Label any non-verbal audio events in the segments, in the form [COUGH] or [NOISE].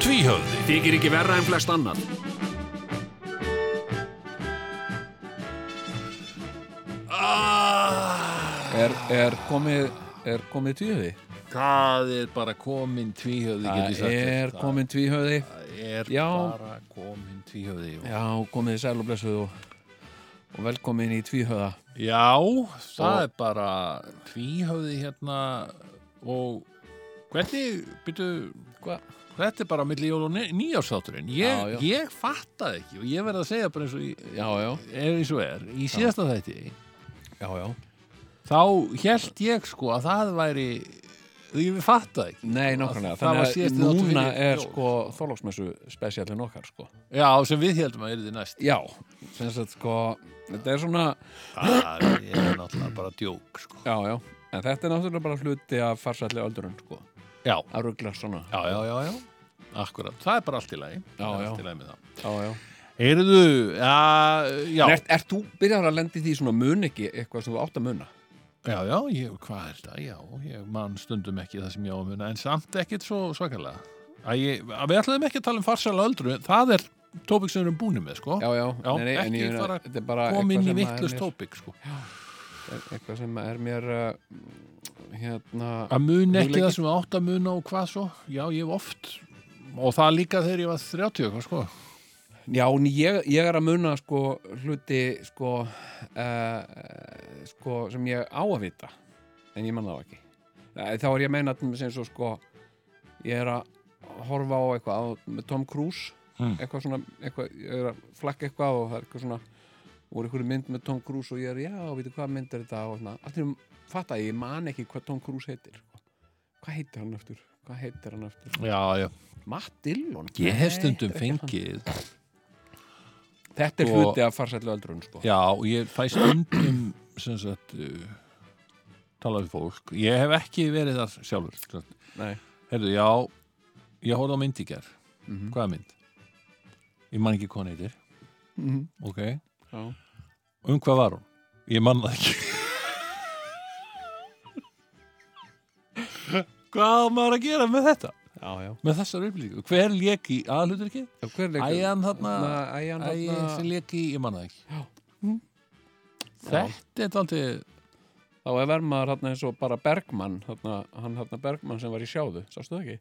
Tvíhöfði Þykir ekki verra en flest annan. Ah, er, er komið er komið tvíhöði Það er bara komin tvíhjöði það er komin tvíhöði Það er Já. bara komin tvíhjöði já, komið sæl og blessuð og, og velkomin í tvíhöða Já, það er bara tvíhjöði hérna og hvernig, byrju Hva? Þetta er bara milli jól og ní- nýjársátturinn ég, Já, já. ég fattaði ekki og ég verði að segja bara eins og ég, já, já, er eins og er í síðasta þætti já, já þá held ég sko að það væri ég fattaði ekki nei, nákvæmlega, Það var þannig síðasti að þáttur núna fyrir er jól. sko þorlóksmessu spesialin okkar sko Já, sem við heldum að yrði næst já, sem sagt sko þetta er svona, Það er náttúrulega bara djók sko já, já en þetta er náttúrulega bara hluti af farsælli öldurinn sko, Já, að ruggla svona já, já, já, já. Akkurat, það er bara allt í lagi Já, Það er já. allt í lagi með það já, já Heyrðu, já, já En ert, ert þú byrjar að lendi því svona mun ekki eitthvað sem þú átt að muna? Já, já, ég, hvað er þetta? Já, ég man stundum ekki það sem ég á að muna en samt ekkit svo svakalega að ég, að Við ætlaðum ekki að tala um farsæla öldru það er tópik sem við erum búin með sko Já, já, Já, nei, nei, en ekki ég meina, fara þetta er bara kom inn í eitthvað sem að er vittlust mér- tópik sko Eitthvað sem er mér uh, hérna að mun ekki Hugleikið. það sem við átt að muna og hvað svo já ég hef oft og það líka þegar ég var 30 eitthvað sko Já, en ég, ég er að muna sko hluti sko uh, sko sem ég á að vita en ég manna það ekki Eh, Þá er ég að meina til dæmis eins og sko ég er að horfa á eitthvað á- með Tom Cruise Mm. eitthvað svona, eitthvað, ég er að flakka eitthvað og það er eitthvað svona voru einhverju mynd með Tom Cruise og ég er, já, veitu hvað mynd er þetta og svona, allt í um fatta ég, ég man ekki hvað Tom Cruise heitir sko. hvað heitir hann aftur, hvað heitir hann aftur já, já. Matt Dillon ég hef Nei, stundum sko þetta er ekki hann. fengið Þetta er Og- hluti af farsællu öldrun sko. já og ég fæ stundum sem sagt uh, tala við fólk ég hef ekki verið þar sjálfur sem sagt. Nei. heyrðu já ég horfði á mynd í ger Mhm. hvaða mynd? ég man ekki hvað hann heitir ok Já. um hvað var hún? ég man það ekki [LAUGHS] hvað á maður að gera með þetta? Já, já. með þessar upplýsingar hver lék í aðlutur ekki? Hver leikur? Æjan þarna Æjan Æjan sem þarna. lék í, ég manna ekki Já. Mm. þetta er aldrei Þá er vermaður þarna eins og bara Bergmann, þarna, hann þarna Bergmann sem var í sjáðu, sástu það ekki?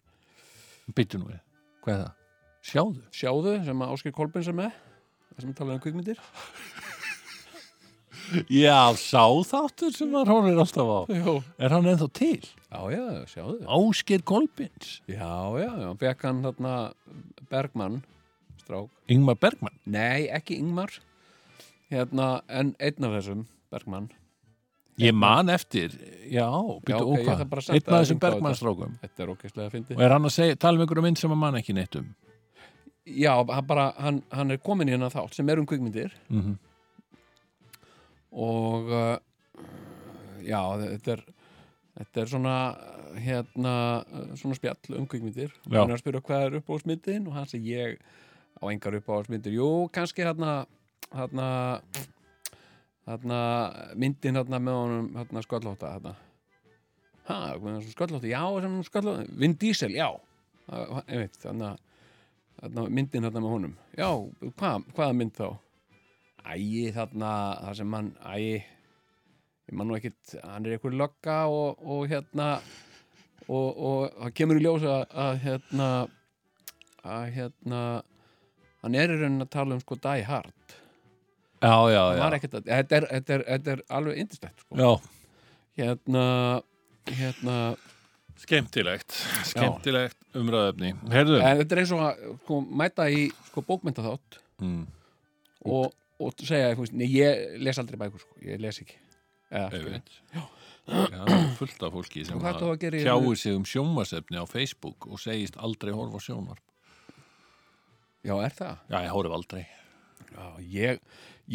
byttu nú við, hvað er það? sjáðu, Sjáðu sem að Áskir Kolbins er með, það sem talaði um kvikmyndir. já, sáþáttur sem maður horfir alltaf á Jó. er hann ennþá til? Já, já, sjáðu. Ásker Kolbins, Já, já, já, fekk hann þarna Bergmann, strák. Ingmar Bergman Nei, ekki Ingmar, hérna, en einn af þessum, Bergmann. ég man eftir, já, byttu ok, og ég hvað ætla bara að senda einn af þér þessum hring á Bergman þetta. strókum Þetta er ógeðslega að fyndi. og er hann að segja, tala um einhverju mynd sem að mann ekki neitt um Já, hann bara, hann, hann er komin í hennar þátt sem er um kvikmyndir. mm og uh, já, þetta er þetta er svona uh, hérna, uh, svona spjall um kvikmyndir og Já. hann er að spyrja hvað er uppáhaldsmyndin og hann segi ég á engar uppáhaldsmyndir jú, kannski hérna hérna hérna myndin hérna með honum hérna sköllóta hérna ha, með þessum sköllóta, já, sem sköllóta Vin Diesel, já Ha, einmitt, þannig þarna myndin þarna með honum já, hva, hvaða mynd þá ægi þarna það sem hann, ægi ég man nú ekkit, hann er einhver lögga og, og hérna og, og það kemur í ljós að, að hérna að hérna hann er í raunin að tala um sko Die Hard já, já, Það já, var ekkert að, þetta, er, þetta, er, þetta er alveg indislegt sko. já. hérna hérna, Skemmtilegt, skemmtilegt umræðefni Herðu en þetta er eins og að sko, mæta í sko bókmynda þátt mm. og, og segja, þú veist, nei, ég les aldrei bækur sko, ég les ekki Eða, sko, Einmitt. Já, það er fullt af fólki sem Og hvað þú að gera í- tjáir sig um sjónvarsefni á Facebook og segist aldrei horfa á sjónvarp já, er það? Já, ég horf aldrei Já, ég,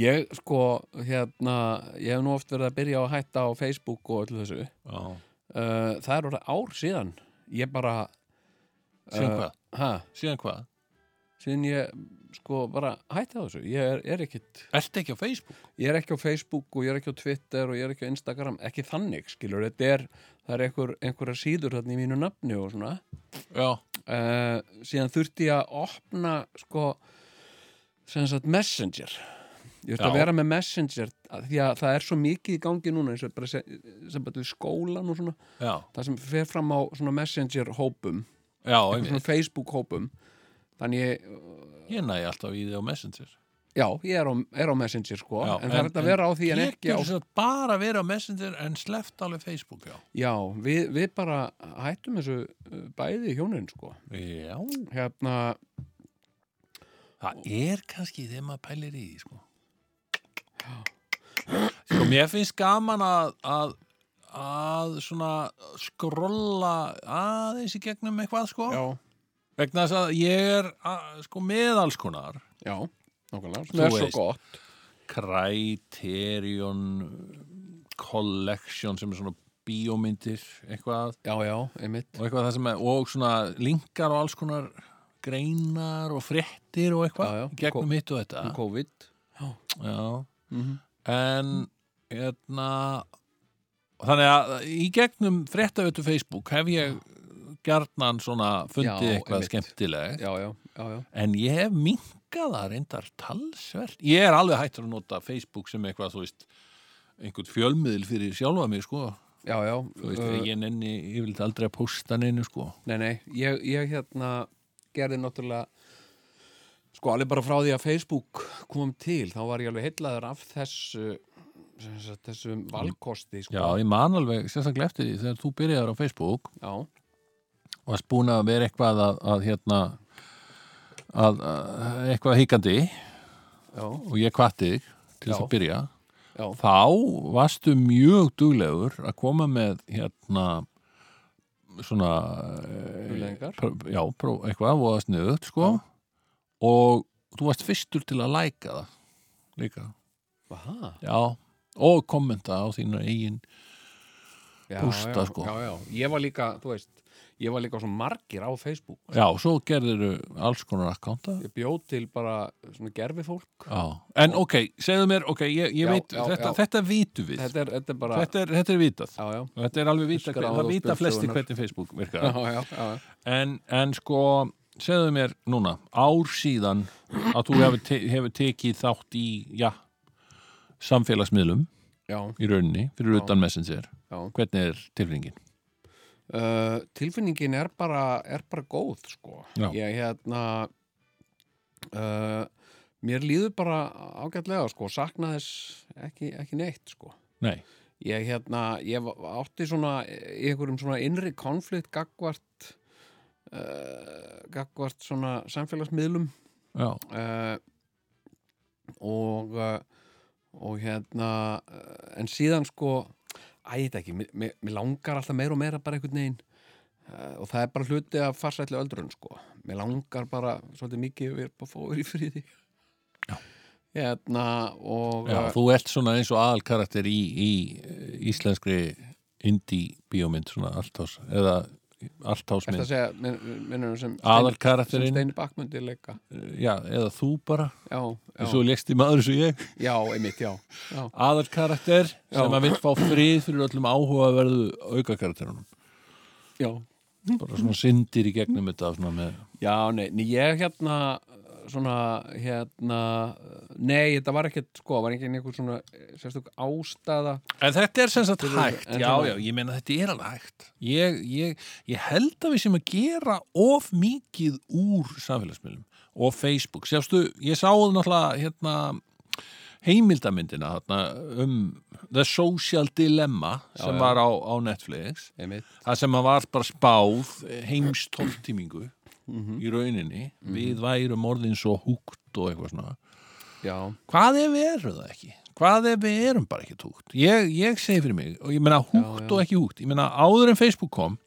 Ég sko, hérna, ég hef nú oft verið að byrja á að hætta á Facebook og öllu þessu. Já. Uh, það er orðið ár síðan. Ég bara, Síðan Eh, hvað? hæ, Síðan hvað? síðan ég sko bara hætti á þessu. Ég er, er ekkit, Ertu ekki á Facebook? ég er ekki á Facebook og ég er ekki á Twitter og ég er ekki á Instagram. Ekki þannig, skilur, þetta er, það er einhver, einhverja síður þarna í mínu nafni og svona. Já. Uh, síðan þurfti ég að opna sko sem sagt messenger ég þurfti að Já. vera með messenger að- því að það er svo mikið í gangi núna eins og bara sem, sem bara við skólan og svona Já. það sem fer fram á svona messenger hópum Já, svona einmitt. facebook hópum þannig ég, Ég næ alltaf í því á Messenger. já, ég er á, er á messenger sko Já, en það er hægt að vera á því en ekki á Ég getur bara að vera á Messenger en sleppt alveg Facebook, já. já, við, við bara hættum þessu uh, bæði hjónin sko Já. hérna, Það er kannski þegar maður pælir í því, sko. Sko, mér finnst gaman að, að, að svona skrolla aðeins í gegnum eitthvað, sko. já, Vegna þess að ég er, að, sko, meðalskonar. já Nákvæmlega, Þú það er svo veist. gott Criterion Collection sem er svona bíómyndir, eitthvað Já, já, einmitt og eitthvað það sem er, og svona linkar og alls konar greinar og fréttir og eitthvað Já, já. í gegnum hitt og þetta um COVID Já, Mhm. en hérna þannig að í gegnum fréttavötu Facebook hef ég gjarnan svona fundið Já, eitthvað einmitt. skemmtilegt Já, já, já, já, en ég hef minkað það reyndar talsvert ég er alveg hættur að nota Facebook sem eitthvað, þú veist einhvern fjölmiðil fyrir sjálfa mig, sko já, já þú veist, uh, ég nenni, ég vil aldrei að posta neinu, sko Nei, nei, ég, ég hérna gerði náttúrulega sko alveg bara frá því að Facebook kom til, þá var ég alveg heillaður af þessu sem sagt, þessum valkosti, Mm. Já, sko ég man alveg sérstaklega eftir því þegar þú byrjaðar á Facebook Já, og varst búin að vera eitthvað að, að hérna að, að eitthvað hikandi já, og ég kvatti þig til þess Já. að byrja já, þá varstu mjög duglegur að koma með hérna svona eh, Hugleiðingar. pr- já, pró, eitthvað, voða sniðut sko og þú varst fyrstur til að læka það líka, Aha, já og kommenta á þína eigin já, Pústa, já, sko. já, já, ég var líka, þú veist ég var líka svo margir á Facebook já, svo gerðir alls konar akkánta ég bjóð til bara svona gerfi fólk Já. En ok, segðu mér, ok, ég, ég Já, veit, já, þetta, já. þetta vitum við. Þetta, þetta er, þetta er bara, er, þetta er vitað. já, já Þetta er alveg vita, Skráð hver, það og vita flesti spjöldsugunar. hvernig Facebook Já, virkar. já, já, já. En, en sko, segðu mér núna, ár síðan að þú hefur, te, hefur tekið þátt í, já, samfélagsmiðlum já, í rauninni, fyrir utan messenger. já. Hvernig er tilfinningin? Uh, tilfinningin er bara, er bara góð sko Já. ég hérna uh, mér líður bara ágætlega sko, sakna þess ekki, ekki neitt sko Nei, ég hérna, ég va- átti svona í einhverjum svona innri konflikt gagvart uh, gagvart svona samfélagsmiðlum já, uh, og uh, og hérna uh, en síðan sko æ, þetta ekki, mér- mér mér langar alltaf meira og meira bara einhvern veginn uh, og það er bara hluti að farsætli öldrun sko mér langar bara svolítið mikið við erum að fá verið í friði hérna og já, uh, þú ert svona eins og aðalkarakter í, í eh, íslenskri indie bíómynd, svona alltás, eða Ertu alltásmynd. að segja, min- minnum sem sem aðalkarakterinn, Steini Backmundi leika já, eða þú bara já, og svo já, leikst í maður eins og ég já, einmitt, já, já. aðalkarakter sem Já. að vil fá frið fyrir öllum áhugaverðu aukakarakterunum já. bara svona syndir í gegnum þetta svona með, Já, nei, nei, ég hérna svona, hérna nei, þetta var ekkert, sko, var ekki einhver svona eh, sérstök ástæða en þetta er sem sagt Þetta er- hægt en já, svona- já, ég meina þetta er alveg hægt ég, ég, ég held að við sem að gera of mikið úr samfélagsmiðlum og Facebook, sjástu, ég sá náttúrulega hérna heimildamyndina þarna, um The Social Dilemma sem já. var á, á Netflix einmitt, það sem að var bara spáð heimstóltímingu Mhm. í rauninni við værum orðin svo húgt og eitthvað svona já, hvað ef við erum það ekki? hvað ef við erum bara ekki húgt? Ég, ég segi fyrir mig, og ég meina húgt og ekki húgt ég meina áður en Facebook kom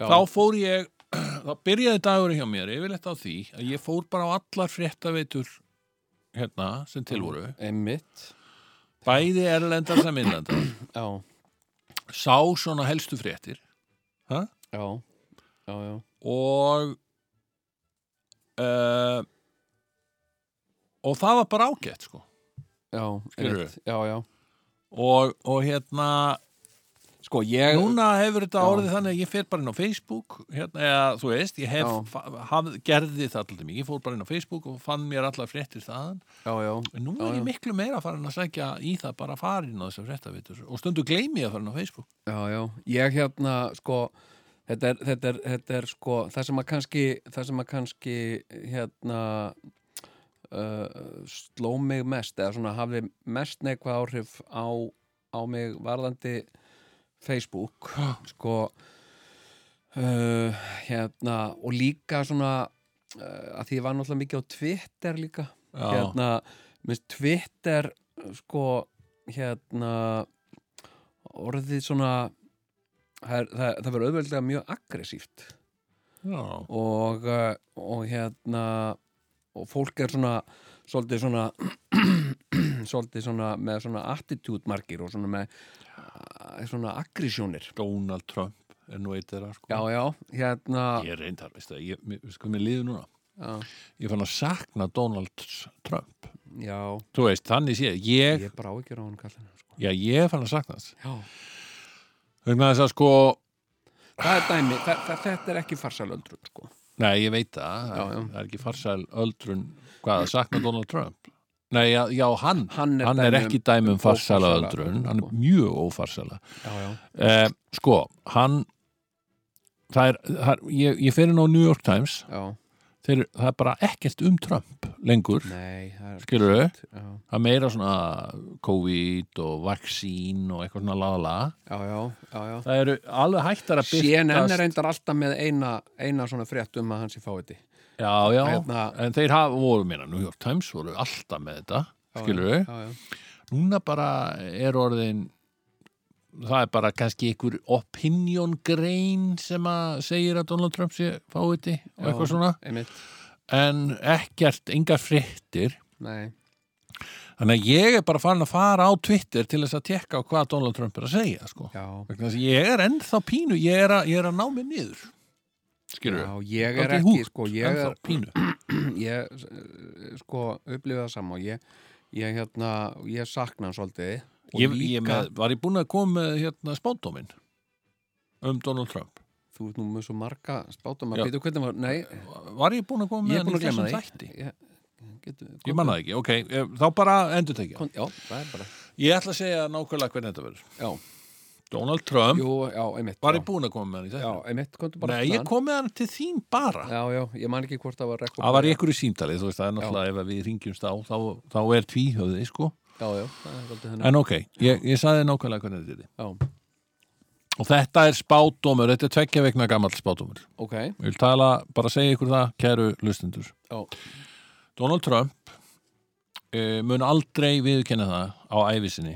já þá fór ég [CLEARS THROAT] þá byrjaði dagur hjá mér yfirleitt á því að ég fór bara á allar fréttaveitur hérna sem til voru Emmitt bæði erlendar sem innlendar Já, sá svona helstu fréttir já, já, já og uh, og það var bara ágætt sko Já, Skilurðu? einmitt. já, já og, og hérna Sko, ég núna hefur þetta Já. orðið þannig að ég fer bara inn á Facebook hérna, eða þú veist, ég Já. hef, haf, gerði það alltaf mikið, ég fór bara inn á Facebook og fann mér allar fréttir þaðan Já, já, en nú Já, er já. ég miklu meira farin að segja í það bara farin á þessar fréttavitur og stundu gleymi ég að farin á Facebook já, já Ég hérna, sko Þetta er, þetta, er, þetta er sko, það sem að kannski, það sem að kannski, hérna, uh, sló mig mest eða svona hafði mest neikvað áhrif á, á mig varðandi Facebook, sko, uh, hérna, og líka svona, uh, að því ég var náttúrulega mikið á Twitter líka, Já, hérna, minnst Twitter sko, hérna orðið svona það, er- það, það verður auðveldlega mjög aggressíft já, og, eh, og hérna og fólk er svona svolítið svona [CLEARS THROAT] svolítið svona með svona attitude margir og svona með eh, svona aggresjónir Donald Trump er nú eitt þeirra sko já, já, hérna ég reyndar, veist það, ég, mér- sko mér líður núna já, ég fann að sakna Donald Trump já, þú veist, þannig sé, ég, ég bara á ekki ráðan kallinu sko. já, ég fann að sakna þess já, vegna þess að sko það er dæmi þa- þa- þetta er ekki farsalöldrun sko Nei, ég veit það. Já, já. Það er ekki farsæl öldrun, hvað, að sakna Donald Trump? Nei, já, já hann, hann er, hann er ekki dæmi um farsæla ófarsæla öldrun, hann er öldrun, sko. mjög ófarsæla. já, já, Eh, sko, hann, það er, það er ég, ég fer inn á New York Times, já, þeir, það er bara ekkert um Trump lengur, nei það er, skilur þau? já, Það er meira svona COVID og vaksín og eitthvað svona lala. já, já, já, já. Það eru alveg hættar að byrtast. CNN er reyndar alltaf með eina, eina svona frétt um að hans í fáiði Já, já, Hérna- en þeir hafa, voru meina, New York Times voru alltaf með þetta, skilur þau? já, já, núna bara er orðin það er bara kannski einhver opinion grein sem að segir að Donald Trump sé fáiði og Já. eitthvað svona einmitt, en ekkert, engar fréttir nei þannig að ég er bara farin að fara á Twitter til þess að tekka á hvað Donald Trump er að segja sko. já, vegna þess að ég er ennþá pínu ég er að, ég er að ná mig niður skilur já, ég er Dálítið ekki húkt, sko, ég ennþá er [CLEARS THROAT] pínu ég, eh, sko, upplifið það saman og ég, ég hérna, ég sakna hann svolítið og ég, ég með, var ég búin að koma með hérna spándómin um Donald Trump þú ert nú með svo marga spátum Já. að býta hvernig var, nei var ég búin að koma með ég er búin að hann í glemma þessum þætti því ég, getu, Ég manna það ekki, ok, eh, þá bara endur tekja. kon, já, það er bara, Ég ætla að segja nákvæmlega hvernig þetta verður. já, Donald Trump, jú, já, einmitt var já. ég búin að koma með hann í Já, þetta? einmitt, komdu bara Nei, til ég hann. kom með hann til þín bara. Já, já, ég man ekki hvort það var rekord Það var í einhverju símtalið, þú veist, það er náttúrulega ef að við ringjumst á, þá, þá er tvíhöfði, sko. Já, já, það er aldrei hennar En ok, ég, ég saði nákvæmlega hvernig þetta er. Já, Og þetta er spátdómur, þetta er tveggja vegna gamall spátdómur. ok, Ég vil tala, bara segja ykkur það, kæru lustendur. já, Donald Trump uh, mun aldrei viðkenna það á æfisinni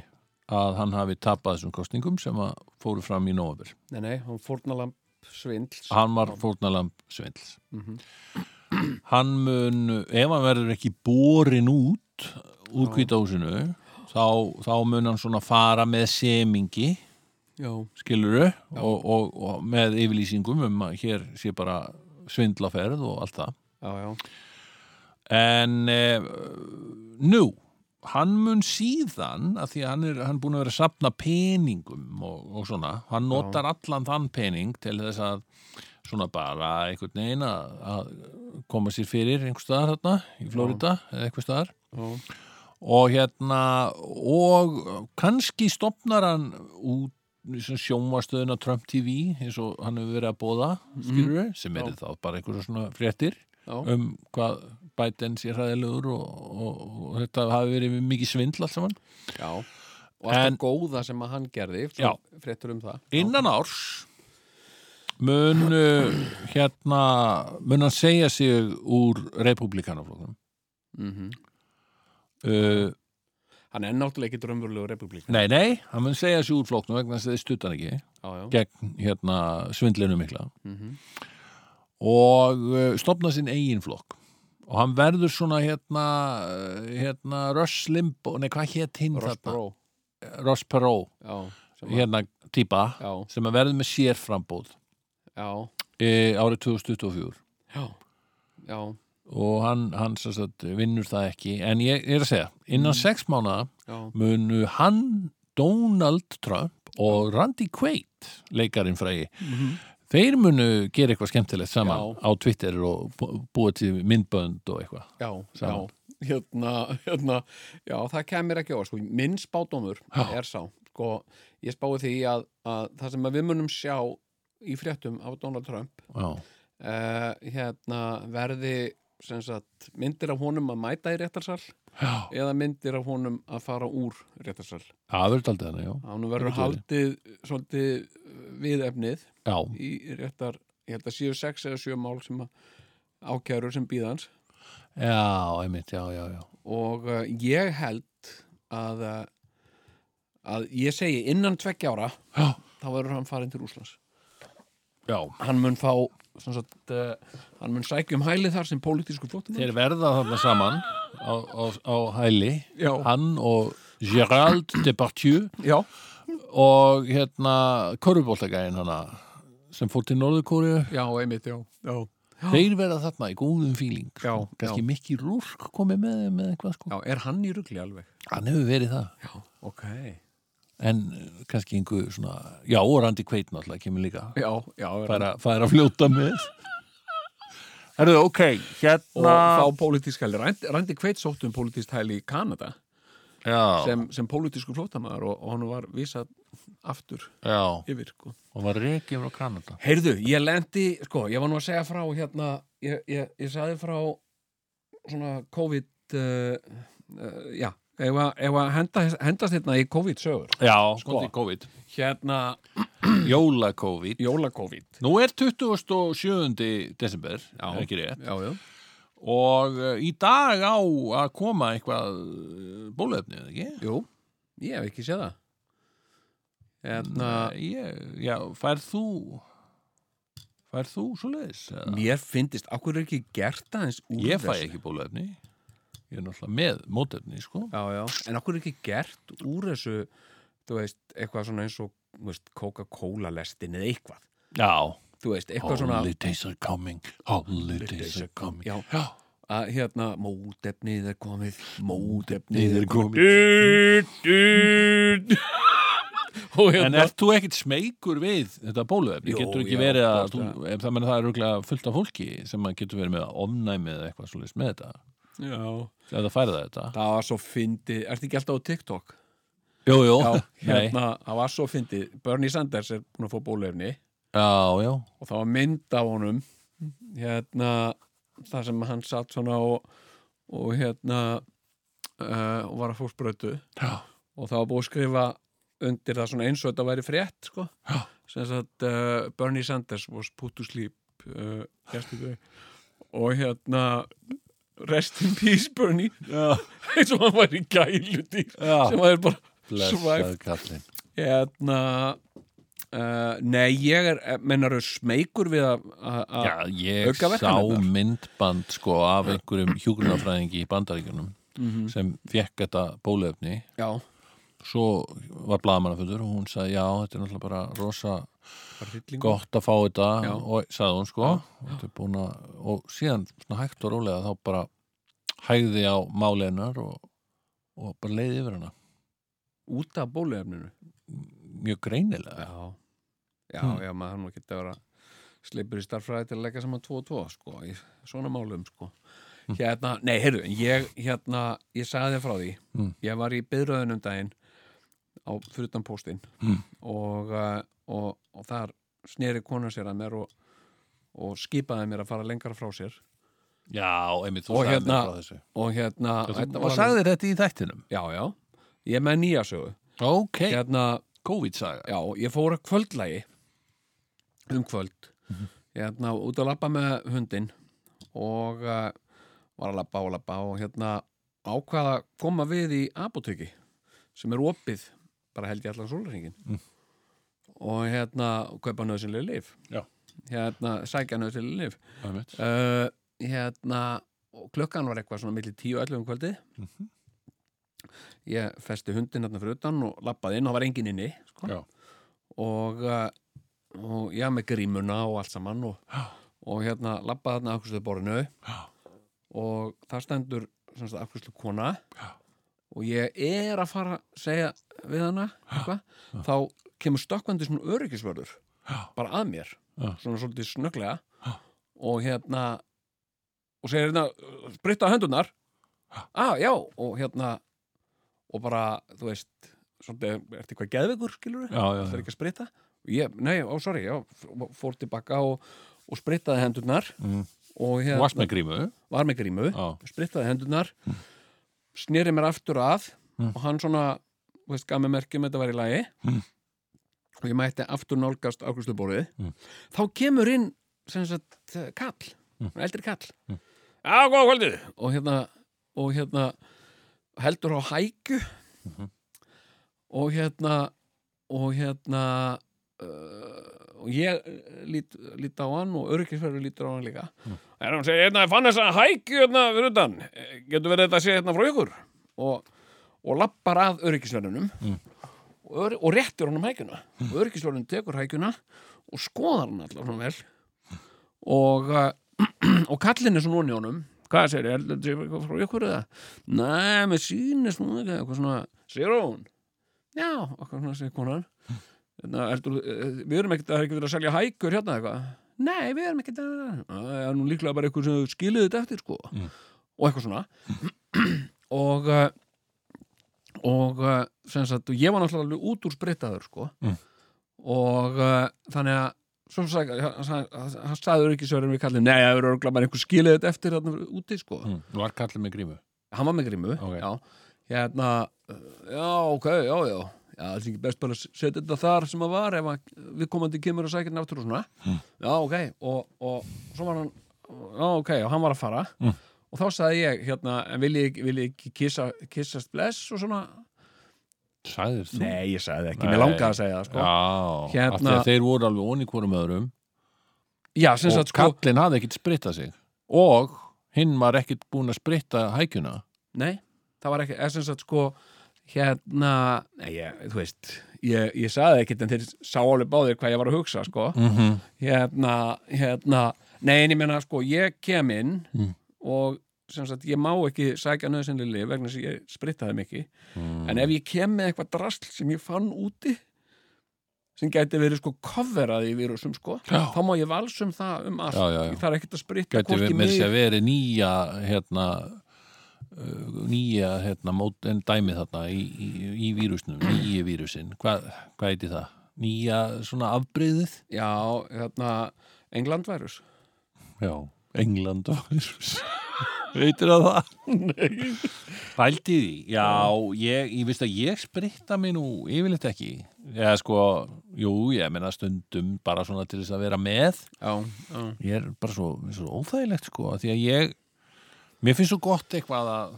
að hann hafi tapað þessum kostningum sem að fóru fram í nóvabur. nei, nei, hann fórnalamb svindls Hann var fórnalamb svindls. Mhm. Hann mun, ef hann verður ekki borin út úr kvítahúsinu, þá, þá mun hann svona fara með semingi, Já, skiluru, og, og, og með yfirlýsingum um að hér sé bara svindlaferð og allt það. já, já, En eh, nú, hann mun síðan, að því að hann er, hann er búin að vera að sapna peningum og, og svona, hann notar allan þann pening til þess að svona bara einhvern veginn að, að koma sér fyrir einhvers staðar þarna í Flórida eða einhvers staðar já, og hérna og kannski stopnar hann út sjónvastöðuna Trump TV eins og hann hefur verið að bóða skilur sem er þá bara einhverja svona fréttir já, um hvað Biden sé hræðilegur og, og, og þetta hafi verið mikið svindl allt saman. já Og allt En- það góða sem að hann gerði, Já. svo fréttur um það Innan árs mun uh, hérna mun hann segja sig úr republikanaflokkum mm uh, Hann er náttúrulega ekki drömmurlegu republik Nei, nei, hann mun segja sig úr flokkum vegna þess að þið stuttan ekki Já, já, gegn hérna svindlinu mikla mhm, og uh, stopna sinn eigin flokk og hann verður svona hérna, hérna Rush Limbo, nei hvað hétt hinn Ross þarna? Bró Ross Perot, já, sem að- hérna típa já, sem að verður með sérframbóð já, e, árið 2024 já, já, og hann, hann sem sagt, vinnur það ekki en ég er að segja, innan sex mánuða já. munu hann Donald Trump og Randy Quaid leikarinn frægi þeir munu gera eitthvað skemmtilegt saman Já. á Twitter og bú- búa til myndbönd og eitthvað já, já, Saman. hérna, hérna, já, það kemur ekki á, sko, minn spátumur Já. er sá, sko, ég spái því að, að það sem að við munum sjá í fréttum af Donald Trump, Já, uh, hérna, verði, sem sagt, myndir af honum að mæta í réttarsal já. eða myndir af honum að fara úr réttarsal. það verður aldrei þannig, já Hann verður Það haldið svolítið eh, viðefnið Já, í réttar, ég held að séu sex eða sjö mál sem að ákjærur sem býðans já, einmitt, já, já, já og uh, ég held að uh, að ég segi innan tveggja ára Já, þá verður hann farin til Úslands já hann mun fá sem sagt, uh, hann mun sækja um hæli þar sem pólitísku flóttum Þeir verða þarna saman á, á, á hæli Já. Hann og Gerald Departieu já, og hérna Körubóltagæin hana sem fór til Norðurkóriðu já, einmitt, já, já. Þeir verða þarna í góðum fíling Já, Kannski mikki rúrk komið með þeim eða eitthvað sko já, er hann í rugli alveg Hann hefur verið það já, ok En eh, kannski einhver svona Já, og Randi Kveit náttúrulega kemur líka já, já, er hann- Færa, færa að fljóta með Herðu, ok, og hérna fá pólitísk hæli Randi, Randi Kveit sótt um pólitísk hæli í Kanada Já, sem, sem pólitísku flóttamæður og, og hann var visað aftur já, yfir sko. og var reikið frá Kanada Heyrðu, ég lendi, sko, ég var nú að segja frá hérna, ég, ég, ég sagði frá svona COVID uh, uh, já, ef að, ef að henda, hendast hérna í COVID-sögur Já, Sko. sko, COVID hérna, Jóla-COVID jóla-COVID Nú er 27. desember, Já. ekki rétt Já, já, og eh, í dag á að koma eitthvað eh, bóluefni, eða ekki? jú, ég hef ekki séð það hérna Nei, ég, já, færð þú færð þú svo leiðis? mér finnist, akkur er ekki gert aðeins úr Ég fæ þessu? ekki bóluefni ég er náttúrulega með mótefni, sko Já, já, en okkur er ekki gert úr þessu, þú veist, eitthvað svona eins og, þú veist, Coca-Cola lestin eða eitthvað, Já, þú veist, eitthvað svona holidays are coming holidays are coming Já. já, að hérna, mótefnið er komið mótefnið niður er koming komið [LAUGHS] og En hérna ert þú ekkert smeykur við þetta bóluefni? Jó, getur ekki já, verið að, þú, klárlega. ef það menn það er rúglega fullt af fólki sem að getur verið með ofnæmi eða eitthvað svolítið með þetta, já. ef það færi það þetta það var svo fyndið, ertu ekki alltaf á TikTok? Jú, jú, Já, nei, [LAUGHS] hérna, það var svo fyndið Bernie Sanders er búin að fá bólefni já, já og það var mynd af honum hérna, það sem hann satt svona og, og hérna uh, og var að fórsprötu Já, og það var búið að skrifa undir það svona eins og þetta væri frétt sko. Já. sem sagt uh, Bernie Sanders was put to sleep uh, yesterday og hérna rest in peace Bernie [LAUGHS] já, eins og hann væri gæludýr sem já. að er bara svæf Blessað kallinn hérna uh, nei ég er, mennar þau smeykur við að að- að- Já, ég sá aukaverkanirnar. myndband sko af einhverjum hjúgrunafræðingi í bandaríkjunum Mhm. sem fekk þetta bóluefni já, svo var blaðmannafundur og hún sagði já, þetta er náttúrulega bara rosa bara hryllingur. gott að fá þetta Já. og sagði hún sko já, já. og síðan svona hægt og rólega þá bara hægði á máli hennar og, og bara leiði yfir hana út af bóluefninu mjög greinilega já, Hm. já, Hmm. já, maður hann nú geta að vera sleipur í starffræði til að leggja saman 2 og 2 sko, í svona málum sko. hérna, nei, heyrðu, ég hérna, ég sagði þér frá því Hmm. ég var í byrðröðunum daginn á fyrir utan póstinn Hmm. og, uh, og, og þar sneri kona sér að mér og, og skipaði mér að fara lengra frá sér já einmitt þú Og sagði hérna- mér frá þessu og hérna þú, þetta og var sagði þetta í þættinum já, já, ég er með nýja sögu ok, hérna, COVID-saga Já, ég fór að kvöldlægi um kvöld Mhm. hérna út að labba með hundinn og uh, var að labba og labba og hérna ákvaða að koma við í apotöki sem er opið bara held ég allan sólringin Mm. og hérna kaupa nöðsynlega lif Já. hérna sækja nöðsynlega lif einmitt. uh, hérna og klukkan var eitthvað svona milli 10-11 um kvöldi ég festi hundin hérna fyrir utan og lappaði inn, það var engin inni sko. Já. og, eh, og já, með grímuna og allt saman og, og hérna lappaði hérna afkvæmstu borinu Já. og það stendur afkvæmstu kona Já. og ég er að fara að segja við hana eitthvað, þá kemur stökkvandi svona öryggisvörður Já. bara að mér, Já. svona svolítið snögglega Já. og hérna og segir hérna, spritta hendunar ah, já, og hérna og bara, þú veist svolítið, ertu eitthvað geðvegur, skilur Já, já, já. það er ekki að spritta Og ég, nei, ó, sorry, já, f- fór tilbaka og, og sprittaði hendurnar Mm. og Þú hérna, varst með grímu var með grímu Já. sprittaði hendurnar sneri mér aftur að Mm. og hann svona, þú veist, gaf mér merkjum þetta var í lagi Mm. og ég mætti aftur nálgast ákvæmsluborðið Mm. þá kemur inn sem sagt, eh, kall, Mm. eldri kall Mm. já, góða kvöldið og hérna, og hérna heldur á hækju Mhm. og hérna og hérna uh, og ég eh, lít, lít á hann og örgisverður lítur á hann líka En hún segir, hérna, ég fann þessa hækju hérna fyrir utan, Eh, getur verið þetta að sé hérna frá ykkur? Og, og lappar að öryggisverðunum Mm. og, ör, og réttir honum hækjuna. Mm. Öryggisverðun tekur hækjuna og skoðar hann allar svona vel og, eh, [CLEARS THROAT] og kallin er svona onni honum. Hvað segir ég, heldur þetta sé eitthvað frá ykkur eða? Nei, með sýnist nú ekki, eitthvað svona, segir hún. Já, eitthvað svona segir konan. Hérna, heldur, eh, við erum ekkert, það er ekki verið að selja hækjur hérna eitthvað. Nei, við erum ekki Það er nú líklega bara eitthvað sem þau skiluðu þetta eftir sko. Mm. og eitthvað svona og eh, og eh, sem sagt, og ég var náttúrulega alveg út úr sprittaður sko. Mm. og eh, þannig að svo sagði, hann- hann hann sagði ekki sörðin við kallið, nei, það eru örgla bara einhver skiluðu þetta eftir þarna úti, sko mm. Þú var kallið með grímu hann var með grímu, Ok. já hérna, eh, já, ok, já, já já, það er ekki best bara að setja þetta þar sem að var ef að við komandi kemur að sækja náttúr og svona, já, ok og, og svo var hann, já, ok og hann var að fara Mm. og þá sagði ég, hérna, en vil ég, vil ég ekki kissa, kissast bless og svona Sæðir þú? nei, ég sagði ekki, Nei. mér langaði að segja það, sko já, Já, Hérna- hérna... af því að þeir voru alveg onni hvorum öðrum sem og sagt, sko, kallinn hafði ekkit sprittað sig og hinn var ekkit búin að spritta hækjuna nei það var ekki, eða sem sagt, sko hérna, nei, ég, þú veist ég, ég sagði ekkit en þeir sá alveg báðir hvað ég var að hugsa, sko mm -hmm. hérna, hérna nei, en ég meina sko, ég kem inn Mm. og sem sagt, ég má ekki sækja nöðsynlega lif vegna sem ég sprittaði mikið, Mm. en ef ég kem með eitthvað drasl sem ég fann úti sem gæti verið sko coverað í vírusum sko, Já. þá má ég valsum það um allt, Já, já, já. ég þarf ekkert að spritta Gæti hvorki við með þess að verið nýja hérna uh, nýja hérna mót, en dæmi þarna í, í, í vírusnum, nýji vírusin hvað hva heiti það? Nýja svona afbreyðið? já, hérna, Englandværus Já, England og vírus Veitir að það? [LAUGHS] nei, Pældi því, já, ég, ég veist að ég spritta mig nú yfirleitt ekki eða sko, jú, ég meina stundum bara svona til þess að vera með já, já, ég er bara svo, mér er svo óþægilegt sko, af því að ég mér finnst svo gott eitthvað að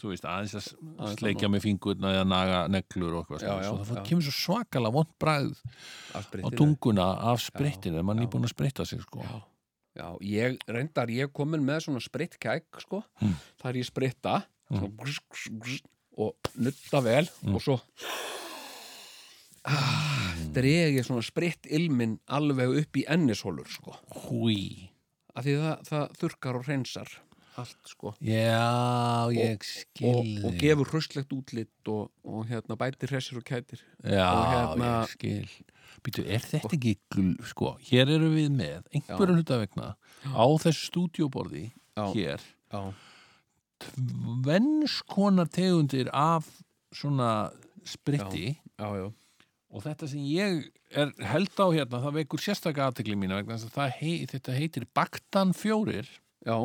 þú veist, aðeins að Aðeins að s- sleikja með fingurna eða naga neglur og eitthvað Já, já, svona, svo það já. kemur svo svakalega vond bræð að á spritta tunguna af sprittinu en mann já. er búin að spritta sig sko Já, já, ég reyndar, ég komin með svona sprittkæk, sko, Mm. þar ég spritta svona, grús, grús, grús, og nutta vel og svo ah, dreg ég svona spritt ilmin alveg upp í ennishólur, sko, húi, af því það, það þurkar og hreinsar allt, sko. já, ég skil Og, og þig. gefur hrauslegt útlit og, og hérna bætir hressir og kætir já, og hérna- ég skil Býtu, er þetta ekki, gl- sko, hér eru við með einhverjum hluta vegna á þessu stúdíóborði Já. hér Já, tvennskonar tegundir af svona spritti já, já, og þetta sem ég er held á hérna það vekur sérstaka aðtekli mína vegna þess að það hei, þetta heitir baktan fjórir já,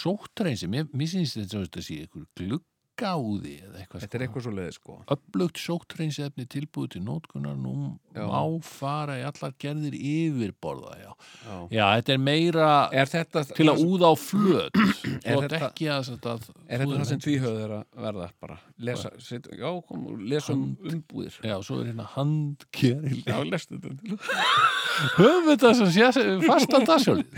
sóttreinsi, mér, mér syns þetta þetta sé ykkur gluggáði eða eitthvað þetta er eitthvað svo leiði, sko öflugt sóttreinsi efni tilbúið til nótkunar nú Já. má fara í allar gerðir yfirborða já. já. já, þetta er meira Er þetta til að úða á flöt [CLEARS THROAT] Er þú átt þetta- ekki að, að Er þetta það sem tvíhöð er að verða bara? Lesa, sit, já, kom, og lesa um umbúðir. Já, svo er hérna handkeril lestu þetta. Höfum við þetta sem sé fastan dagsjólið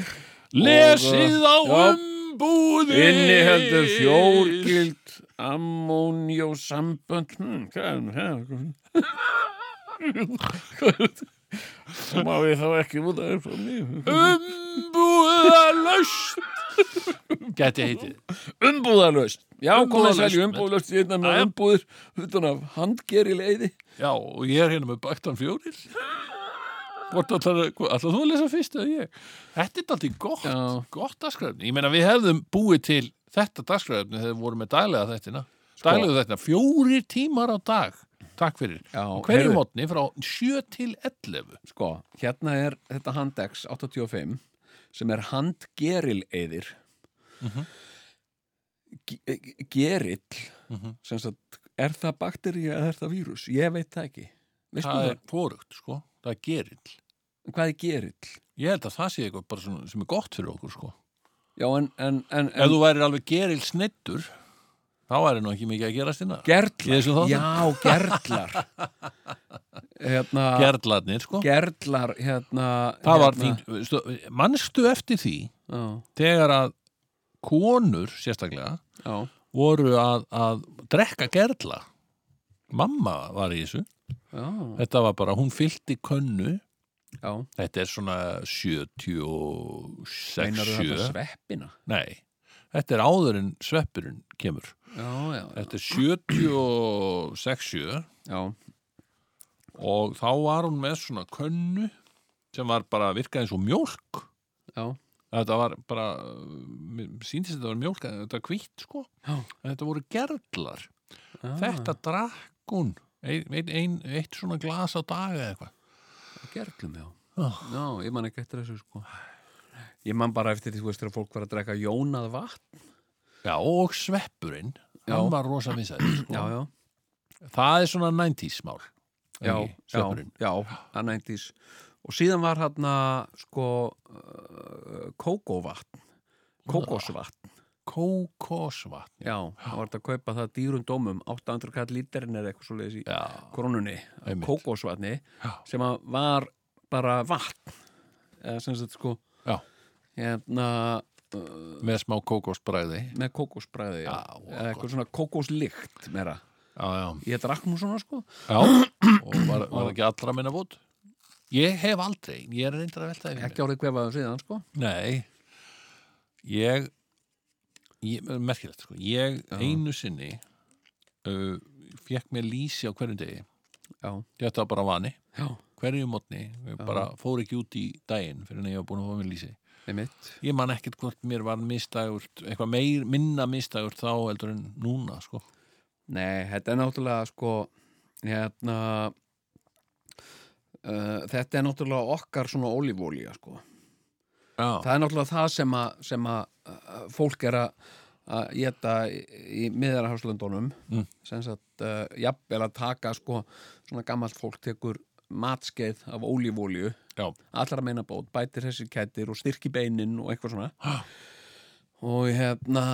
Lesið á Já. umbúðir Innihöldur fjórgild ammónjósambönd hmm, Hvað er það? Hvað er það? Má ég þá ekki út af frá mér? Umbúðalöst Gæti heitið Umbúðalöst Já, komið Umbúðalaust. sæli umbúðalöst Ég er með Jæja. umbúðir utan af handgeri leiði Já, og ég er hérna með baktan fjórir Hvort allar, allar þú að lesa fyrst eða ég? Þetta er alltaf gott, Já. gott dagskræfni Ég meina við hefðum búið til þetta dagskræfni þegar við vorum með daglega þettina Sko. Daglega þettina, fjórir tímar á dag Takk fyrir Já, Og Hverju heyrðu. mótni frá 7 til 11 Sko, hérna er þetta Handex 85 sem er handgerileyðir mm -hmm. Gerill Mhm. sem sagt, er það bakteri eða er það vírus? Ég veit það ekki Veistu Það það? er fórugt, sko Það er gerill Hvað er gerill? Ég held að það sé eitthvað bara svona, sem er gott fyrir okkur, sko Já, en, en, en, Ef en þú værir alveg gerill snittur þá væri nú ekki mikið að gerast hérna. innan Í þessum þáttum? gerlar Já, [LAUGHS] gerlar hérna, Gerlarnir, sko Gerlar, hérna Það var hérna, fínt, veistu, manstu eftir því Já, þegar að konur sérstaklega já, voru að, að drekka gerla mamma var í þessu já, þetta var bara, hún fyllti könnu já. þetta er svona 76 Meinar þetta 7, sveppina? nei þetta er áður en sveppurinn kemur Já, já, þetta er 76 7 já og þá var hún með svona könnu sem var bara virkaði eins og mjólk Já, þetta var bara mér síndist þetta var mjólk en þetta var hvitt sko Já. Ah. En þetta voru gerlar já þetta drakk hún ein, ein, ein, eitt svona glas á dag eða eitthvað Gerlum, já Ah. Já, ég man ekki eftir þessu, sko Ég man bara eftir því, þú veist, þegar fólk var að drekka jónað vatn já og sveppurinn Já. hann var rosa [CLEARS THROAT] vinsæð sko. Já, já, það er svona 90s mál já, ekki? já, sveppurinn já, hann eindís Og síðan var hérna, sko, uh, kókóvatn Kókósvatn kókosvatn Já, það var þetta að kaupa það dýrum dómum 800 kall lítirinn eða eitthvað svo leiðis í já, krónunni, Einmitt. kókósvatni Já. sem að var bara vatn eða sem sagt sko Já. hérna með smá kókosbræði með kókósbræði Já, eða gott. eitthvað svona kókóslykt meira já, já, ég drakk nú svona sko já. og var, var ekki allra minna vót ég hef aldrei, ég er reyndar að velta yfir mér. ekki árið kvefaðum síðan sko Nei, ég, ég merkilegt sko, ég Já. einu sinni uh, fekk mér lýsi á hverjum degi, já, þetta var bara vani, já, hverjum mótni, ég Já. bara fór ekki út í daginn fyrir en ég var búin að fá mér lýsi. einmitt Ég man ekkert hvort mér var mistægurt, eitthvað meir, minna mistægurt þá heldur en núna sko. nei, þetta er náttúrulega sko hérna uh, þetta er náttúrulega okkar svona ólífólía sko Já, það er náttúrulega það sem að, sem að uh, fólk er að að geta í, í miðarháslöndunum Mm. sem sagt uh, jafnvel að taka sko svona gammalt fólk tekur matskeið af ólífólju já, allra meina bót, bætir þessi kættir og styrki beinin og eitthvað svona Ha. og hérna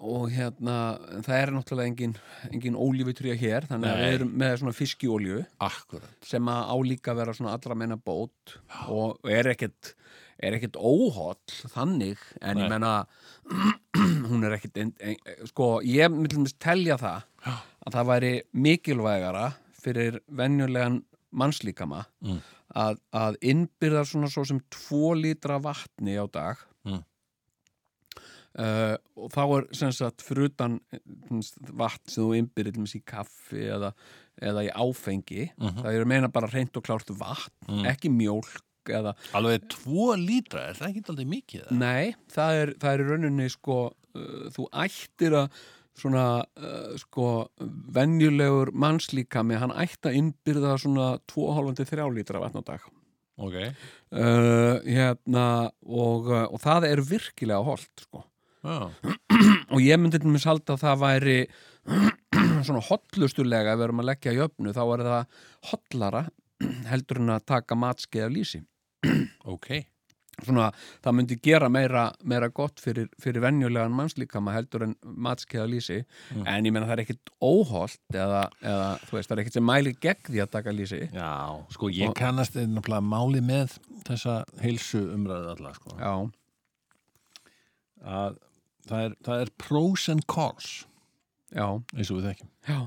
og hérna, en það er náttúrulega engin, engin ólífutrýja hér þannig að Nei. við erum með svona fiskiólju akkurat. sem að álíka vera svona allra meina bót og er ekkert er ekkert óholl þannig en Nei. ég menna [CLEARS THROAT] hún er ekkert ein, ein, sko, ég myndum telja það Já. að það væri mikilvægara fyrir venjulegan mannslíkama Mm. að, að innbyrðar svona svo sem tvo lítra vatni á dag Mm. Uh, og þá er sem sagt fyrir utan vatn sem þú innbyrðir til dæmis, í kaffi eða, eða í áfengi Mhm. það er að meina bara reynd og klárt vatn Mm. ekki mjólk eða, Alveg tvo lítra, er það ekki aldrei mikið það? nei, það er, það er í rauninni sko, uh, þú ættir að svona uh, sko venjulegur mannslíkami hann ætti að innbyrða svona 2,5-3 lítra vatn á dag Ok, uh, hérna og, uh, og það er virkilega holdt sko já, og ég myndi til mér salda að það væri [CLEARS THROAT] svona hotlustulega ef við erum að leggja jöfnu þá er það hotlara heldur en að taka matskeið af lýsi ok. svona, það myndi gera meira, meira gott fyrir, fyrir venjulegan mannslíkama heldur en matskeið af lýsi Mm. en ég meina það er ekkit óholt eða, eða þú veist, það er ekkit sem mælir gegn því að taka lýsi Já, sko ég Og- kannast náttúrulega máli með þessa heilsu umræðu alla sko. Já að það er, það er pros and cons já, eins og við þekkjum, já,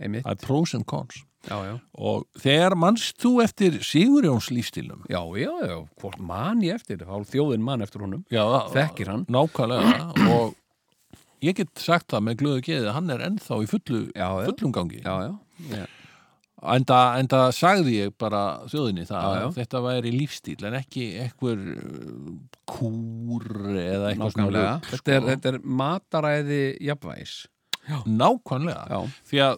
einmitt það er pros and cons já, já, og þegar mannst þú eftir Sigurjóns lífstílum já, já, já, hvort man ég eftir þá þjóðin man eftir honum já, þekkir hann nákvæmlega og ég get sagt það með glöðu geðið að hann er ennþá í fullu, Já, já. fullum gangi já, já, já, enda, enda sagði ég bara þjóðinni það Já, já. að þetta væri lífstíl en ekki einhver uh, kúr eða eitthvað svona nákvæmlega rugl, þetta er, sko. þetta er mataræði jafnvægis nákvæmlega já, því að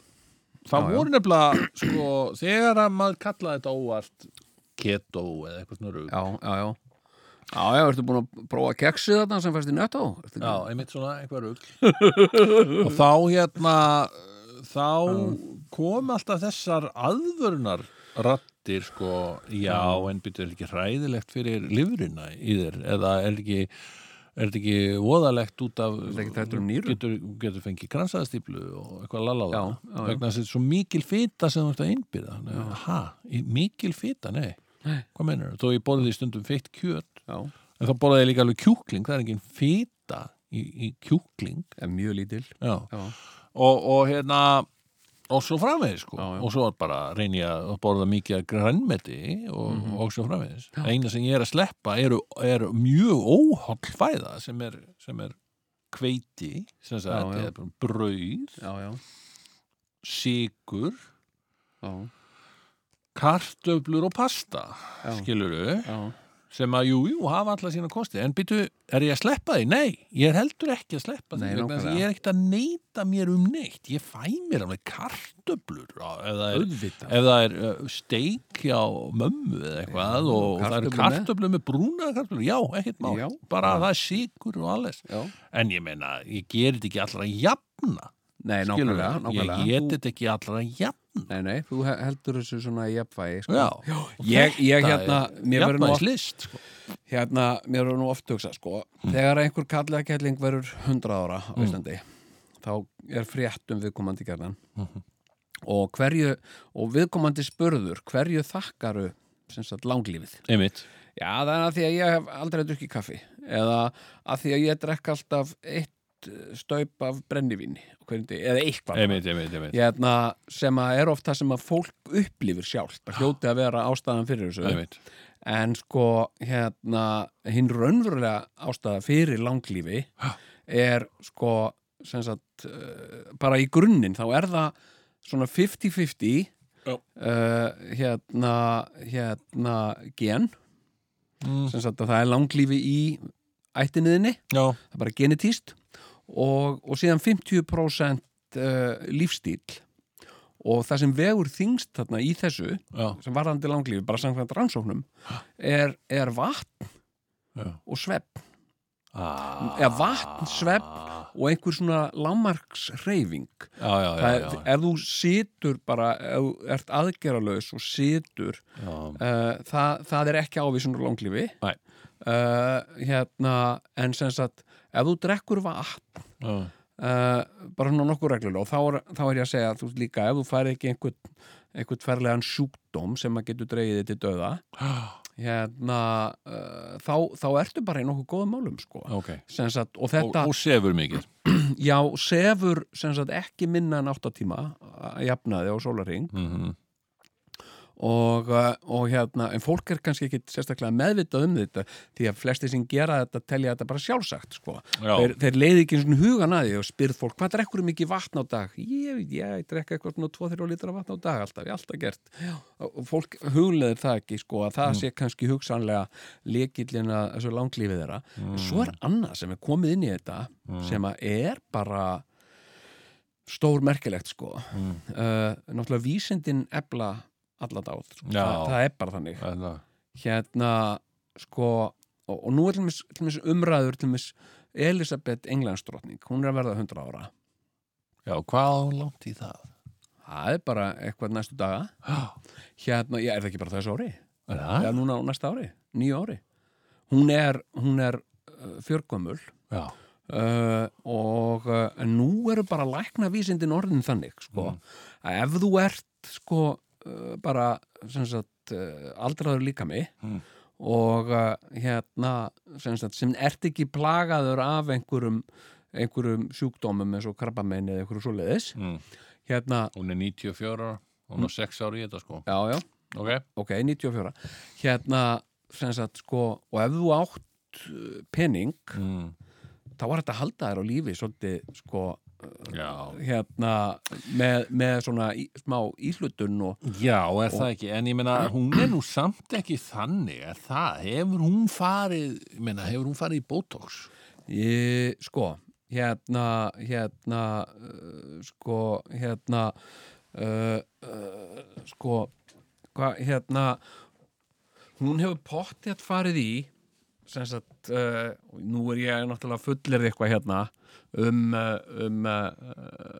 það Já, já. voru nefnilega sko, þegar að maður kallaði þetta óvart keto eða eitthvað svona rugg já, já, já Já, já, ertu búin að prófa keksið þarna sem fæst í nöttó? já, einmitt svona eitthvað rugg [LAUGHS] og þá hérna þá kom alltaf þessar aðvörunar rattir sko, já, en býttu er ekki hræðilegt fyrir lifurina í þér eða er ekki er þetta ekki voðalegt út af Ertu ekki hræddur um nýru? getur, getur fengið gransaðastíplu og eitthvað lalaða Já, já, já. vegna þess að þetta er svo mikil fita sem þú ert að innbyrða Nei, ha, í- mikil fita, nei, Nei. hvað meinar þó ég borðið í stundum feitt kjöt Já, en þá borðið ég líka alveg kjúkling, það er engin fita í, í kjúkling er mjög lítil já. Já, Og, og hérna og svo framvegis sko Já, já. og svo bara reyni ég að borða mikið að grænmeti og, Mhm. og svo framvegis eina sem ég er að sleppa eru, eru mjög óholl fæða sem er, sem er hveiti sem sagt, Já, já. eða bara brauð, já, já, sigur já, kartöflur og pasta Já. skilurðu, já. sem að jú, jú, hafa alla sína kosti en byttu, er ég að sleppa því? Nei, ég er heldur ekki að sleppa Nei, því vegna þess að nákvæmlega. ég er ekkert að neyta mér um neitt ég fæ mér alveg kartöflur á- ef það er Auðvitað ef það er uh, steik hjá mömmu eða eitthvað og það eru kartöflur með. kartöflur með brúna kartöflur, já, ekkert mál, Já. bara að það er sigur og alles, Já, en ég meina ég gerir þetta ekki allra jafna nei, skilurðu? nákvæmlega, ég nákvæmlega geti þetta ekki allra jafna Nei, nei, þú he- heldur þessu svona í jafnvægi sko. já, Ég, ég hérna, mér verður nú, oft- jafnæðislist sko. hérna, mér verður nú oft hugsa sko. Þegar einhver kallakelling verður 100 ára á Íslandi þá er frétt um viðkomandi gerðan og hverju og viðkomandi spurður hverju þakkaru sem sagt langlífið einmitt, Já, það er að því að ég hef aldrei drukkið kaffi eða að því að ég drekk alltaf eitt eh, staup af brennivíni á hverjum degi, eða eitthvað einmitt, einmitt, einmitt. Hérna, sem að er oft það sem að fólk upplifir sjálft, það hljóti að vera ástæðan fyrir þessu einmitt. en sko hérna, hinn raunverulega ástæða fyrir langlífi er sko sem sagt, uh, bara í grunninn þá er það svona 50-50 Já. uh, hérna, hérna gen Mm. sem sagt að það er langlífi í ættinniðinni, já, það er bara genetíst og, og síðan 50% eh, lífstíl og það sem vegur þingst þarna í þessu já, sem varðandi langlífi, bara samkvæmt rannsóknum er, er vatn já. og svepp Ah. Eða vatn, svepp. og einhver svona lámarksreyfing já, já, já, er, já, ef þú situr bara ef þú ert aðgeralaus og situr já. uh, það, það er ekki ávísunar langlífi Nei. uh, hérna, en sem sagt ef þú drekkur vatn já. uh, bara svona nokkur reglulega og þá er, þá er ég að segja að þú veist líka ef þú færi ekki einhvern, einhvern ferlegan sjúkdóm sem að getur dreigið þig til döða hérna, uh, þá, þá ertu bara í nokkuð góðum málum sko. ok Sem sagt, og og, þetta, og sefur mikið já, sefur sem sagt, ekki minna en 8 tíma að jafnaði á sólarring mm og, uh, og hérna, en fólk er kannski ekki sérstaklega meðvitað um þetta því að flesti sem gera þetta telja þetta bara sjálfsagt sko. Já. þeir, þeir leiði ekki svona hugan að því og spyrð fólk, hvað drekkur um mikið vatn á dag? Ég, ég, ég drekka eitthvað svona 2-3 litra vatn á dag alltaf, ég hef alltaf gert og og fólk hugleður það ekki sko að Mm. það sé kannski hugsanlega lekillin að þessu langlífið þeirra Mm. Mhm. en svo er annað sem er komið inn í þetta sem að er bara stór merkilegt sko uh, náttúrulega vísindin ebla alla dáð sko. Já. það, það er bara þannig Ætla. hérna sko og, og nú er til mér umræður til mér Elisabeth Englandsdrottning hún er að verða 100 ára já, hvað á hún langt í það það er bara eitthvað næstu daga hérna, já, er það ekki bara þessu ári? er Já, það? núna á næsta ári, nýju ári hún er, hún er uh, fjörgömmul já, uh, og uh, en nú eru bara lækna vísindin orðin þannig sko, Mm. að ef eh, þú ert sko uh, bara sem sagt uh, eh, aldraður líka mig Mm. og uh, hérna sem, sagt, sem ert ekki plagaður af einhverjum, einhverjum sjúkdómum eins og krabbamein eða einhverju svoleiðis Mm. hérna, Hún er 94 ára, hún er 6 ára í þetta sko. já, já, Ok, ok, 94 hérna, sem sagt, sko og ef þú átt uh, pening mm. þá var þetta að halda þér á lífi svolítið, sko, já. hérna með, með svona í, smá íhlutun og Já, er það ekki, en ég meina hún er nú samt ekki þannig er það, hefur hún farið ég meina, hefur hún farið í Botox Ég, sko, hérna, hérna, uh, sko, hérna, uh, uh, sko, hvað, hérna, hún hefur pottið farið í, sem sagt, uh, nú er ég náttúrulega fullerð eitthvað hérna um, uh, um uh,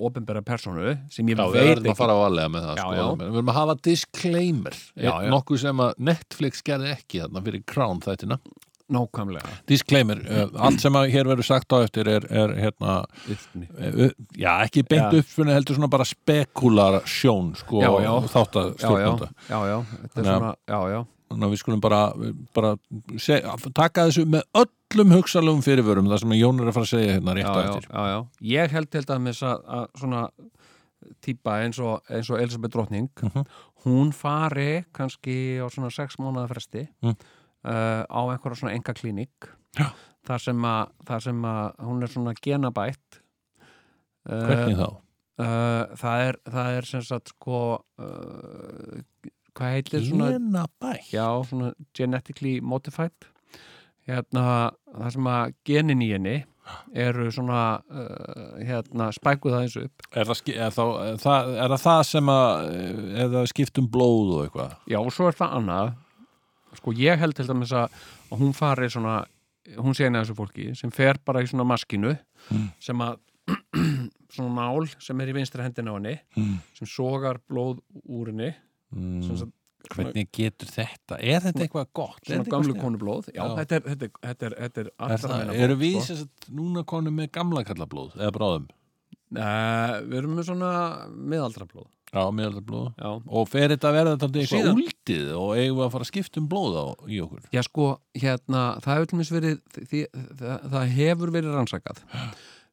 ofinbera personu sem ég við veit verðum að ekki. fara varlega með það Já, sko, já. Við verðum að hafa disclaimer Já, já. nokkuð sem að Netflix gerði ekki þarna fyrir Crown þættina Nákvæmlega. Disclaimer, uh, allt sem að hér verður sagt á eftir er, er hérna Uppni. uh, uh, já, ekki beint Já. uppfunni heldur svona bara spekular sjón sko, Já, já. þátt að Já, já, stjórnanda já, já, þetta er Þannig að- svona, já, já. Þannig að við skulum bara, bara se, taka þessu með öllum hugsalum fyrirvörum, það sem Jón er að fara að segja hérna rétt á já, já, eftir. já, já. ég held til dæmis að, að svona típa eins og, eins og Elisabeth Drottning Mhm. hún fari kannski á svona sex mánuða fresti Mm. uh, á einhverja svona enga klínik Já. þar sem að, þar sem að hún er svona genabætt Uh, Hvernig þá? Uh, það, er, það er sem sagt sko uh, hvað heitir svona Lena Bæk. já, svona genetically modified hérna, það sem að genin í henni eru svona uh, hérna, spækuð aðeins upp Er það, ski- er, þá, er, það, er það það sem að, er það skipt um blóð og eitthvað? já, og svo er það annað sko, ég held til dæmis að að hún fari svona, hún sé eina þessu fólki sem fer bara í svona maskinu Mm. sem að [CLEARS THROAT] svona nál sem er í vinstri hendina á henni Mm. sem sogar blóð úr henni sem sagt, Mm, Hvernig getur þetta? Er þetta eitthvað gott? Er svona þetta gamlu eitthvað konu blóð já, Já. þetta er, þetta er, þetta er, þetta er sniðugt? Er allra það, meina eru blóð, við sko. sem sagt núna konum með gamla kallablóð eða bráðum? Nei, Eh, við erum með svona miðaldrablóð Já, meðaldablóð. Já, Og fer þetta að verða þetta eitthvað Síðan- úldið og eigum við að fara að skipta um blóð á, í okkur? sko, hérna, það hefur til dæmis verið, því, það, það hefur verið rannsakað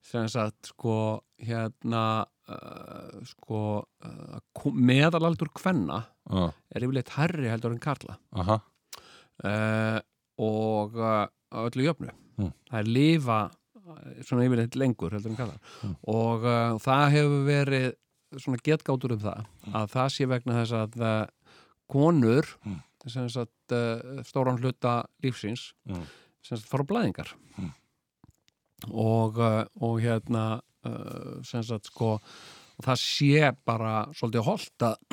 sem sagt, sko, hérna uh, sko uh, ko- meðalaldur kvenna Já, er yfirleitt herri heldur en karla Aha. uh, og uh, á öllu jöfnu Mm. það er lifa eh, svona yfirleitt lengur heldur en kallar Mm. og uh, það hefur verið svona getgátur um það að það sé vegna þess að uh, konur Mm. sem sagt uh, stóran hluta lífsins Mm. sem sagt fara á blæðingar Mm. og, uh, og hérna uh, sem sagt sko og það sé bara svolítið holdt að, [CLEARS THROAT]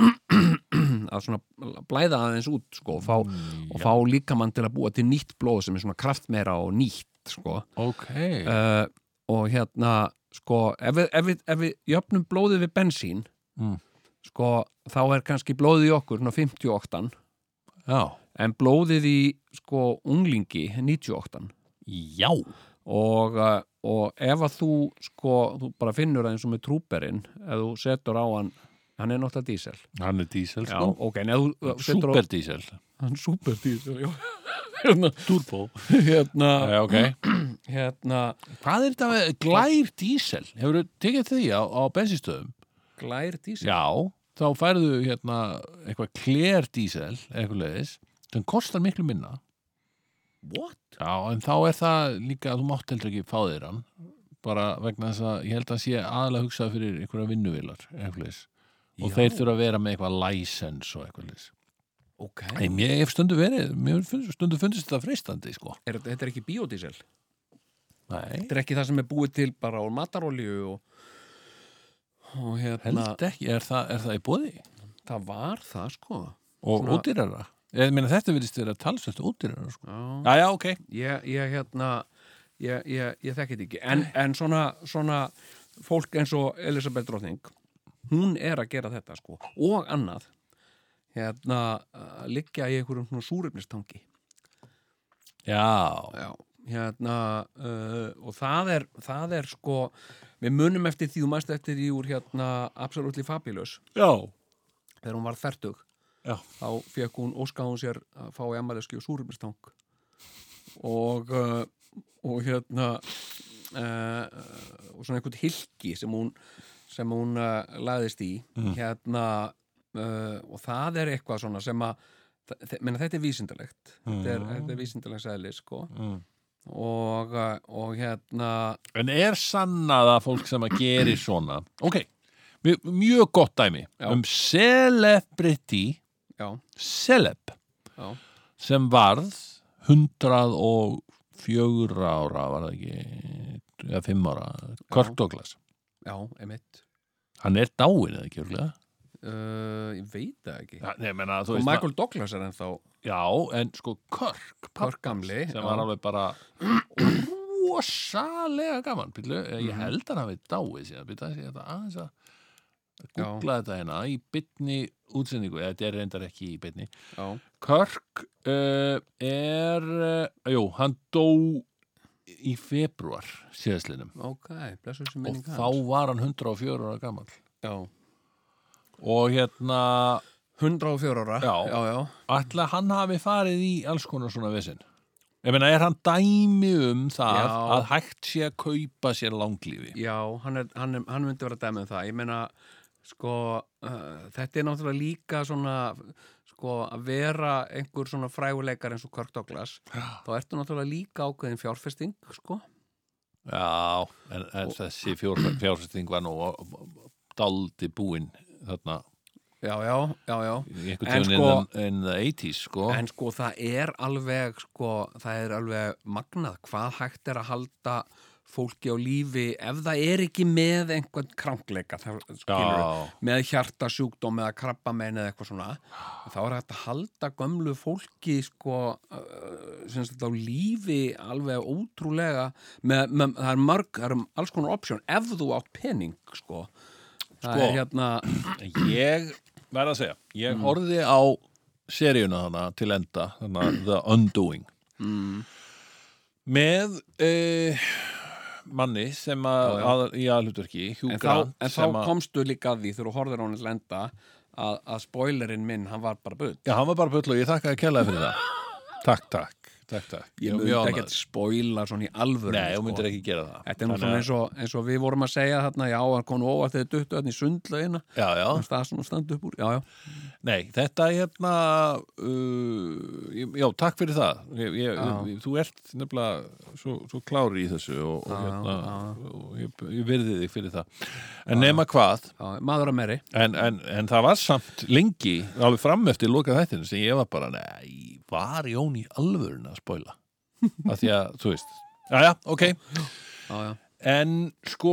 að svona blæða aðeins út sko, og fá, og fá líkamann til að búa til nýtt blóð sem er svona kraftmeira og nýtt sko. Ok, uh, og hérna sko, ef við, ef, við, ef við jöfnum blóðið við bensín Mm. sko, þá er kannski blóðið í okkur svona 58 já. en blóðið í sko, unglingi 98 Já. og, uh, og ef að þú sko, þú bara finnur það eins og með trúberinn ef þú setur á hann hann er náttúrulega dísel Hann er dísel, Já, sko. ok, en ef þú eh, setur á Super dísel. hann super dísel já. hérna, Turbo. [LAUGHS] hérna, Já, ok. hérna Hvað er þetta með glær dísel? Hefur þú tekið því á, á bensinstöðum? glær dísel Já. Þá færðu hérna eitthvað klær dísel, eitthvað leiðis, sem kostar miklu minna. What? Já, en þá er það líka að þú mátt heldur ekki fá þér hann. Bara vegna þess að ég held að hann sé aðalega hugsað fyrir einhverja vinnuvilar, eitthvað leiðis. Og Já. þeir þurfa að vera með eitthvað license og eitthvað leiðis. Ok. Nei, mér hef stundu verið, mér hef fun- stundu fundist þetta freistandi, sko. Er, þetta þetta er ekki biodiesel. Nei. Þetta er ekki það sem er búið til bara úr matarolíu og, og hérna, Held ekki, er það, er það í bóði? það var það sko. Og Svona- útýrara? Ég meina þetta virðist vera talsvægt útýrara, sko. Já. Já, já, ok. Ég, ég hérna, ég, ég, ég þekki þetta ekki. En, en svona, svona fólk eins og Elisabeth Drottning, hún er að gera þetta sko. Og annað, hérna, að liggja í einhverjum svona súrefnistangi. Já. Já, hérna uh, og það er, það er sko við munum eftir því, þú mæst eftir því úr hérna Absolutely Fabulous, Já. þegar hún var þertug Já. þá fekk hún óskað hún sér að fá í ammæliski og súrumistang og uh, og hérna uh, og svona einhvern hilki sem hún sem hún uh, laðist í Mm. hérna uh, og það er eitthvað svona sem að þe- menna, þetta er vísindalegt þetta er, Mm. þetta er vísindalegt sæli sko Mm. og, uh, og hérna En er sannað að fólk sem að gerir svona Ok, mj- mjög gott dæmi Já. um celebrity já, celeb já, sem varð 104 ára var það ekki eða 5 ára, Kirk Já. Douglas já, emitt Hann er dáin eða ekki örgulega uh, ég veit það ekki ja, Nei, menna, þú og veist Michael Douglas er ennþá Já, en sko Kirk, Kirk pabbi gamli sem já. var alveg bara rosalega gaman pílu, ég Mhm. held að hann hafi dáið síðan pílu, ég ætla aðeins að Já. googla þetta hérna í bytni útsendingu, eða þetta er reyndar ekki í bytni já, Körk uh, er uh, jú, hann dó í februar síðastlinum ok, blessur sem og minning þá var hann 104 ára gaman já, og hérna 104 ára Já. já, já, ætla hann hafi farið í alls konar svona vesinn ég meina, er hann dæmi um það Já. að hægt sé að kaupa sér langlífi Já, hann, er, hann, er, hann myndi vera dæmið um það. Ég meina, sko, uh, þetta er náttúrulega líka svona, sko, að vera einhver svona fræguleikar eins og Kirk Douglas. Þá ertu náttúrulega líka ákveðin fjárfesting, sko. já, en, en þessi fjár- fjárfesting var nú daldi búinn þarna Já, já, já, já. í einhvern En tímann sko- in, the- in the 80s sko En sko, það er alveg, sko, það er alveg magnað hvað hægt er að halda fólki á lífi ef það er ekki með einhvern krankleika, það skilur já, með hjartasjúkdóm eða krabbamein eða eitthvað svona þá er hægt að halda gömlu fólki sko uh, sem sagt á lífi alveg ótrúlega með, með, það er marg, það er um alls konar option ef þú átt pening sko það Sko. er hérna ég verð að segja, ég horfði á seríuna þarna til enda þarna The Undoing mm, með eh, manni sem að, Já, já. að í aðhlutverki, Hugh en þá, Grant en þá sem að- komstu líka að því þegar þú horfir á hann lenda að, að spoilerinn minn, hann var bara bull Já, hann var bara bull og ég þakka að kella fyrir það [LAUGHS] Takk, takk, takk, takk ég myndi ekki að spoila svona í alvöru Nei, hún myndir ekki gera það Þetta er nú Þannig svona að- eins og, eins og við vorum að segja þarna, já, hann konu óvart þegar duttu þarna í sundlaugina Já, já, það sem hún standa upp úr já, já. nei, þetta er hérna uh, ég- Já, takk fyrir það ég, ég, Já. Þú ert nefnilega svo, svo klári í þessu og, og, Já, hérna, já. og ég, ég virði þig fyrir það En nema hvað Já, maður að meiri En, en, en það var samt lengi alveg fram eftir lokað þættinu sem ég var bara, nei, var Jón í alvörun að [LAUGHS] spoila að því að, þú veist, já, já, ok já, já. En sko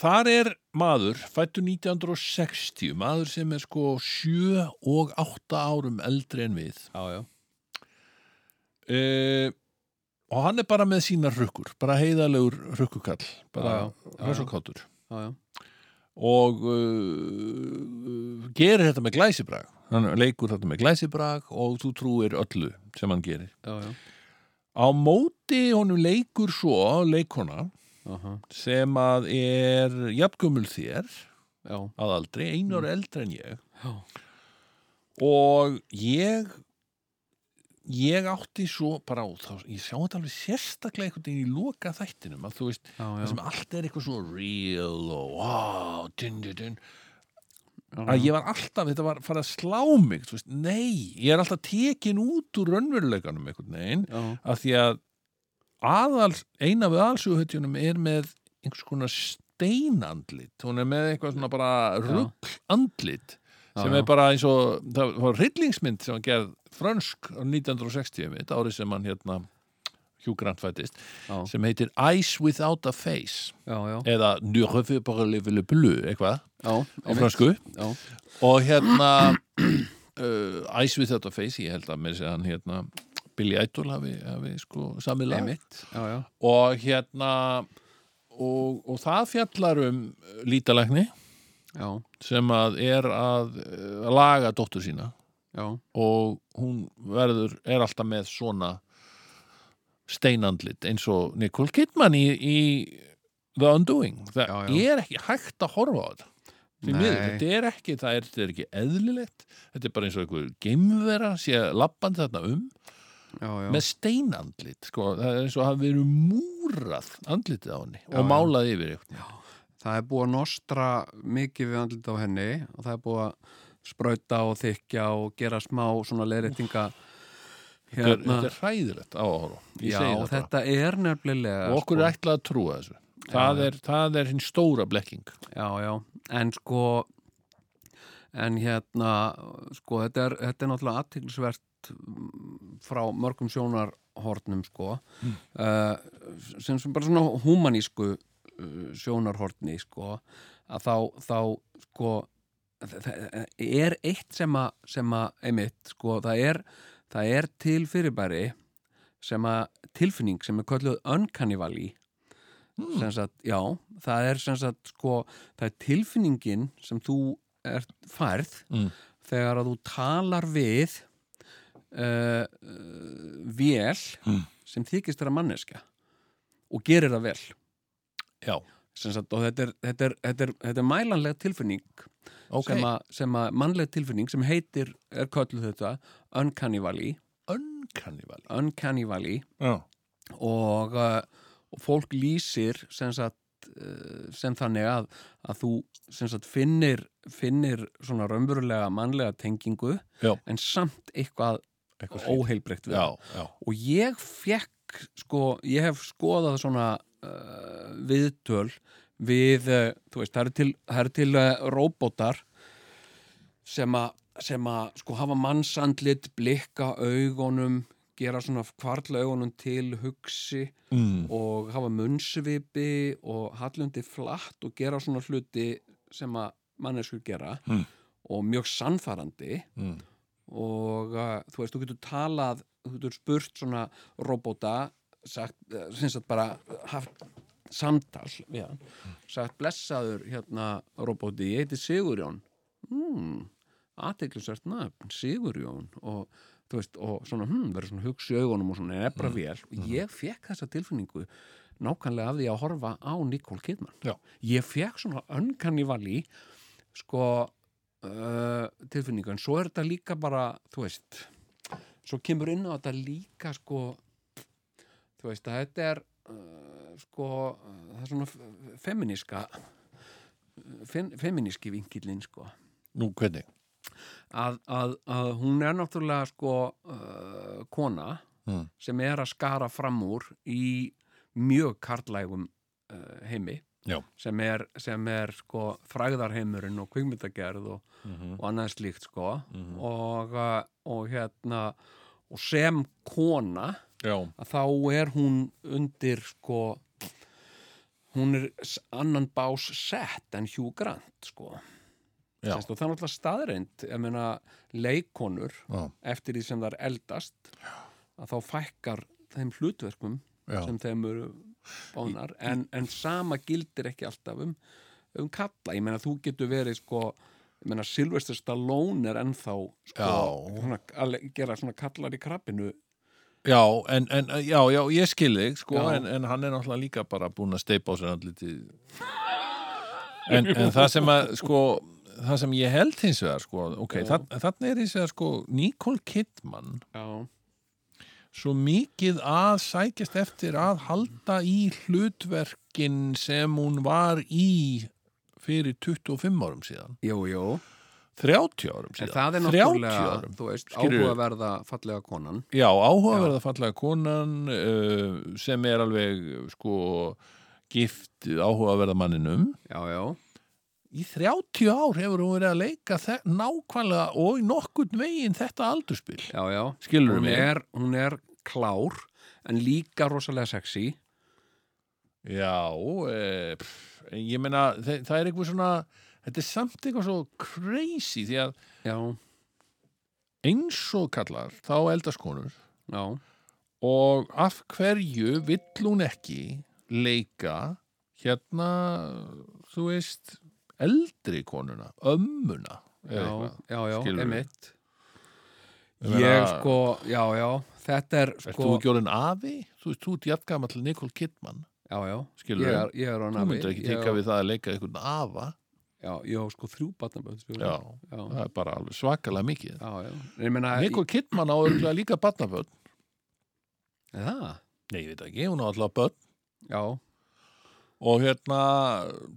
þar er maður fættu 1960, maður sem er sko 7 og 8 árum eldri en við Já, já. e og hann er bara með sína rukkur, bara heiðalegur rukkukall, Já, bara já, já, já. rössokátur Já, já. og uh, gerir þetta með glæsibrag hann leikur þetta með glæsibrag og þú trúir öllu sem hann gerir Já, já. á móti honum leikur svo leikona Aha. sem að er jafngumul þér já, að aldrei, einu Mm. ári eldri en ég já, og ég ég átti svo bara á þá, ég sjá þetta alveg sérstaklega einhvern veginn í loka þættinum að þú veist, já, já. það sem allt er eitthvað svo real og wow, dun, dun, dun já, að ég var alltaf, þetta var farið að slá mig þú veist, nei, ég er alltaf tekin út úr raunveruleikanum einhvern veginn já, að því að aðal, eina við aðalsuguhetjunum er með einhvers konar steinandlit hún er með eitthvað svona bara rugglandlit Já, sem já. er bara eins og það var rillingsmynd sem hann gerð frönsk á 1960 mitt, árið sem hann hérna Hugh Grant fættist, já, sem heitir Eyes Without a Face já, já, eða Ne revue par le le bleu eitthvað, já, á einmitt. fransku Já, og hérna [CLEARS THROAT] uh, Eyes Without a Face, ég held að mér segja hann hérna Billy Idol hafi, hafi sko samið lag einmitt, já, já, og hérna og, og það fjallar um eh, lítalækni já, sem að er að, eh, að laga dóttur sína já, og hún verður, er alltaf með svona steinandlit eins og Nicole Kidman í, í The Undoing það Já, já. er ekki hægt að horfa á þetta því miður, Nei. þetta er ekki, það er, þetta er ekki eðlilegt þetta er bara eins og einhver geimvera sé lappandi þarna um já, já. með steinandlit, sko, það er eins og hafi verið múrað andlitið á henni Já, já. og málað yfir ykkur það er búið að nostra mikið við andlit á henni og það er búið að sprauta og þykja og gera smá svona leiðréttinga þetta hérna, er hræðilegt á að horfa Ég já, segi það bara. þetta er nefnilega og okkur sko. er ætlað að trúa þessu það, Já, já. er, það er hinn stóra blekking já, já, en sko en hérna sko, þetta er, þetta er náttúrulega aðtiklisvert frá mörgum sjónarhornum sko mm. sem, sem bara svona humanísku uh, sjónarhorni sko að þá, þá sko þa- þa- er eitt sem að, sem að einmitt sko, það er, það er til fyrirbæri sem að tilfinning sem er kölluð uncanny valley sem sagt, já, það er sem sagt sko, það er tilfinningin sem þú ert færð Mm. þegar að þú talar við uh, uh, vel Mm. sem þykist þeirra manneskja og gerir það vel já, sem sagt, og þetta er, þetta er, þetta er, þetta er mælanlega tilfinning ok, sem, að, sem að mannlega tilfinning sem heitir, er kölluð þetta uncanny valley, önkannival uncanny valley já, og, uh, og fólk lýsir sem, sagt, uh, sem þannig að, að þú sem sagt, finnir, finnir svona raunverulega mannlega tengingu Já. en samt eitthvað eitthvað slíkt. óheilbreytt við já, það. já, og ég fekk sko, ég hef skoðað svona uh, viðtöl við, uh, þú veist, það eru til, það eru til uh, róbótar sem að sem að sko hafa mannsandlit, blikka augunum, gera svona kvarla augunum til hugsi mm. og hafa munnsvipi og hallundi flatt og gera svona hluti sem að manneskur gera Mm. og mjög sannfarandi Mm. og uh, þú veist, þú getur talað þú getur spurt svona robóta sagt, uh, sem sagt bara haft samtal við hann sagt, blessaður hérna robóti, ég heiti Sigurjón hmm, aðteklisvert nafn Sigurjón og þú veist, og svona, hmm, verður svona hugsi í augunum og svona, er bara vel og ég fekk þessa tilfinningu nákvæmlega af því að horfa á Nikól Kidman Já. ég fekk svona önkanni vali sko uh, tilfinningu, en svo er þetta líka bara þú veist, svo kemur inn á þetta líka sko þú veist, að þetta er uh, sko, uh, það er svona f- feminiska fem, feminíski vinkillin sko nú hvernig að, að, að hún er náttúrulega sko uh, kona Mm. sem er að skara fram úr í mjög karlægum uh, heimi Já. sem er, sem er sko fræðarheimurinn og kvikmyndagerð og, Mhm. og annað slíkt sko Mhm. og, uh, og hérna og sem kona já, að þá er hún undir sko hún er s- annan bás sett en Hugh Grant sko já, Sest, og það er náttúrulega staðreind ég meina leikonur já, eftir því sem það er eldast að þá fækkar þeim hlutverkum já. sem þeim eru bónar en, en sama gildir ekki alltaf um, um kalla, ég meina þú getur verið sko, ég meina Sylvester Stallone er ennþá sko, Já. svona, að le- gera svona kallar í krabbinu Já, en, en, já, já, ég skil þig sko, Já. en, en hann er náttúrulega líka bara búinn að steipa á sér andlitið en, en það sem að sko, það sem ég held hins vegar sko, ok, Já. þann, þannig er hins vegar sko, Nicole Kidman já, svo mikið að sækjast eftir að halda í hlutverkin sem hún var í fyrir 25 árum síðan jú, jú 30 árum en síðan það er 30 náttúrulega, árum þú veist, Skilurðu? áhugaverða fallega konan Já, áhugaverða fallega konan uh, sem er alveg sko gift áhugaverða manninum já, já, í 30 ár hefur hún verið að leika þe- nákvæmlega og í nokkurn veginn þetta aldurspil já, já skilur hún mig er, hún er klár en líka rosalega sexy Já, e, pff, ég meina þe- það er eitthvað svona þetta er samt eitthvað svo crazy því að já, eins og kallar þá eldast konur já, og af hverju vill hún ekki leika hérna, þú veist eldri konuna, ömmuna eða já, eitthvað. já, já, skilurðu? emitt Ég Ég meina- sko, já, já, þetta er Ert sko þú ekki orðin afi? Þú veist, þú ert jafngamall til Nicole Kidman Já, já, skilur ég er, ég er hann Þú myndir ekki teka við það að leika einhvern afa já, ég á sko þrjú batnaböld já, já, það er bara alveg svakalega mikið já, já. Ég meina, Nikol Kidman á örgulega líka batnaböld í, það, Nei, ég veit ekki, hún á alltaf börn já, og hérna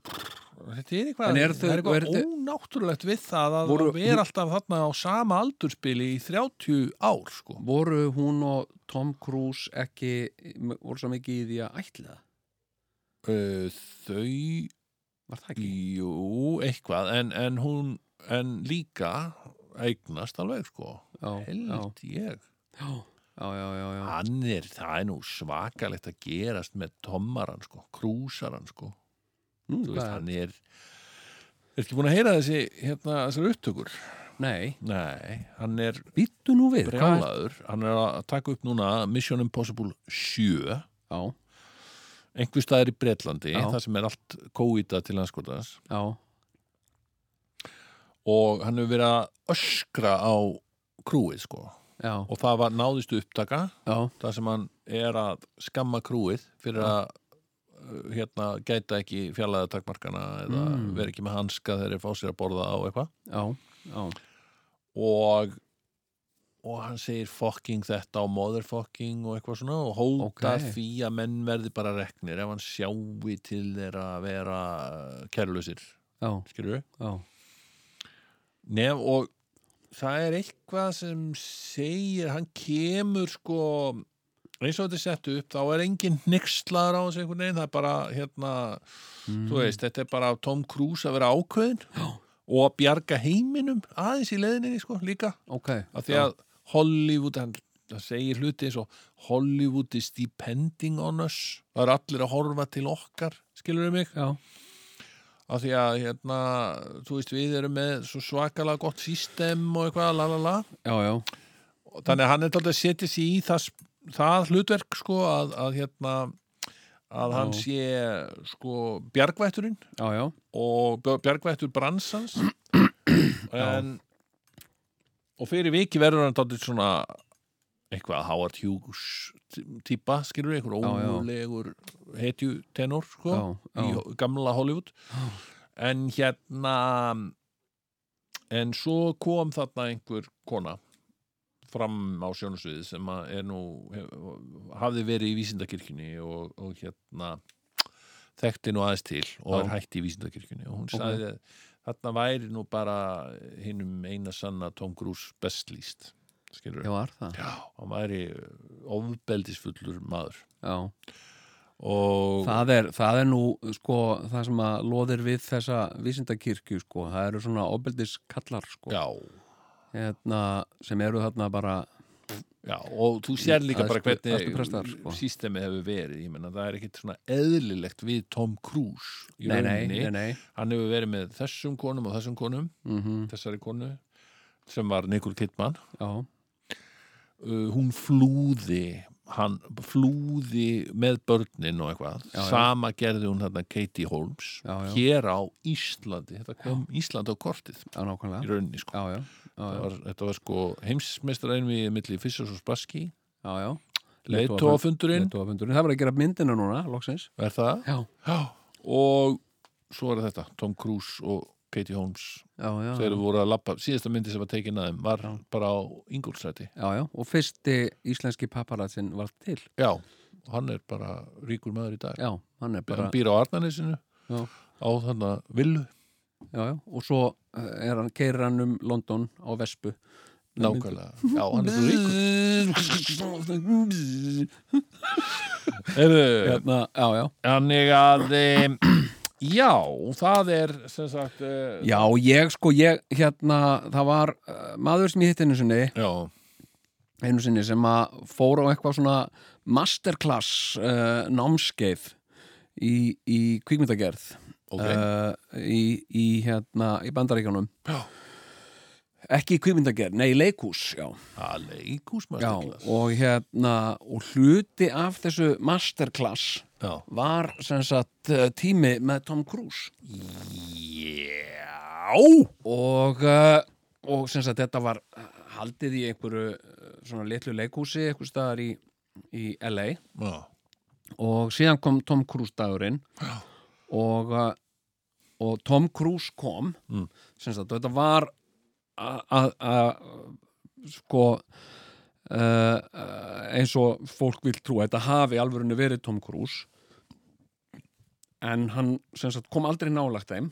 pff, þetta er eitthvað, En eru þau- það er eitthvað eru þau- ónáttúrulegt við það að Voru- voru, vera alltaf þarna á sama aldurspili í 30 ár sko. voru hún og Tom Cruise ekki, voru svo mikið í því að ætla það, Uh, þau, var það ekki? jú, eitthvað en, en hún, en líka eignast alveg sko Já, já, held ég já, já, já, já, já. hann er, það er nú svakalegt að gerast með tommaran sko, krúsaran sko Nú, Þú veist, hvað, hann er er ekki búin að heyra þessi hérna, þessar upptökur nei, nei, hann er býttu nú við, hvað? brjálaður hann er að taka upp núna Mission Impossible 7 Já, einhver staðar í Bretlandi, Já. þar sem er allt kóita til landskotans já, og hann hefur verið að öskra á krúið sko já, og það var náðistu upptaka já, þar sem hann er að skamma krúið fyrir að uh, hérna, gæta ekki fjarlæða takmarkana eða Mm. vera ekki með hanska þegar þeir fá sér að borða á eitthvað já, já, og og hann segir fucking þetta og motherfucking og eitthvað svona og hótar Ókei. því að menn verði bara reknir ef hann sjái til þeirra að vera kærlusir, já, skilur við já, Nef, og það er eitthvað sem segir, hann kemur sko, eins og þetta er sett upp þá er engin nixlaður á þessu einhvern veginn, það er bara hérna þú veist, þetta er bara Tom Cruise að vera ákveðin Já. og að bjarga heiminum aðeins í leiðinni sko, líka ok. að því að Hollywood hann, það segir hluti eins og Hollywood is depending on us það eru allir að horfa til okkar skilur mig, Já, að því að hérna, þú veist við erum með svo svakalega gott system og eitthvað, la la la já, já, Og þannig að hann er alltaf að setja sér í það, það hlutverk sko að, að hérna að hann Já. sé sko bjargvætturinn já, já, og bj- bjargvættur [CLEARS THROAT] bransans en og fyrir viki verður hann dátur svona eitthvað Howard Hughes tí- típa, skilur einhver Já, já. ómulegur hetju tenor sko, já, já, í já, ho- gamla Hollywood Já. en hérna en svo kom þarna einhver kona fram á sjónusviði sem að er nú hef- hafði verið í vísindakirkjunni og, og hérna þekkti nú aðeins til og Já. er hætt í vísindakirkjunni og hún Ok. sagði að þarna væri nú bara hinnum eina sanna Tom Cruise best líst skilur já, var það, Já, hann væri ofbeldisfullur maður já. og Það er, það er nú sko það sem að loðir við þessa vísindakirkju sko, það eru svona obeldiskallar sko, já, hérna, sem eru þarna bara Já, og þú sér líka bara æðstu- æðstu prestar, hvernig sko. sístemi hefur verið, ég menna það er ekkit svona eðlilegt við Tom Cruise í nei, nei, rauninni, nei, nei hann hefur verið með þessum konum og þessum konum, mm þessari konu sem var Nikol Kidman já, uh, hún flúði hann flúði með börnin og eitthvað, Já, já. sama gerði hún þarna Katie Holmes Já, já. hér á Íslandi, þetta kom Ísland á kortið já, í nákvæmlega rauninni sko já, já, já, Þetta já, var, þetta var sko heimsmeistaraðin við milli Fissers og Spassky já, já. leitóafundurinn, Leitóafundurinn, það var að gera myndina núna, loksins er það? já, Já, og svo er þetta Tom Cruise og Katie Holmes já, já, þegar þeir voru að lappa, síðasta myndi sem var tekin að þeim var Já. bara á Ingolstræti já, já, og fyrsti íslenski paparazin var til, Já, og hann er bara ríkur maður í dag já, hann er bara hann býr á Arnanesinu Já. á þannig að villu já, já, og svo eh, er hann, keirir hann um London á Vespu nákvæmlega, já, hann er svo ríkur ríkur Heyrðu, hérna, já, já Þannig að em, já, það er sem sagt eh, Já, ég sko, ég, hérna, það var uh, maður sem ég hitt einu sinni, já, einu sinni sem að fór á eitthvað svona masterclass uh, námskeið í, í kvikmyndagerð ok uh, í, í, hérna, í bandaríkjánum. Já. Ekki í kvikmyndagerð, nei, í leikhús, já. að leikús Já, masterclass og hérna, og hluti af þessu masterclass já, var sem sagt eh, tími með Tom Cruise. já. og, uh, og sem sagt þetta var haldið í einhverju eh, svona litlu leikhúsi einhver staðar í, í LA já. og síðan kom Tom Cruise dagurinn og, uh, og Tom Cruise kom Mm. sem sagt, og þetta var að- að að, sko uh, eins og fólk vil trúa þetta hafi alvörinu verið Tom Cruise en hann sem sagt, kom aldrei nálagt þeim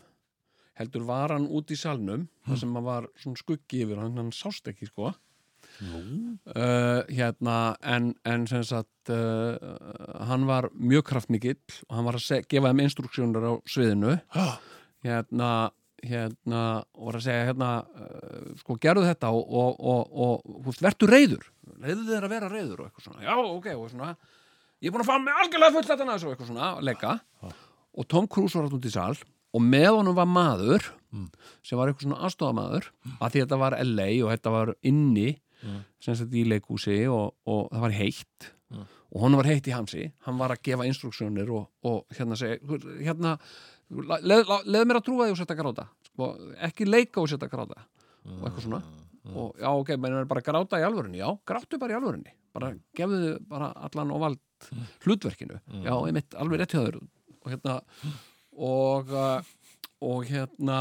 heldur var hann út í salnum þar sem hann var svona skuggi yfir hann, hann sást ekki sko uh, hérna, en, en sem sagt uh, hann var mjög kraftmikill og hann var að seg- gefa þeim instruksjónur á sviðinu Já. hérna, hérna og var að segja hérna, uh, sko gerðu þetta og, og, og, og húst, vertu reyður reyðu þeir að vera reyður og eitthvað svona já, ok, og svona ég er búin að fá mig algjörlega fullt þetta og eitthvað svona, að leika og Tom Cruise var alltaf út í sal og með honum var maður sem var eitthvað svona aðstofamaður mm. að því þetta var LA og þetta var inni sem sagt í leikúsi og, og það var heitt og honum var heitt í hamsi, hann var að gefa instruksjónir og, og hérna segja "Guð, hérna, la- leð, la- leð mér að trúa því og setja að gráta sko, ekki leika og setja að gráta og eitthvað svona og já ok, menn er bara að gráta í alvörunni já, gráttu bara í alvörunni bara gefðu þið bara allan og vald hlutverkinu, já, einmitt alveg rétt hjá þér og hérna og, uh, og hérna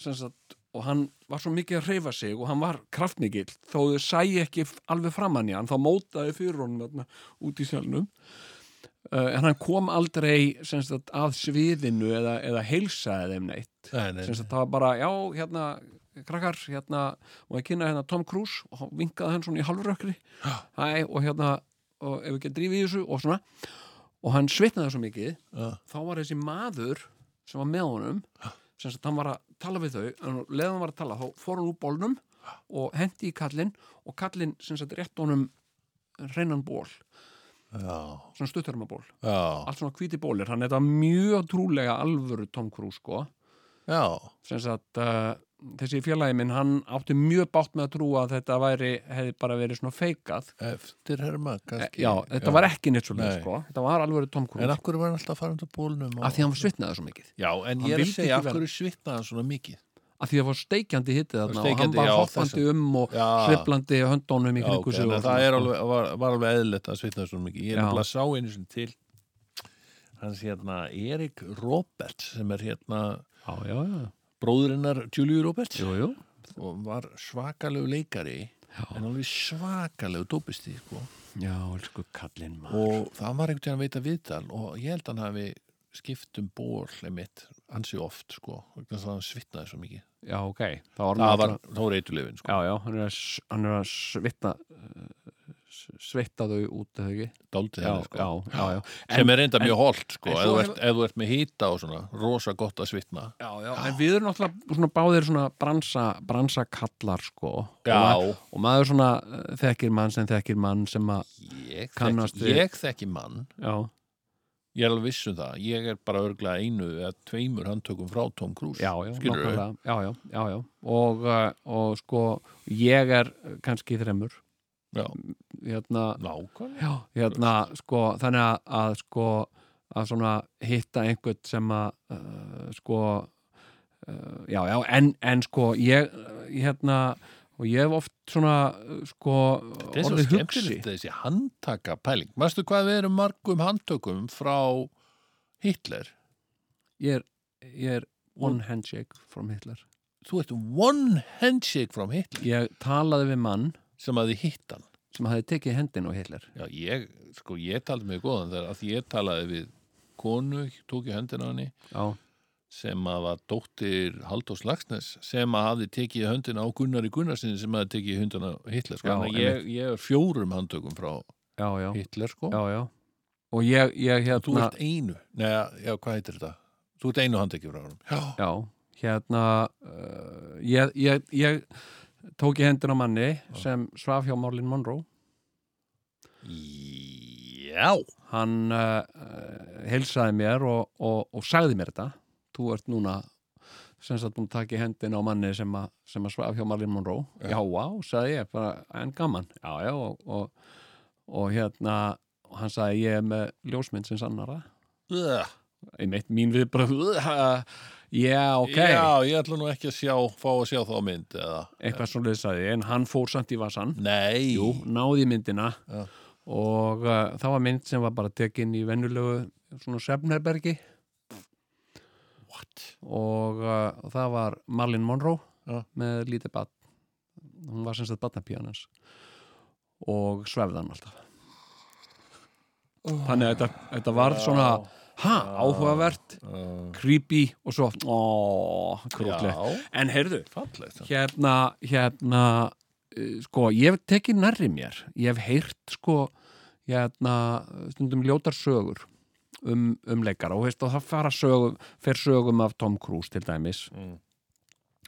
sem sagt, og hann var svo mikið að hreyfa sig og hann var kraftmikill þó þau sæi ekki f- alveg framann í hann þá mótaði fyrir honum þarna út í sjálnum uh, en hann kom aldrei sem sagt, að sviðinu eða, eða heilsaði þeim neitt Nei, nei, sem sagt, það var bara, já, hérna krakkar, hérna, og ég kynna hérna Tom Cruise og hann vinkaði hann svona í halvrökkri hæ, og hérna, og ef við ekki að drífa í þessu og svona, og hann svitnaði svo mikið Já. þá var þessi maður sem var með honum sem sagt, hann var að tala við þau en leðan var að tala, þá fór hann úr bólnum og hendi í kallinn og kallinn, sem sagt, rétt honum hreinan ból, Já. svona stuttarmaból Já. allt svona hvíti bólir, hann þetta var mjög trúlega alvöru Tom Cruise, sko Já. sem sagt, uh, þessi félagi minn hann átti mjög bátt með að trúa að þetta væri, hefði bara verið svona feikað Eh, Eftirherma, kannski. já, þetta var ekki neitt svo leið, Nei. sko þetta var alveg Tom Cruise, En af hverju var hann alltaf að fara undir bólnum? og- af því hann svitnaði svo mikið Já, en ég Hann er að vildi segja, ekki af vera- hverju svitnaði hann svona mikið? af því það var steikjandi hittið þarna og hann Steikjandi, var já, hoppandi um og Já. sveiflandi höndónum í Já, ok, kringu sig en og það svona, er sko. alveg, var, var alveg eðlilegt að svitnaði svona mikið. Ég er Já. nefnilega að sá einu sinni til hans hérna Erik Roberts sem er hérna já, já, já, bróðurinnar Juliu Roberts jú, jú og var svakalegu leikari en alveg svakalegu dópisti sko. já, elsku kallinn maður og það var einhvern veginn að veita viðtal og ég held að hann hafi skipt um ból einmitt ansi oft sko, vegna þess að hann svitnaði svo mikið já, ok, það var, það hann var alltaf- þá reytulefin sko. já, já, hann er að, s- hann er að svitna svitna þau út eða ekki dálítið já, henni sko. já, já, já sem er reynda mjög holdt sko, en ef svo þú hefur- ert, ef þú ert með hýta og svona rosa gott að svitna Já, já, en við erum náttúrulega svona báðir svona bransa, bransa kallar sko Já. og, ma- og maður svona eh, þekkir mann sem þekkir mann sem að ég Kannast þekki, við- ég þekki mann já, ég er alveg viss um það, ég er bara örglega einu eða tveimur handtökum frá Tom Cruise já, já, skilur nákvæmlega, já, já, já, já. Og, eh, og sko ég er eh, kannski þremur Já. hérna, nákvæmlega já, hérna sko, þannig að, að sko að svona hitta einhvern sem að uh, sko uh, já, já, en, en sko ég, eh, hérna og ég hef oft svona eh, sko þetta er svo skemmtilegt þessi handtaka pæling veistu hvað við erum margum handtökum frá Hitler ég er, ég er one handshake from Hitler þú ert one handshake from Hitler ég talaði við mann sem að þið hitt hann sem hafði tekið hendin á Hitler já, ég, sko, ég taldi mig góðan þegar að ég talaði við konu, tók ég höndina á henni já, sem að var dóttir Haldós Lagsnes sem að hafði tekið höndina á Gunnari Gunnarsinni sem hafði tekið höndina á Hitler sko. Já, Þannig að ég, ég er fjórum handtökum frá já, já, Hitler sko. já, já. og ég, ég þú hérna ert einu, neða, já, hvað heitir þetta? þú ert einu handtökum frá honum já, já, hérna uh, ég, ég, ég tók í hendin á manni sem svaf hjá Marlin Monroe já. hann uh, uh, heilsaði mér og, og, og sagði mér þetta þú ert núna sem sagt búin að taka í hendin á manni sem, a, sem að svaf hjá Marlin Monroe já, já, sagði ég, bara, en gaman já, já, og, og, og hérna og hann sagði ég er með ljósmynd sem sannara Ugh. einmitt mín við [LAUGHS] bara já, ok Já, ég ætla nú ekki að sjá, fá að sjá þá mynd eða. eitthvað svo sagði ég, en hann fór samt í vasan Nei. Jú, náði í myndina Já. og uh, það var mynd sem var bara tekin í venjulegu svona svefnherbergi Einmitt. og uh, það var Marlin Monroe Já. með lítið bat hún var sem sagt batnapíanins og svefði hann alltaf Oh. þannig að þetta, þetta var svona ha, áhugavert, creepy og svo, ó, krótlegt Já, en heyrðu, fallegt. hérna hérna, eh, sko ég hef tekið nærri mér, ég hef heyrt sko, hérna stundum ljótar sögur um, um leikara og, veist, og það fara sögum fer sögum af Tom Cruise til dæmis Mm.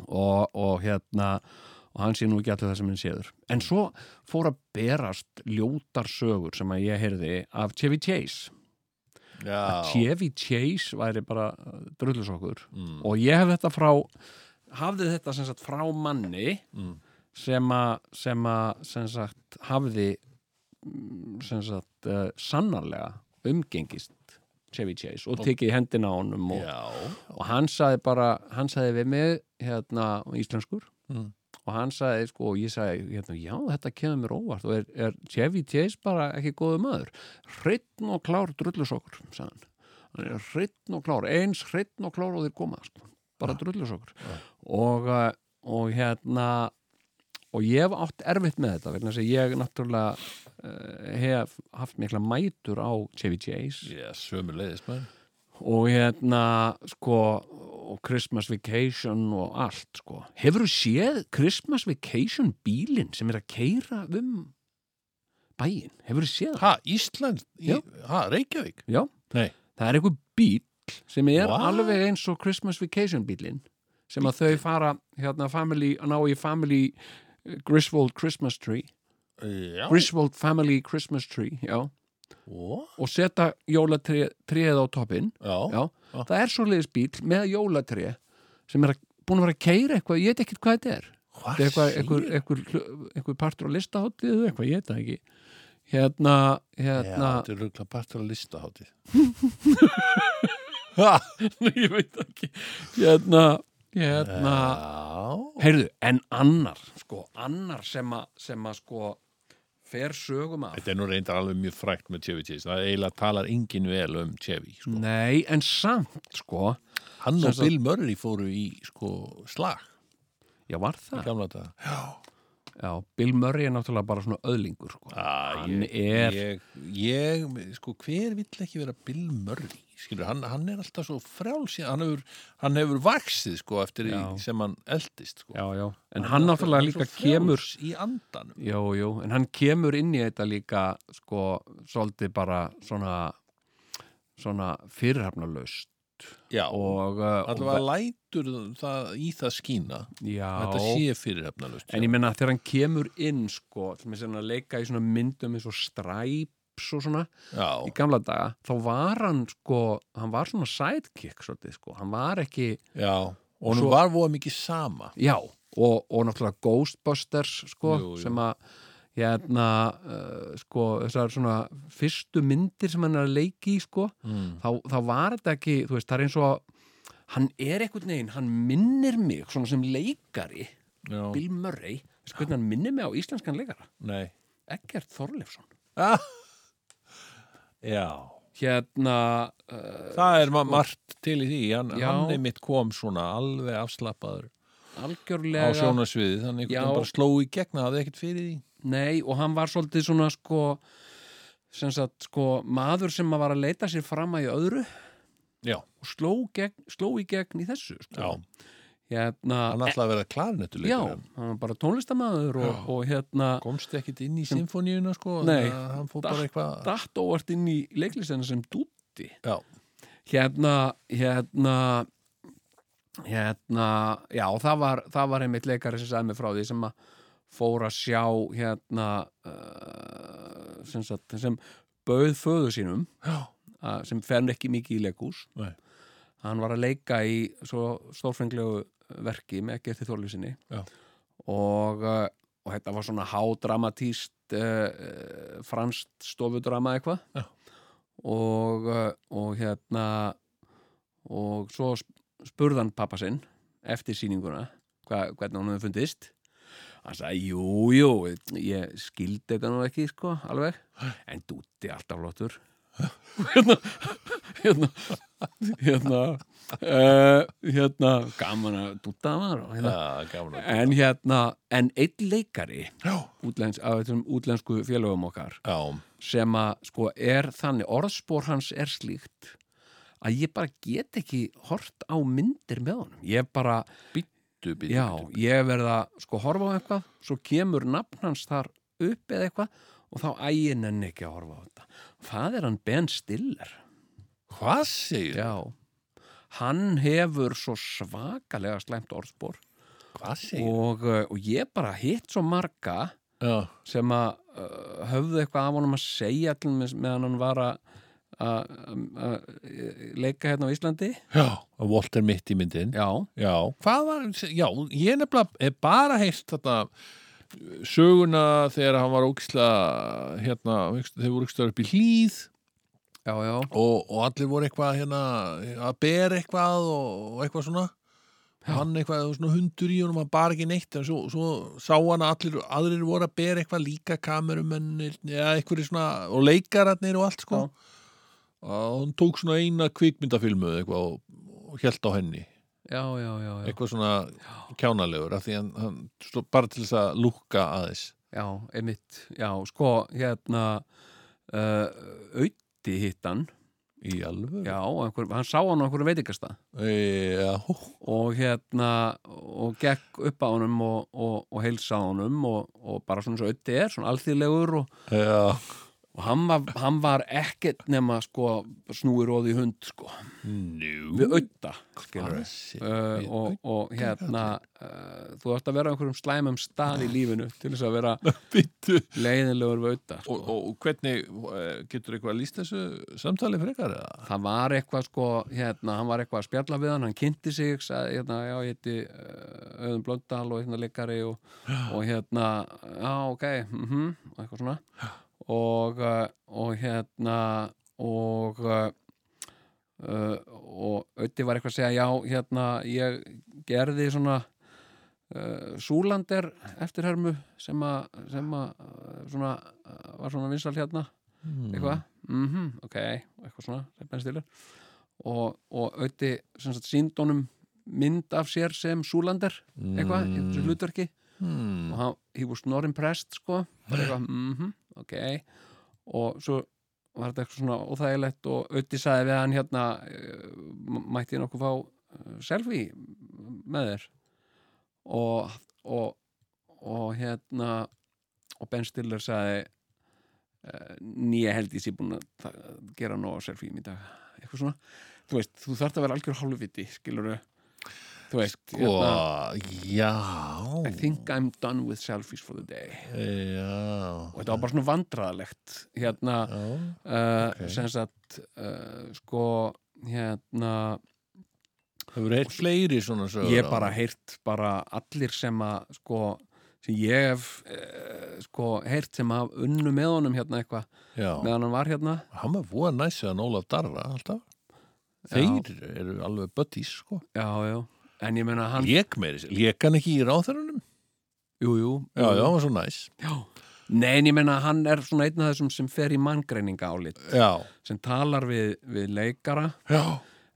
og, og hérna og hann sé nú ekki allir það sem hann séður en svo fór að berast ljótar sögur sem að ég heyrði af Chevy Chase Já. Chevy Chase væri bara drullusokkur Mm. og ég hef þetta frá hafði þetta sem sagt frá manni Mm. sem að sem að sem sagt hafði mm, sem sagt uh, sannarlega umgengist Chevy Chase og tekið í hendina á honum og, Já. og hann sagði bara, hann sagði við mig hérna íslenskur Mm. og hann sagði sko, og ég sagði hérna, já, þetta kemur mér óvart og er, er Chevy Chase bara ekki góðu maður hreittn og klár drullusokkur sagði hann, hann er hreittn og klár eins hreittn og klár og þeir koma sko. bara drullusokkur Já. og, eh, og hérna og ég hef átt erfitt með þetta vegna þess að ég náttúrulega uh, hef haft mikla mætur á Chevy Chase Já, sömu leiðis, menn. og hérna sko og Christmas Vacation og allt sko hefur þú séð Christmas Vacation bílinn sem er að keira um bæinn, hefur þú séð það? Ha, Ísland? Í, Já. ha, Reykjavík? Já, Nei. það er einhver bíl sem er What? alveg eins og Christmas Vacation bílinn sem að þau fara hérna family, ná í family eh, Griswold Christmas tree Já. Griswold family Christmas tree, já Ó, og setja jólatrið á toppinn Já. Já, Já. það er svoleiðis bíl með jólatré sem er að, búin að vera að keira eitthvað, ég veit ekkert hvað þetta er Hvað þetta er eitthvað, eitthvað, segirðu? eitthvað, eitthvað, eitthvað partur á listaháttíðu eða eitthvað, ég veit það ekki hérna, Já, hérna þetta er röglega partur að lista hátið. [LAUGHS] ég veit það ekki hérna, hérna Já. heyrðu, en annar sko, annar sem að, sem að sko fer sögum af Þetta er nú reyndar alveg mjög frækt með Chevy Chase. Það eiginlega talar engin vel um Chevy. Sko. nei, en samt sko Hann og Sem sagt- Bill Murray fóru í sko, slag já, var í það, gamla daga. Ah. já, Bill Murray er náttúrulega bara svona öðlingur sko. Ah, Hann ég, er- ég, sko, hver vill ekki vera Bill Murray skilur, hann, hann er alltaf svo frjáls hann hefur, hann hefur vaksið sko, eftir í, Já. sem hann eldist sko. já, já, en hann náttúrulega líka svo frjáls kemur í andanum Jú, jú, en hann kemur inn í þetta líka sko, svolítið bara svona svona fyrirhafnalaust já, og, uh, allavega lætur það, í það skína þetta já, sé sko. fyrirhefnalust en ég menna þegar hann kemur inn sko, sem er sem að leika í svona myndum eins og stræps og svona í já, gamla daga, þá var hann sko, hann var svona sidekick svolítið sko, hann var ekki, já, og hann Svo- var voða mikið sama já og, og náttúrulega Ghostbusters sko, Jú, jú. sem að hérna, uh, sko, þessar svona fyrstu myndir sem hann er að leiki í sko, mm. þá, þá var þetta ekki, þú veist, það er eins og hann er einhvern veginn, hann minnir mig svona sem leikari, já, Bill Murray veist hvernig hann minnir mig á íslenskan leikara [LAUGHS] nei Eggert Þorleifsson ah. já hérna uh, Það er ma- margt til í því, hann, Já. hann einmitt kom svona alveg afslappaður á algjörlega sjónarsviði, þannig Já. að hann bara sló í gegna það er ekkert fyrir því. nei, og hann var svolítið svona sko sem sagt, sko, maður sem að var að leita sér fram að í öðru Já, og sló, gegn, sló í gegn í þessu já. sko. hérna, hann ætlaði að vera já, klarinettuleikur. hann var bara tónlistamæður og, Já. og hérna Komst ekkit inn í symfóníuna sko, Nei. þannig að hann fór bara eitthvað... datt óvart inn í leiklistina sem dútti Já, hérna, hérna hérna já, það var, það var einmitt leikari sem sagði mig frá því sem að fór að sjá hérna uh, sem, sagt, sem bauð föðu sínum já, uh, sem fer ekki mikið í leikús Nei. hann var að leika í svo stórfenglegu verki með Gerti Þorlísinni Já. og, uh, og þetta var svona hádramatíst uh, franskt stofudrama eitthvað Já. og, uh, og hérna og svo sp- spurði hann pappa sinn eftir sýninguna hva, hvernig hún hefði fundist hann sagði, jú, jú, ég skildi þetta nú ekki, sko, alveg en dútti alltaf lóttur [LAUGHS] hérna hérna hérna uh, hérna gaman að dúta maður og hérna. Já, gaman að- en hérna, en einn leikari Já, útlens, af þessum útlensku félögum okkar já, sem að sko er þannig orðspor hans er slíkt að ég bara get ekki hort á myndir með honum ég bara, bíddu, bíddu, já, bíddu. ég verða sko horfa á eitthvað, svo kemur nafn hans þar upp eða eitthvað og þá ægin henni ekki að horfa á þetta það er hann Ben Stiller Hvað segir? já, hann hefur svo svakalega slæmt orðspor Hvað segir? og, uh, og ég bara hitt svo marga Já, sem að uh, höfðu eitthvað af honum að segja til með, meðan hann var að að- að leika hérna á Íslandi já, að Walter mitt í myndin. já, Já, hvað var, já, ég nefnilega er bara heist þetta söguna þegar hann var ógisla hérna, þeir voru ógisla upp í hlýð já, já og, og allir voru eitthvað hérna að bera eitthvað og, og eitthvað svona Já. hann eitthvað svona hundur í honum hann bar ekki neitt en svo, svo sá hann að allir, aðrir voru að bera eitthvað líka kamerumennir eða eitthvað svona og leikararnir og allt sko Já. og hann tók svona eina kvikmyndafilmu eitthvað og, og held á henni já, já, já, já, eitthvað svona kjánalegur af því hann, hann stó, bara til þess að lúkka aðeins já einmitt, já, sko hérna uh, auði hittan í alveg já, einhver, hann sá hann á einhverju veitingasta já, og hérna og gekk upp á honum og, og, og heilsa á honum og, og bara svona svo auði er, svona alþýðlegur og, já. og hann, var, hann var ekkert nema sko snúi róði hund sko nú við auða Hvað sé- uh, við og, og hérna uh, þú ætti að vera á einhverjum slæmum stað í lífinu til þess að [LAUGHS] vera Bíddu. leiðinlegur við auða og, sko. og, og hvernig eh, getur eitthvað að lýst þessu samtali frekar eða? það var eitthvað sko hérna, hann var eitthvað að spjalla við hann, hann kynnti sig sagði, hérna, já, ég heiti uh, Auðun Blöndal og hérna leikari og, og hérna, já, ok mm og eitthvað svona og, uh, og hérna og uh, uh, og Ötti var eitthvað að segja já, hérna, ég gerði svona uh, Súlander eftirhermu sem að sem að uh, svona, uh, var svona vinsal hérna eitthvað, mhm, ok eitthvað svona, þeir benn stilur og, og auði, sem sagt, síndónum mynd af sér sem Súlander eitthvað, í Mm. þessu hlutverki hmm. og hann, he was not impressed, sko bara eitthvað, mhm, ok og svo var þetta eitthvað svona óþægilegt og auði sagði við hann hérna eh, m- mætti ég nokkuð fá eh, selfie með þér og, og, og hérna og Ben Stiller sagði eh, nýja held ég sé búin að ta- gera nóg af selfie í dag eitthvað svona, þú veist, þú þarft að vera algjör hálfviti, skilur þú veist, Sko. hérna, og já I think I'm done with selfies for the day já og þetta var bara svona vandræðalegt hérna já, uh, ok. sem sagt uh, sko hérna það voru heilt fleiri svona sögur ég á- hef bara heyrt bara allir sem að sko sem ég hef uh, sko heyrt sem að unnu með honum hérna eitthvað já. meðan hann var hérna hann var voða næsið að Ólaf Darra alltaf Já. þeir eru alveg buddies sko já, já, en ég meina hann lék meiri, lék hann ekki í ráþörunum jú, jú, já, já, hann var svo næs já. Nei, en ég meina hann er svona einn af þessum sem fer í manngreininga álit já, sem talar við, við leikara já,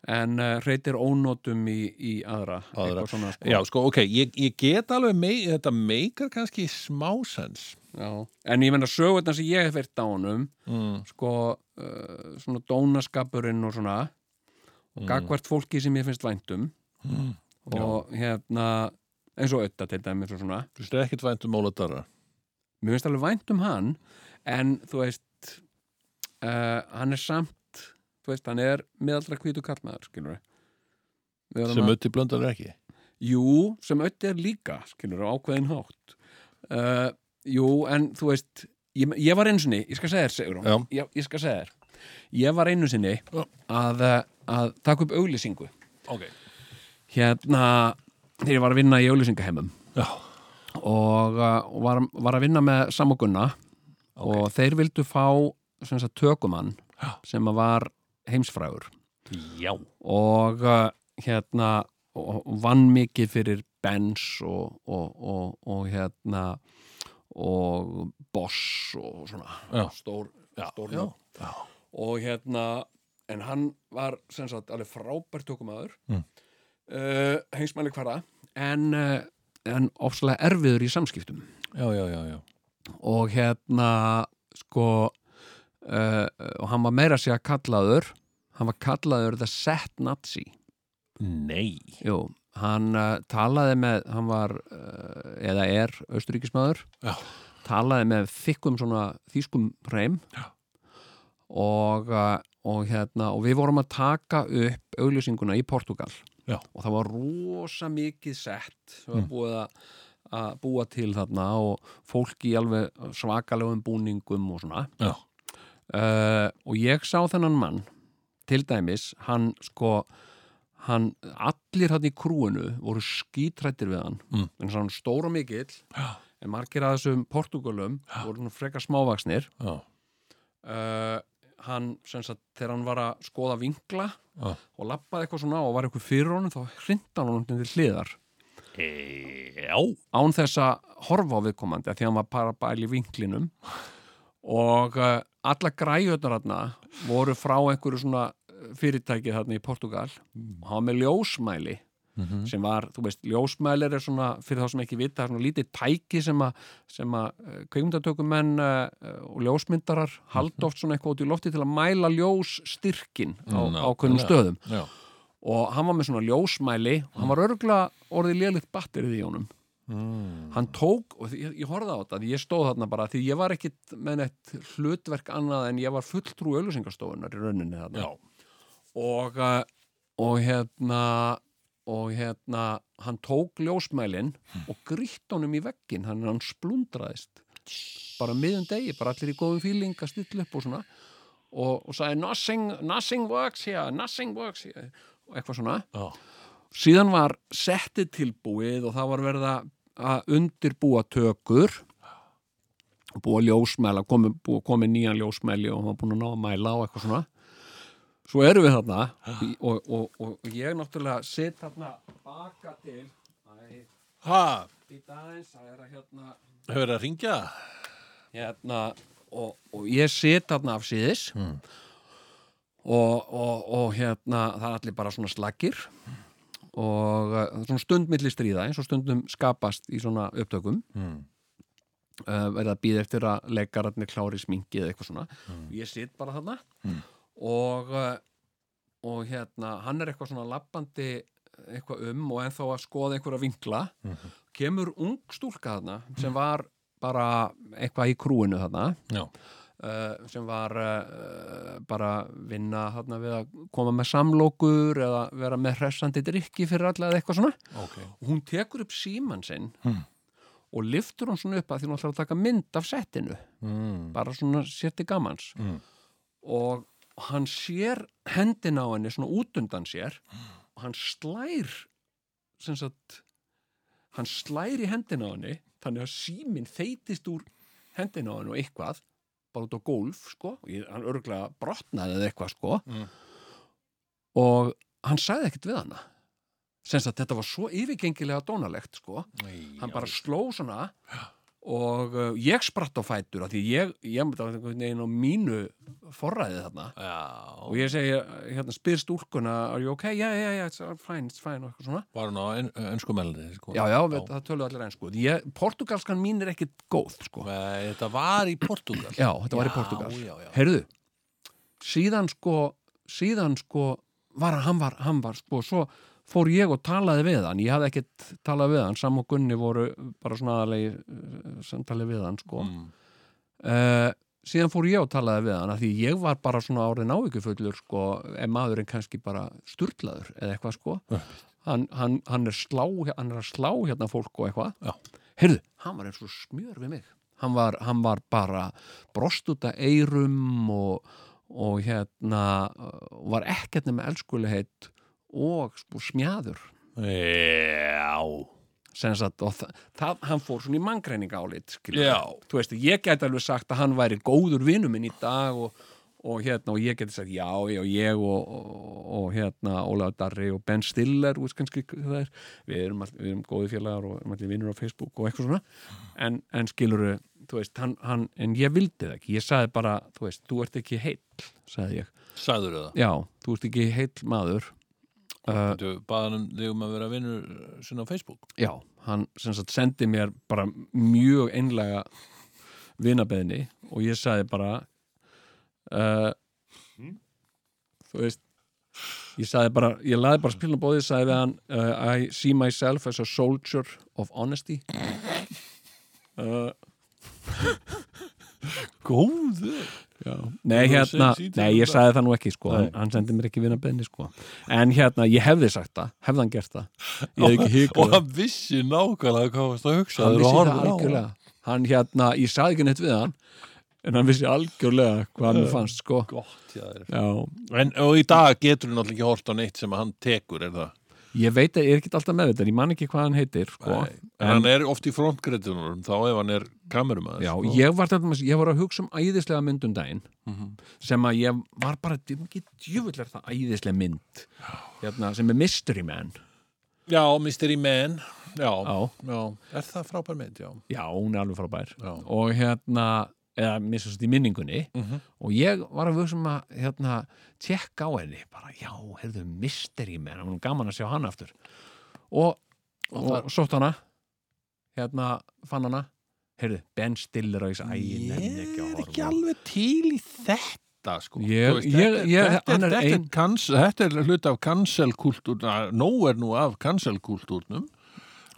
en uh, reytir ónótum í, í aðra, Aðra. eitthvað svona sko. já sko, ok ég, ég get alveg, mei, þetta meikar kannski smásens Já. en ég menna sögurnar sem ég hef verið á honum mm. sko uh, svona dónaskapurinn og svona og gagvart fólki sem ég finnst væntum Mm. og hérna eins og ötta til dæmis og svona þú veist ekkert vænt um Ólaf Darra mér finnst alveg vænt um hann en þú veist uh, hann er samt þú veist, hann er meðaldra hvítu kallmaður skilur við sem ötti blöndar er ekki Jú, sem ötti er líka, skilur, á ákveðin hátt. Uh, jú, en þú veist, ég, ég var einu sinni, ég skal segja þér, segur hún, ég, ég skal segja þér. Ég var einu sinni Já. að, uh, að taka upp auglýsingu. ok Hérna, þegar ég var að vinna í auglýsingaheimum já, og, uh, og var, var að vinna með samogunna okay. og þeir vildu fá sem sagt, tökumann Já. sem að var heimsfrægur já. og uh, hérna og og vann mikið fyrir Benz og, og, og, og hérna og Boss og svona Já. stór, Já. stór Já. nöfn. Já. og hérna en hann var sem sagt alveg frábært tökumæður mm. Mm. uh, heimsmæli hverða en, uh, en ofslega erfiður í samskiptum já, já, já, já. og hérna sko uh, og hann var meira að segja kallaður hann var kallaður the set nazi Nei. Jú, hann uh, talaði með, hann var, uh, eða er, austuríkismæður, Já. talaði með þykkum svona þýskum reym Já. og, uh, og hérna, og við vorum að taka upp auglýsinguna í Portugal Já. og það var rosa mikið sett sem var Mm. búið að að búa til þarna og fólk í alveg svakalegum búningum og svona Já. uh, og ég sá þennan mann til dæmis, hann sko hann, allir hann í krúinu voru skítrættir við hann Mm. en hann stóra mikill Já. en margir að þessum Portugalum voru nú frekar smávaksnir Já. uh, hann, sem sagt, þegar hann var að skoða vinkla Já. og lappaði eitthvað svona og var eitthvað fyrir honum þá hrinda hann honum til hliðar Eh, já. án þess að horfa á viðkomandi af því að hann var bara bæli vinklinum og uh, alla græjötnar þarna voru frá einhverju svona eh, fyrirtæki þarna í Portugal og hann var með ljósmæli Mhm. sem var, þú veist, ljósmælir er svona fyrir þá sem ekki vita, það er svona lítið tæki sem að, sem að kveimdatökumenn uh, og ljósmyndarar halda oft svona eitthvað út í lofti til að mæla ljósstyrkin á Ná, ákveðnum Mm, já. stöðum Já. og hann var með svona ljósmæli og hann var örgla orðið lélitt batterið í honum Mm. hann tók, og ég, ég horfði á þetta því ég stóð þarna bara, því ég var ekkit með neitt hlutverk annað en ég var fulltrú auðlýsingastofunar í rauninni þarna Já. og, eh, og hérna og hérna hann tók ljósmælin og grýtt honum í veggin hann, hann splundraðist bara á miðum degi, bara allir í góðum fíling að stilla upp og svona og, og sagði nothing, nothing works here nothing works here og eitthvað svona Já. síðan var settið tilbúið og það var verið að- að undirbúa tökur og búa ljósmæla komið, búa, komið nýjan ljósmæli og hann var búin að ná að mæla og eitthvað svona svo erum við þarna í- og, og, og, og ég náttúrulega sitt þarna baka til Æ, Ha, býta aðeins, það er að hérna hefur að ringja? hérna og, og ég sit þarna af síðis og, og, og hérna það er allir bara svona slagir og uh, svona stund milli stríða eins og stundum skapast í svona upptökum Mm. uh, verða að býða eftir að leikararnir klári sminki eða eitthvað svona ég sit bara þarna Mm. og, uh, og hérna hann er eitthvað svona lappandi eitthvað um og ennþá að skoða einhverja vinkla Mm. kemur ung stúlka þarna sem var bara eitthvað í krúinu þarna Já. uh, sem var uh, bara vinna þarna við að koma með samlokur eða vera með hressandi drikki fyrir alla eða eitthvað svona Ok. og hún tekur upp síman sinn Hmm. og liftur hún svona upp að því hún ætlar að taka mynd af settinu Mm. bara svona sér til gamans Mm. og hann sér hendina á henni svona út undan sér og hann slær sem sagt hann slær í hendina á henni þannig að síminn þeytist úr hendina á henni og eitthvað bara út á gólf sko og ég, hann örgulega brotnaði eða eitthvað sko Mm. og hann sagði ekkert við hana sem sagt þetta var svo yfirgengilega dónalegt sko hann bara sló svona og uh, ég spratt á fætur af því ég, ég myndi að einhvern veginn á mínu forræði þarna Já. og ég segi, hérna, spyr stúlkuna are you okay? Já, já, já, it's fine, it's fine og eitthvað svona. Var hann á en, ennsku meldi, sko. Já, já, við, það tölu allir enn, sko. Ég, portugalskan mín er ekkit góð, sko. Nei, Þetta var í Portugal. Já, þetta var í Portugal. Já, já, já. Heyrðu, síðan sko, síðan sko, var, hann var, hann var, sko, svo fór ég og talaði við hann, ég hafði ekkit talað við hann, Sam og Gunni voru bara svona aðalegi eh, samtalið við hann, sko. Mm. uh, síðan fór ég og talaði við hann af því ég var bara svona árið návíkufullur sko, en maðurinn kannski bara sturlaður eða eitthvað sko Já. hann, hann, hann, er slá, hann er að slá hérna fólk Já. og eitthvað heyrðu, hann var eins og smjör við mig hann var, hann var bara brost út að eyrum og, og hérna uh, var ekkert nema elskulegheit og sko, smjaður Já. sem sagt, og það, það, hann fór svona í manngreininga álit skilur. Já. þú veist, ég gæti alveg sagt að hann væri góður vinnu minn í dag og, og hérna, og ég gæti sagt já, já, ég og, og, og hérna, Ólaður Darri og Ben Stiller, þú veist kannski hvað það er, við erum, all, við erum góði félagar og erum allir vinnur á Facebook og eitthvað svona en, en skilur þú veist, hann, hann, en ég vildi það ekki ég sagði bara, þú veist, þú ert ekki heill sagði ég, Sæður það? já, þú ert ekki heill maður uh, Þú baðan um þig um að vera vinnur sinna á Facebook? já, hann sem sagt sendi mér bara mjög einlega vinabeðni og ég sagði bara uh, Hmm? þú veist ég sagði bara, ég laði bara spilin á bóðið sagði við hann, uh, I see myself as a soldier of honesty uh, Góður! Nei, Þú hérna, sem sýndir nei, ég þetta. sagði það nú ekki sko, Nei. hann, hann sendi mér ekki vinabeðni sko en hérna, ég hefði sagt það, hefði hann gert það ég hefði [LAUGHS] ekki Og hikað hann vissi nákvæmlega hvað varst að hugsa hann þegar þú vissi horfðir það á algjörlega hann hérna, ég sagði ekki neitt við hann en hann vissi algjörlega hvað hann fannst sko Gott, já, þér. já, En, og í dag getur þú náttúrulega ekki hort á neitt sem hann tekur, er það? ég veit að ég er ekki alltaf með þetta, ég man ekki hvað hann heitir sko, Nei. En hann er oft í frontgreitunum þá ef hann er sko. kamerumæður. já, ég var þetta ég var að hugsa um æðislega mynd um daginn Mhm. sem að ég var bara ekki djúvill er það æðislega mynd hérna, sem er Mystery Man já, Mystery Man. Já, já. já, Er það frábær mynd, já. já, hún er alveg frábær Já. og hérna eða missast í minningunni Mhm. og ég var að vöksum að hérna, tjekka á henni, bara já, heyrðu mystery menn, hann var gaman að sjá hann aftur og, og, Og og sótt hana hérna, fann hana heyrðu, Ben Stiller og ég sagði, æ, ég nefn Ég ekki að er horfa ekki alveg til í þetta, sko. Ég- Þú veist, ég- þetta, ég- þetta, hann er þetta, ein- kans, þetta er hlut af kanselkultúr, nóg er nú af kanselkultúrnum.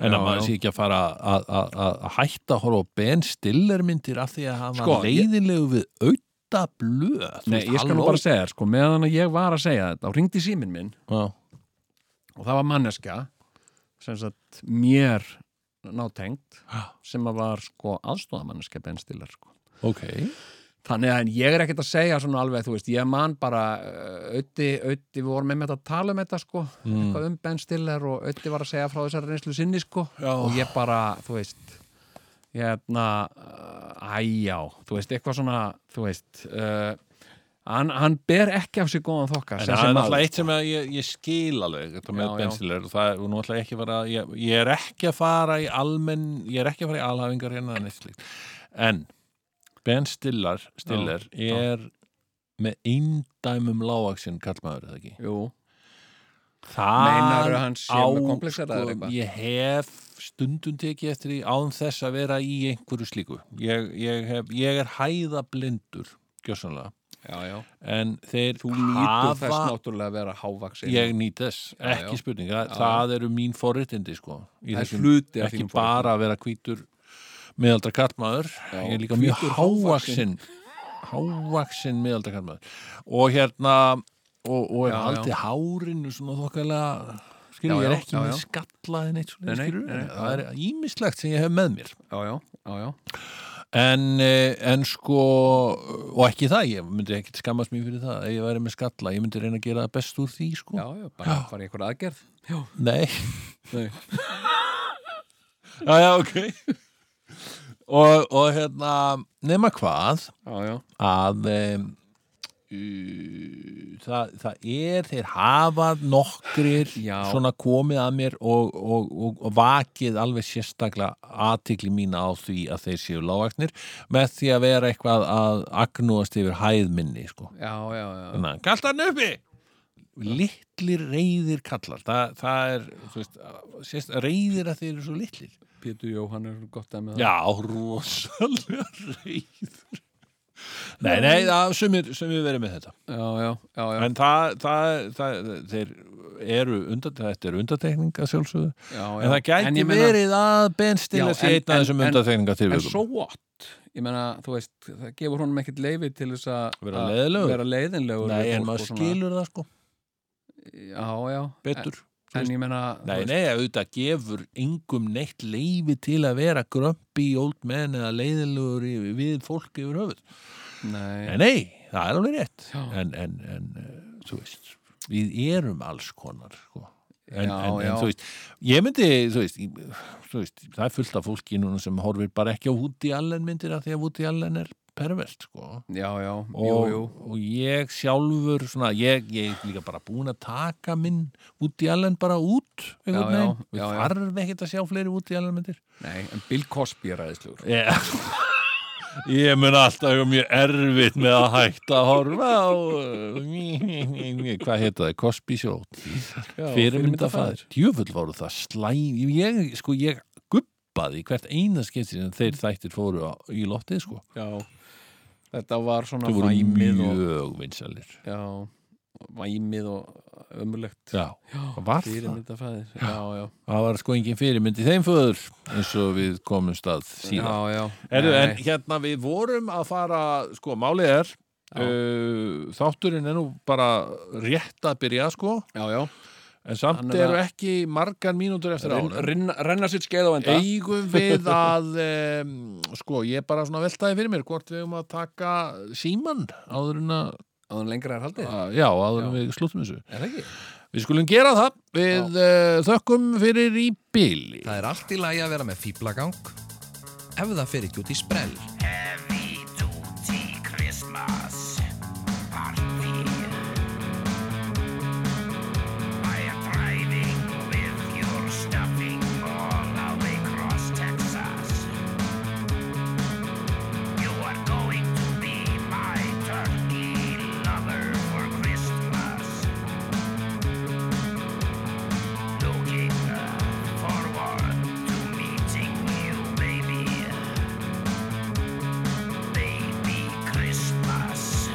En Já, að maður já. sé ekki að fara að- að- að að hætta að horfa á Ben Stiller myndir af því að hann var Sko, ég- leiðinlegu við auða blöð. Þú Nei, veist, ég skal nú halló. bara segja þér, sko, meðan að ég var að segja þetta og ringdi síminn minn Já. og það var manneska sem sagt mér nátengt sem að var sko aðstóðamanneska Ben Stiller sko Ok. Þannig að en ég er ekkert að segja svona alveg, þú veist, ég man bara uh, auði, auði, við vorum einmitt að tala um þetta sko, Mm. eitthvað um Ben Stiller og auði var að segja frá þessari reynslu sinni sko Já. og ég bara, þú veist hérna, uh, æjá þú veist, eitthvað svona, þú veist uh, hann, hann ber ekki af sér góðan þokka En sem það er sem náttúrulega maður. eitt sem að ég, ég skil alveg þetta með Já, já. Ben Stiller og það er nú náttúrulega ekki að fara ég, ég er ekki að fara í almenn ég er ekki að fara í alhafingar hérna eða neitt slíkt. en Ben Stiller, Stiller Já, já. er með eindæmum lágaksin kallmaður eða ekki Jú, Það Meinarðu að hann sé með komplexera eða eitthvað? sko, Ég hef stundum tekið eftir því án þess að vera í einhverju slíku ég, ég, hef, ég er hæðablindur gjössanlega já, já en þeir Þú nýtur þess hafa náttúrulega að vera hávaksin ég nýt þess, Já, ekki já. spurning það, Já, það eru mín forréttindi sko í Það er þessum- hluti af ekki þínum bara að vera hvítur meðaldra kallmaður Já, ég er líka mjög hvítur, hávaxin hávaxin meðaldra kallmaður og hérna og, og er Já, já. aldrei hárinu svona þokkalega Já, skilur, ég er já, ekki já, með já. skallaði neitt svona, Nei, nei, skilur, nei, nei, það er ímislegt sem ég hef með mér Já, já, já, já En, eh, en sko, og ekki það, ég myndi ekkert skammast mér fyrir það, ef ég væri með skalla, ég myndi reyna að gera það best úr því, sko. Já, já, bara fara í einhver aðgerð Já, Nei. nei Já, já, ok. og, og hérna, nema hvað, Já, já, að um, það, það er, þeir hafa nokkrir Já. svona komið að mér og, og, og, og vakið alveg sérstaklega aðtikli mína á því að þeir séu lágagnir með því að vera eitthvað að agnúast yfir hæð minni, sko. já, já, já. Þannig að kalla hann uppi! Littlir reyðir kallar, það, það er, þú veist, sérst, reyðir að þeir eru svo litlir. Pétur Jóhann er gott að með það Já, rosalega reyður Nei, nei, það sumir, sumir verið með þetta já, já, já, já, En það, það, það þeir eru undat, þetta eru undatekninga sjálfsögðu já, já. En það gæti ég meina- verið að Ben Já, Stiller sé en- einn af en- þessum en- undatekninga til En so what? Ég meina, þú veist, það gefur honum ekkert leifi til þess að Vera að leiðinlegur? vera leiðinlegur Nei, við en fólk maður og svona. skilur það sko Já, já betur En, en ég meina þú Nei, veist, nei, auðvitað gefur engum neitt leifi til að vera grömpi old menn eða leiðilegur í- við fólk yfir höfuð nei. Nei, nei, það er alveg rétt Já. en, en, en eh, þú veist við erum alls konar sko. en, Já, en, já. en þú veist ég myndi, þú veist, í- þú veist það er fullt af fólki núna sem horfir bara ekki á Woody Allen myndir af því að Woody Allen er pervert sko Já, já, Og, jú, jú og ég sjálfur svona, ég, ég er líka bara búin að taka minn Woody Allen bara út Já, einhvern já, veginn, við já, já. þarf ekkert að sjá fleiri Woody Allen myndir Nei, en Bill Cosby er aðeinslugur yeah. ég mun alltaf eiga mjög erfitt með að hætta að horfa á uh, hvað heita það, Cosby Show fyrirmyndafaðir djöfull voru það slæm ég, sko, ég guppaði í hvert eina skipti sem þeir Mm. þættir fóru á, í loftið sko. Já, þetta var svona það voru væmið og, mjög vinsalir já, væmið og ömulegt já, hvað var það? fyrirmyndafæðir já, já, það var sko engin fyrirmynd í þeim föður eins og við komum stað síðan já, já. Erðu, en Nei, hérna við vorum að fara, sko, málið er Já. uh, þátturinn er nú bara rétt að byrja, sko já, já. en samt Hann er eru að- ekki margar mínútur eftir Renn, ára renna, renna sitt skeið á enda eigum við að [LAUGHS] um, sko, ég bara svona veltaði fyrir mér hvort við eigum að taka síman áður en að, og lengra er haldið, að já, áður en Já. við slúttum þessu er það ekki? við skulum gera það, við uh, þökkum fyrir í bíli Það er allt í lagi að vera með fýblagang ef það fer ekki út í sprell. Heavy Duty Christmas Party. I am driving with your stuffing all the way across Texas. You are going to be my turkey lover for Christmas. Looking uh, forward to meeting you, baby. Baby Christmas.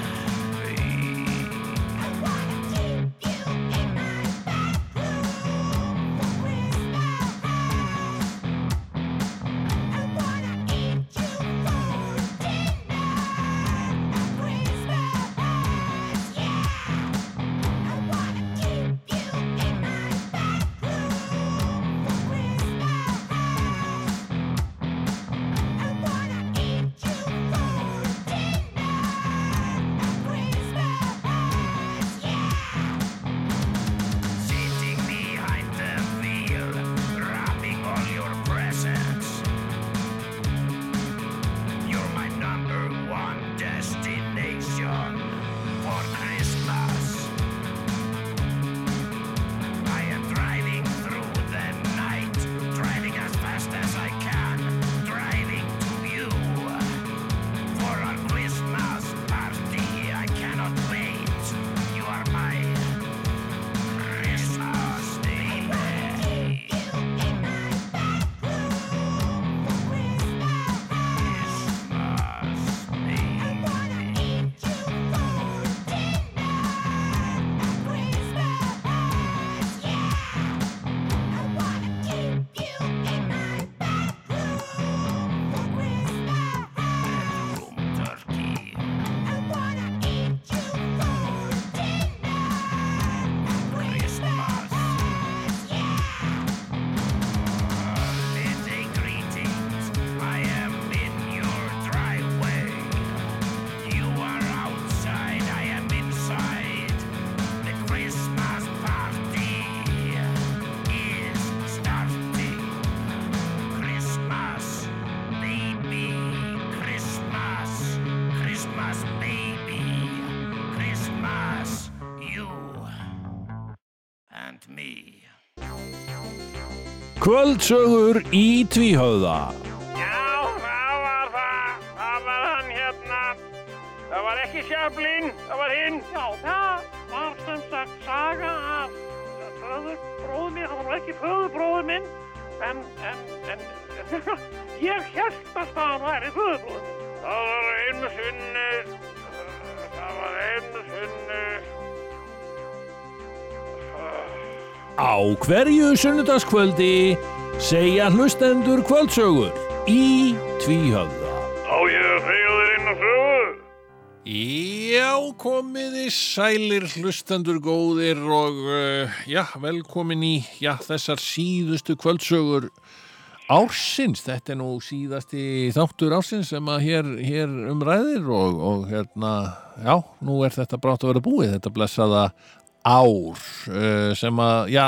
Sitting behind the wheel, wrapping all your presents. You're my number one destination for Christmas. I am driving through the night, driving as fast as I can, driving to you. For our Christmas party, I cannot wait. You are my Christmas, baby. Christmas, baby. Bedroom turkey. Christmas. Many greetings. I am in your driveway. You are outside. I am inside. The Christmas party is starting. Christmas, baby. Christmas, Christmas, baby. Christmas, you and me. Kvöldsögur í tvíhöða Já, það var það. Það var hann hérna. Það var ekki sjöflinn, það var hinn. Já, það var sem sagt saga af föðurbróðu minn. Það var ekki föðurbróðu minn, en, en, en [LAUGHS] ég held að það væri föðurbróðu minn. Það var einu sinni, það var einu sinni. Á hverju sunnudaskvöldi segja hlustendur kvöldsögur í tvíhöfða. Á ég að segja þér inn á sögu? Já, komiði sælir hlustendur góðir og uh, já, velkomin í já, þessar síðustu kvöldsögur ársins. Þetta er nú síðasti þáttur ársins sem að hér, hér umræðir og, og hérna, já, nú er þetta brátt að vera búið, þetta blessaða ár uh, sem að, já,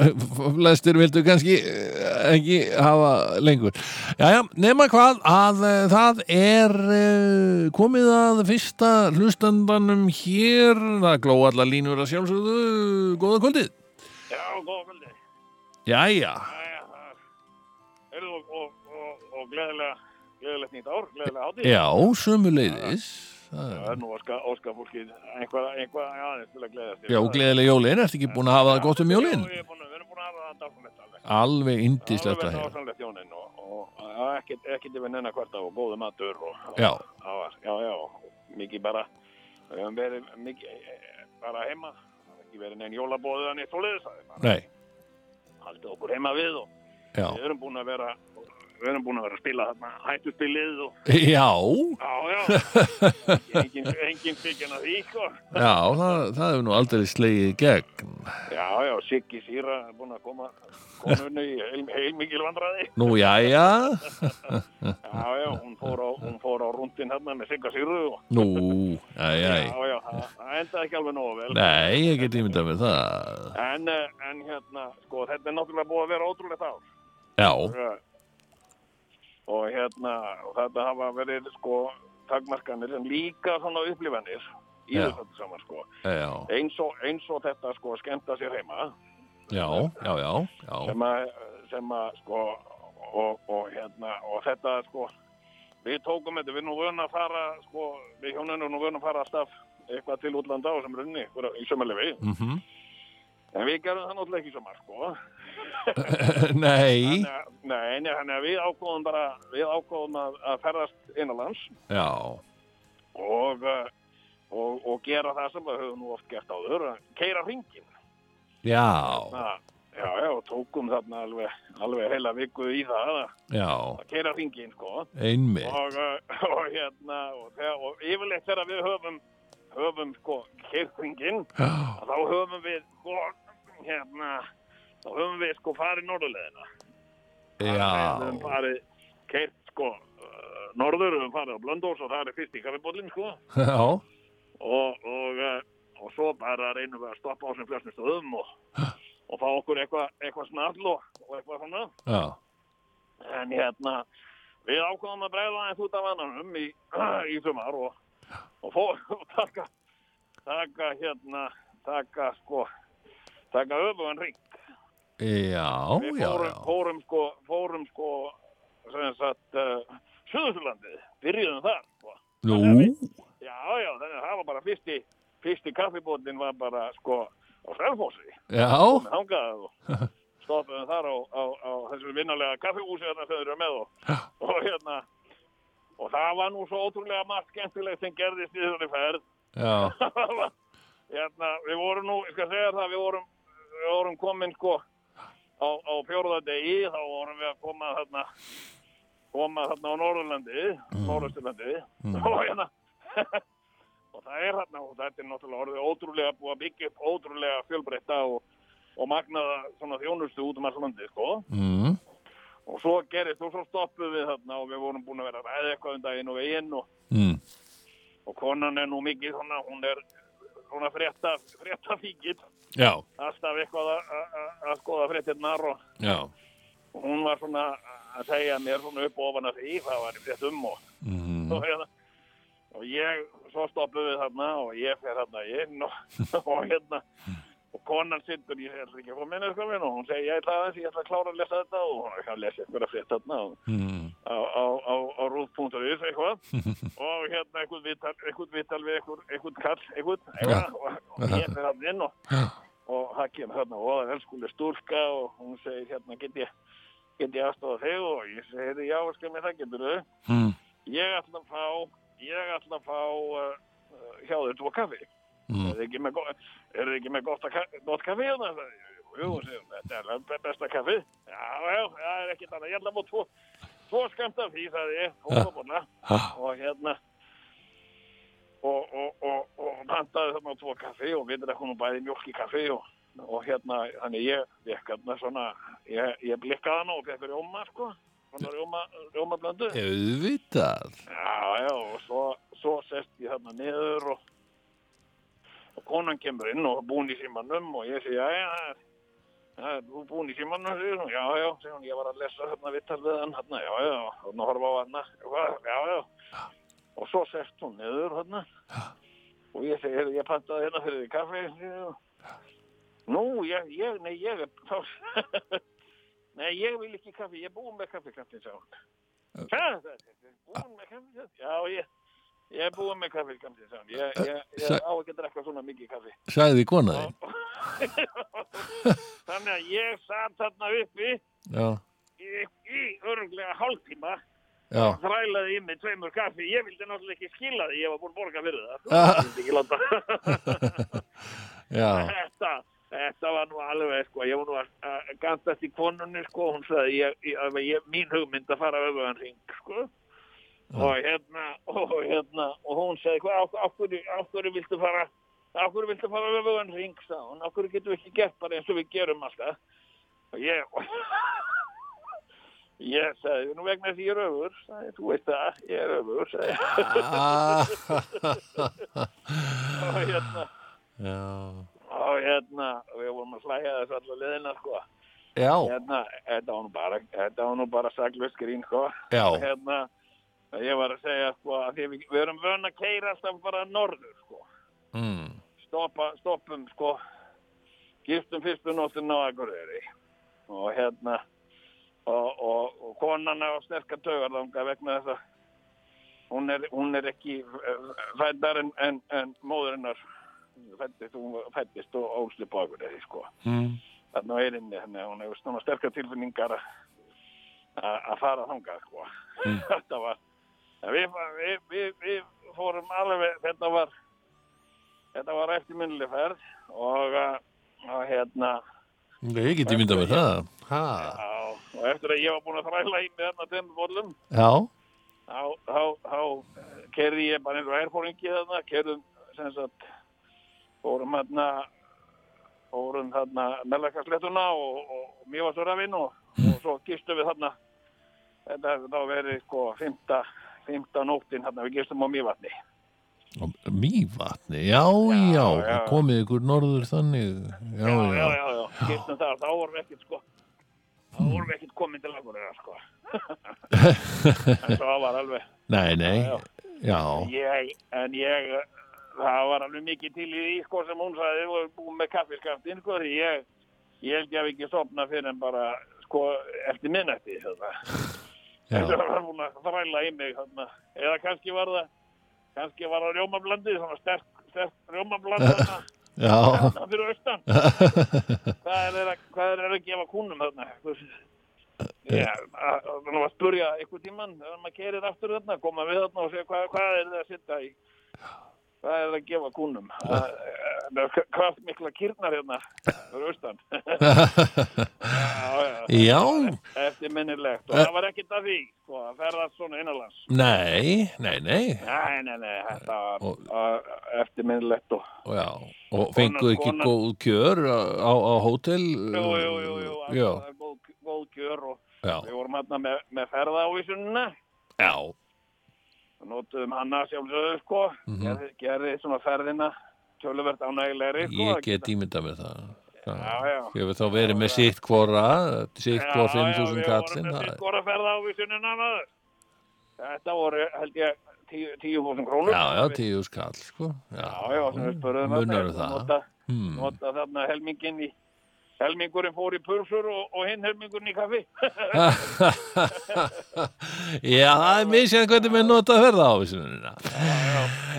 [LAUGHS] flestir vildu kannski uh, ekki hafa lengur. Jæja, nema hvað að uh, það er uh, komið að fyrsta hlustandanum hér, það glóa allar línur að sjálfsögðu, góða kvöldið. Já, góða kvöldi. Jæja, Jæja, það er- heyrðu og, og, og, og gleðilega gleðilegt nýtt ár, gleðilega hátíð. Já, sömu leiðis. Það er nú óska, óska fólkið einhvað, einhvað aðeins til að gleðast. Já, gleðilega jólin, ertu ekki búin að hafa það gott um jólin? Við erum búin að við erum búin að hafa það dásamlegt alveg. Alveg indislegt að Það var heyra. dásamlegt jónin og, og, og ekkert ekki til við nennar hvert á og góðu matur og, og Já, það var, já, já, mikið bara, við höfum verið mikið eh, bara heima, það hefur ekki verið neinn jólabóðið hann í svoleiðis, það er bara nei, haldið okkur heima við og já. [LAUGHS] við erum búin að vera, við erum búin að vera að spila þarna hættuspilið og Já, Já, já, engin, [LAUGHS] engin byggjana því, sko. já, það, það hefur nú aldrei slegið í gegn. Já, já, Siggi Sýra er búin að koma konunni í heil, heilmikil vandræði. Nú, jæja, Já, já, hún fór á, hún fór á rúndin hérna með Sigga Sýru og nú, jæja. já, já, það, það endaði ekki alveg nógu vel. Nei, ég get ímyndað mér það. En, eh, en hérna, sko, þetta er náttúrulega búið að vera ótrúlegt ár. Já, Eh, Og hérna, og þetta hafa verið, sko, takmarkanir en líka svona upplifanir í Já. þessu öllu saman, sko. já, Eins og, eins og þetta, sko, skemmta sér heima. já, já, já, já, sem að, sem að sko, og, og hérna og þetta sko við tókum þetta, við erum nú vöna að fara sko, við hjónunum erum nú vöna að fara alltaf eitthvað til útlanda á sem runni í sömulefi, mhm. [LAUGHS] en við gerum það náttúrulega ekki í sömar sko Nei, þannig að, nei, nei, þannig að við ákváðum bara við ákváðum að, að ferðast innanlands já, og, eh, og, og gera það sem við höfum nú oft gert áður keira ringin já, já, já, og tókum þarna alveg, alveg heila viku í það að, já, að keira ringin sko einmitt. og, uh, [LAUGHS] og hérna og, þegar, og yfirleitt þegar við höfum höfum sko kyrkringin Já, þá höfum við sko hérna þá höfum við sko farið norðurleðina við höfum já, farið keirt sko uh, norður höfum farið á Blöndós og það er fyrst í kaffibólinn sko já, og, og, uh, og svo bara reynum við að stoppa á sem flestum stöðum og, og fá okkur eitthvað eitthva snarl og, og eitthvað svona já, en hérna við ákváðum að bregða aðeins út af annanum [CLEARS THROAT] í, í sumar og, og, fó, og taka taka hérna taka sko taka öfugan ring já, við já, fórum, já. fórum Niin sko fórum sko sem sagt uh, Suðurlandið, byrjuðum þar sko. Nú, já já, þannig að það var bara fyrsti fyrsti kaffibótin var bara sko á Sælfósi, já, hangaði og stoppaðum þar á, á, á þessu vinnalega kaffihúsi þarna sem þeir eru með og og hérna og það var nú svo ótrúlega margt skemmtilegt sem gerðist í þessari ferð já, hérna, við vorum nú, ég skal segja það við vorum, við vorum komin sko á, á fjórða degi þá vorum við að koma þarna koma þarna á Norðurlandi mm. Norðurlandi [LAUGHS] og hérna og það er þarna og þetta er náttúrulega orðið ótrúlega búið að byggja upp ótrúlega fjölbreytta og, og magnaða svona þjónustu út um alls landi sko mm, og svo gerist og svo stoppuðum við þarna og við vorum búin að vera að ræða eitthvað um daginn og veginn og, mm, og konan er nú mikið svona, hún er svona frétta, frétta fíkill já, alltaf eitthvað að- að- að- að skoða fréttirnar og já, og hún var svona að segja mér svona upp og ofan að því hvað var í fréttum og, mm, og, hérna, og ég, svo stoppuðum við þarna og ég fer þarna inn og, [LAUGHS] og hérna og konan sittur, ég er ekki að fá minni sko minn og hún segir, ég ætla aðeins, ég ætla að klára að lesa þetta og hún er ekki að lesa eitthvað að frétta þarna og mm, á, á, á, á rúð.is eitthvað og hérna eitthvað vital, eitthvað vital við eitthvað, eitthvað kall eitthvað, eitthvað og, og ég fyrir hann inn og, og það kemur hérna og það er skuleg stúlka og hún segir hérna get ég, get ég aðstofa þig og ég segir já skal mér það getur þau mm, ég ætla að fá ég ætla að fá uh, uh, hjá þau tvo kaffi Mm. er þið ekki með, go- eru þið ekki með gott, að ka- gott kaffi hérna sagði ég. jú, jú, segir hún, þetta er be- besta kaffi já, já, það er ekkit annað ég ætla að fá tvo, tvo skammt af því sagði ég, og, svo búinna, og hérna og, og, og, og, og pantaði þarna tvo kaffi og við drekkum nú bæði mjólk í kaffi og, og hérna, þannig ég fekk hérna svona, ég, ég blikkaði hana og fekk rjóma, sko svona rjóma, rjóma blöndu auðvitað, Já, já, og svo, svo sest ég þarna niður og, og konan kemur inn og búin í símanum og ég segi, já, já, það er- það er þú búin í símanum, segir hún, já, já, segir hún, ég var að lesa þarna vittal við hann, þarna, já, já, þarna horfa á hana, eitthvað, já, já, og svo sest hún niður þarna og ég segi, heyrðu, ég pantaði hérna fyrir því kaffi, segir hún. nú, ég, ég, [LAUGHS] nei, ég er, þá, nei, ég vil ekki kaffi, ég er búin með kaffi, kaffi, sagði hún. Hvað? Búin með kaffi? Já, ég, ég er búin með kaffi, gamli, sagði hann. Ég, ég, ég Sa- á ekki að drekka svona mikið kaffi. sagði kona þín Þannig að ég satt þarna uppi já, í, í örglega hálftíma já, þrælaði í mig tveimur kaffi ég vildi náttúrulega ekki skila því, ég var búin að borga fyrir [LAUGHS] það Ah. ég vildi ekki láta [LAUGHS] já þetta, þetta var nú alveg sko, ég var nú að- að gandast í konunni sko, hún sagði ég, ég, alveg ég, mín hugmynd að fara öfugan hring sko og hérna og hérna, og hún sagði hvað, af- af hverju- af hverju viltu fara af hverju viltu fara öfugan hring sagði hún, af hverju getum við ekki gert bara eins og við gerum alltaf og ég [LAUGHS] ég sagði, nú vegna þess að ég er öfur sagði, þú veist það, ég er öfur sagði, Ah, [LAUGHS] og hérna já, og hérna, við vorum að slæja þessu allar leðina sko já, hérna, þetta var nú bara, þetta var nú bara saklaus grín, sko. já, Hérna, ég var að segja, sko, að því við, við erum vön að keira alltaf bara norður, sko. mm, Stoppa, stoppum, sko, gistum fyrstu nóttin á Akureyri. Og hérna, og, og, og konan á sterka taugar þanga vegna þess að hún er, hún er ekki eh, fæddar en, en, en móðurinnar fæddist, hún fæddist og ólst upp á Akureyri, sko mm, þarna á eirinni þannig að hún hefur svona sterkar tilfinningar að- að að fara þangað sko. [LAUGHS] þetta var en við, við, við, við fórum alveg þetta var þetta var eftirminnileg ferð og, að- og hérna ég geti myndað með um það ha, á, og eftir að ég var búin að þræla í með þarna tveim bollum já, þá, þá, þá kerði ég bara eins og erfóringi þarna kerðum sem sagt fórum hérna fórum þarna mellakarslettuna og, og, og mér var svo rafinn og, og svo gistum við þarna þetta hefur þá verið sko fymta, fymta nóttin þarna við gistum á mývatni og mývatni já, já, já. komið ykkur norður þannig, já, já, Hmm. já, já, gistum þar, þá vorum við ekkert sko þá vorum við ekkert komin til [LAUGHS] aðgurðar sko en svo var alveg nei, nei Já, já, ég, en ég eh, það var alveg mikið til í því sko sem hún sagði og búið með kaffiskaftin sko því ég, ég held ég hef ekki sopna fyrir en bara sko eftir minnætti þetta já, [LAUGHS] Þetta var hún að þræla í mig þarna. eða kannski var það kannski var það rjómablandi svona sterk, sterk [LAUGHS] rjómablandi þarna já fyrir austan hvað er þeir að, hvað er þeir að gefa kúnum þarna Já, þannig að spurja einhver tíman þegar maður kerir aftur þarna, koma við þarna og segja hvað, hvað er það að sitta í hvað er það að gefa kúnum Það- það er kraft mikla kýrnar hérna fyrir austan Já, já, já, eftir minnilegt og það var ekkert að því, sko, að ferðast svona innanlands nei, nei, nei Nei, nei, nei, þetta Og- var eftir minnilegt og og já, og fenguð ekki konan- góð kjör á, á, á hótel Jú, jú, jú, jú, já, það er góð, góð kjör og já, við vorum hérna með, með ferðaávísunina já, og notuðum hana sjálfsögðu sko Mhm. gerði, gerði svona ferðina töluvert ánægilegri sko ég að get geta- ímyndað með það Já, já. ég hef þá verið með sitt hvora sitt Já, hvora já, 5.000 við kallin vorum með það- skora ferðaávísunina maður þetta voru held ég 10 10.000 krónur já, já, 10.000 kall sko. já, já, sem við spurðum munar um þarna, það nota, hmm. nota þarna helmingin í helmingurinn fór í pulsur og, og hinn helmingurinn í kaffi [LAUGHS] já, það er misjæðan hvernig með nota að verða á vissununa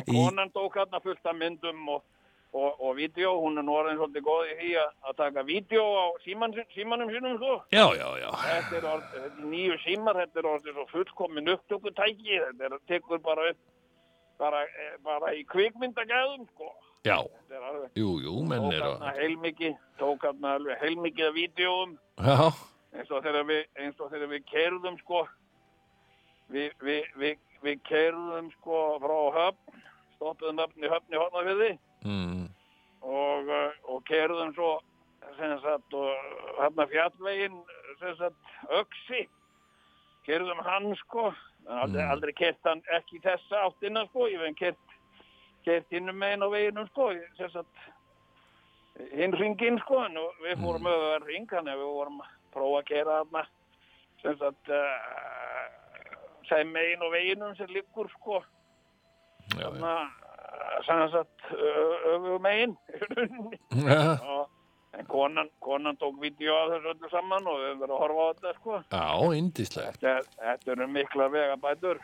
Í- konan tók hérna fullt af myndum og, og, og vídeo, hún er nú orðin svolítið góð í því að- að taka vídeo á síman, símanum sínum svo já, já, já, þetta er, orð, þetta er nýju símar, þetta er orðið svo fullkomin upptökutæki, þetta er, tekur bara upp bara, eh, bara í kvikmyndagæðum sko. já Þetta er alveg- jú, jú, menn tók er hérna heilmikið tók hérna alveg heilmikið af vídeoum já, eins og þegar við, eins og þegar við kerðum sko við, við, við, við kerðum sko frá höfn stoppuðum höfn í höfn í hornafyrði mm. [LAUGHS] og, uh, og kerðum svo sem sagt og hérna fjallvegin sem sagt öksi kerðum hann sko en aldrei, Mm. aldrei kert hann ekki í þessa áttina sko ég veginn kert kert hinnum megin á veginum sko sem sagt hinn ringin sko en við fórum mm. öðvöðan ring þannig að við vorum að prófa að kera þarna sem sagt uh, sem megin á veginum sem liggur sko eh, já, já. [LAUGHS] þarna sem sagt öfum megin já, og, En konan, konan tók vídeo að þessu öllu saman og við höfum verið að horfa á þetta sko. Já, indislegt. Þetta, þetta eru miklar vegabætur.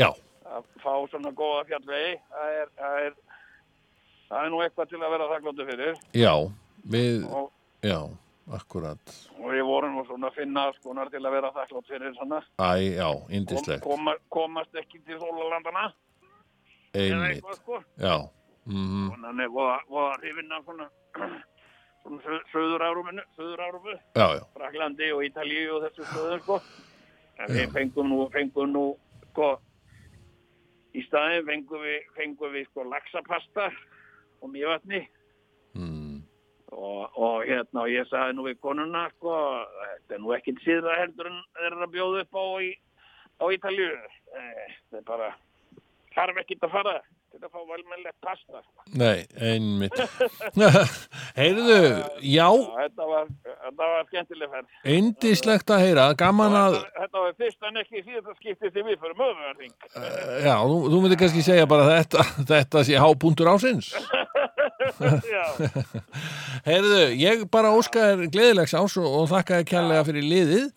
Já, Að fá svona góða fjallvegi, það er, það er, það er nú eitthvað til að vera þakkláttu fyrir. já, við, Og, já, akkurat. og við vorum nú svona að finna alls konar til að vera þakklátt fyrir svona. Æ, já, Kom, indislegt. koma, komast ekki til Hólalandana. Einmitt, sko. já. mhm, Konan er voða, voða hrifin af svona, [CLEARS THROAT] svona söður áruminu, söður árumu. Já, já, Fraklandi og Ítalíu og þessu stöðu sko. en við fengum nú, fengum nú sko, í staðin fengum við, fengum við sko, laxapasta og mjövatni mm, og, og hérna og ég sagði nú við konuna sko, þetta er nú ekkit síðra heldur en þeir eru að bjóða upp á, í, á Ítalíu Eh, þetta er bara þarf ekkit að fara til að fá velmennilegt pasta sko. nei, [LAUGHS] einmitt. [LAUGHS] Heyrðu, já, Og þetta var, þetta var skemmtileg ferð indislegt að heyra, gaman að, þetta, þetta var fyrst en ekki síðan skiptið sem við fyrir möðuverðing já, þú, þú myndir kannski segja bara að þetta, [LAUGHS] þetta sé hápuntur ásins. Já, Heyrðu, ég bara óska þér gleðilegs ás og, og þakka þér kærlega fyrir liðið.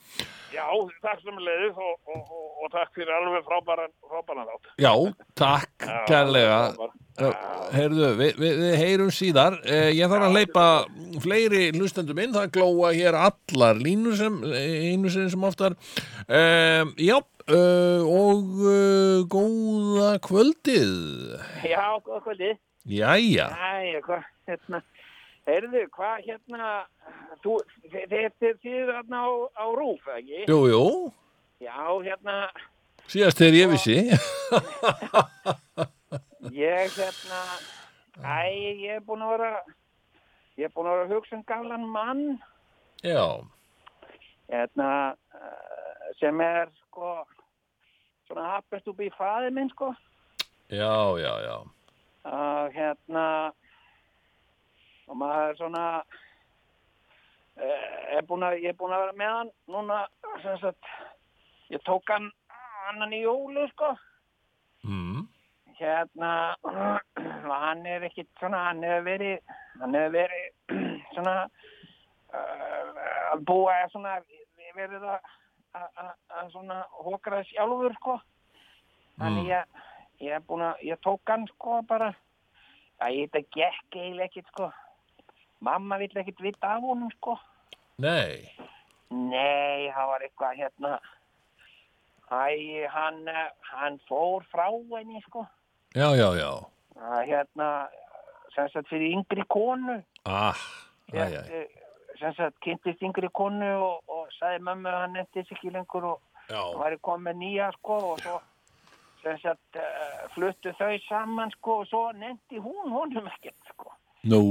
já, takk sem leiðis og, og, og, og takk fyrir alveg frábæran, frábæran átt. Já, takk kærlega. Heyrðu, við, við, við heyrum síðar. Eh, Ég þarf að hleypa fleiri hlustendum inn, það glóa hér allar línur sem, einu sinni sem oftar. Um, já, uh, og uh, góða kvöldið. Já, góða kvöldi. Jæja, Æ, hvað, hérna, heyrðu, hvað, hérna, þú, þe- þetta er þið hérna á, á rúf, eða ekki? jú, jú, Já, hérna, síðast þegar ég vissi. ég, hérna, æ, ég er búin að vera, ég er búin að vera að hugsa um gamlan mann, Já, hérna, eh, sem er, sko, svona happens to be faðið minn, sko. já, já, já. og hérna og maður er svona eh, er búin að, ég er búin að vera með hann núna sem sagt ég tók hann annan í jólu sko Mm. hérna [CLEARS THROAT] og hann er ekkit svona hann hefur verið hann hefur verið [CLEARS THROAT] svona eh, að búa er svona verið að að- að að svona hókra sjálfur sko þannig ég, ég er búin að ég tók hann sko bara að ég þetta gekk eiginlega ekkit sko mamma vill ekkit vita af honum sko Nei, Nei, það var eitthvað hérna Æ, hann, eh, hann fór frá henni sko já, já, já. að hérna sem sagt fyrir yngri konu Ah, æj, æj, Ég, eh, sem sagt kynntist yngri konu og, og sagði mömmu að hann eftir sig ekki lengur og já. var komið með nýja sko og svo sem sagt uh, fluttu þau saman sko og svo nefndi hún honum ekkert sko Nú,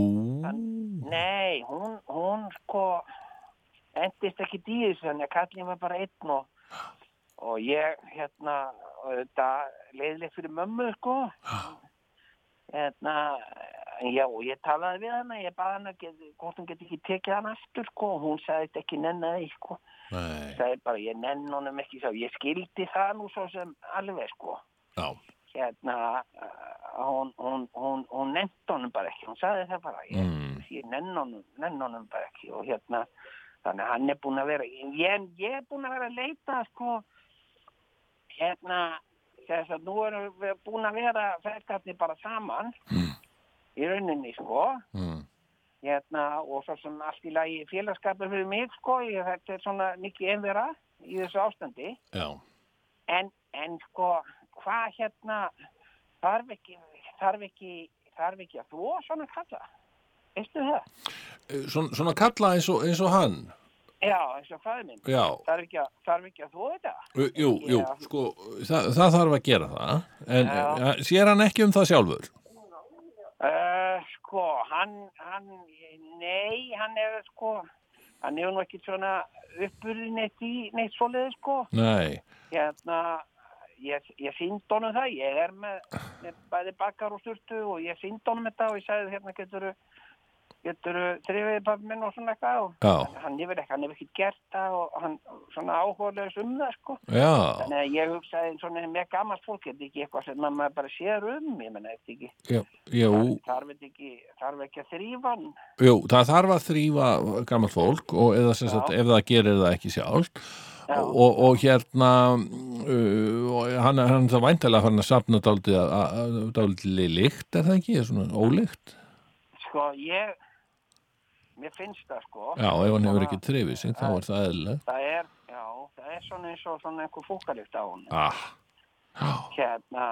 nei, hún, hún sko endist ekki dýðis þannig að kallið var bara einn og og ég hérna og þetta leiðilegt fyrir mömmu sko hérna já, og ég talaði við hana ég baði hana, get, hvort hún geti ekki tekið hana aftur sko, og hún sagði þetta ekki nennaði sko, nei, sagði bara ég nenn honum ekki sá, ég skildi það nú svo sem alveg sko já, hérna uh, hún, hún, hún, hún nennt honum bara ekki hún sagði það bara ég, Mm. ég nenn, honum, nenn honum bara ekki og hérna þannig að hann er búin að vera ég, ég er búin að vera að leita sko hérna þess að nú erum við búin að vera feðgarnir bara saman í rauninni sko mm. hérna og svo sem allt í lagi félagskapur fyrir mig sko ég, þetta er svona mikið einvera í þessu ástandi já. en, en sko hvað hérna þarf ekki þarf ekki, þarf ekki að þvó svona kalla veistu það? Svona, svona kalla eins og, eins og hann Já, eins og fæði minn Já, þarf ekki að, þarf ekki að þvó þetta jú, jú, jú Já. sko, það, það þarf að gera það en Já. eh, sér hann ekki um það sjálfur uh, sko hann, hann nei, hann er sko hann hefur nú ekki svona uppurðin eitt í neitt svoleiði sko Nei, hérna ég, ég sínd honum það, ég er með, með bæði bakar og sturtu og ég sínd honum þetta og ég sagði hérna getur getur þrifiði pappi minn og svona eitthvað og Já. hann yfir eitthvað, hann hefur ekkert gert það og hann svona áhugaðlega um það sko Já, þannig að ég hugsaði svona með gamalt fólk er þetta ekki eitthvað sem að maður bara sér um ég menna þetta ekki, já, jú, þarf þetta ekki þarf ekki að þrýfa hann jú, það þarf að þrýfa gammal fólk og eða sem sagt Já. ef það gerir það ekki sjálf Já. og, og hérna uh, og hann, hann það væntalega farin að safna dálítið að- að- að- dálítið líkt er það ekki, er svona ólikt sko ég mér finnst það sko Já, ef hann hefur ekki þrifið sig þá er það eðlilegt það er, já, það er svona eins og svona einhver fúkalikt á hún ah. hérna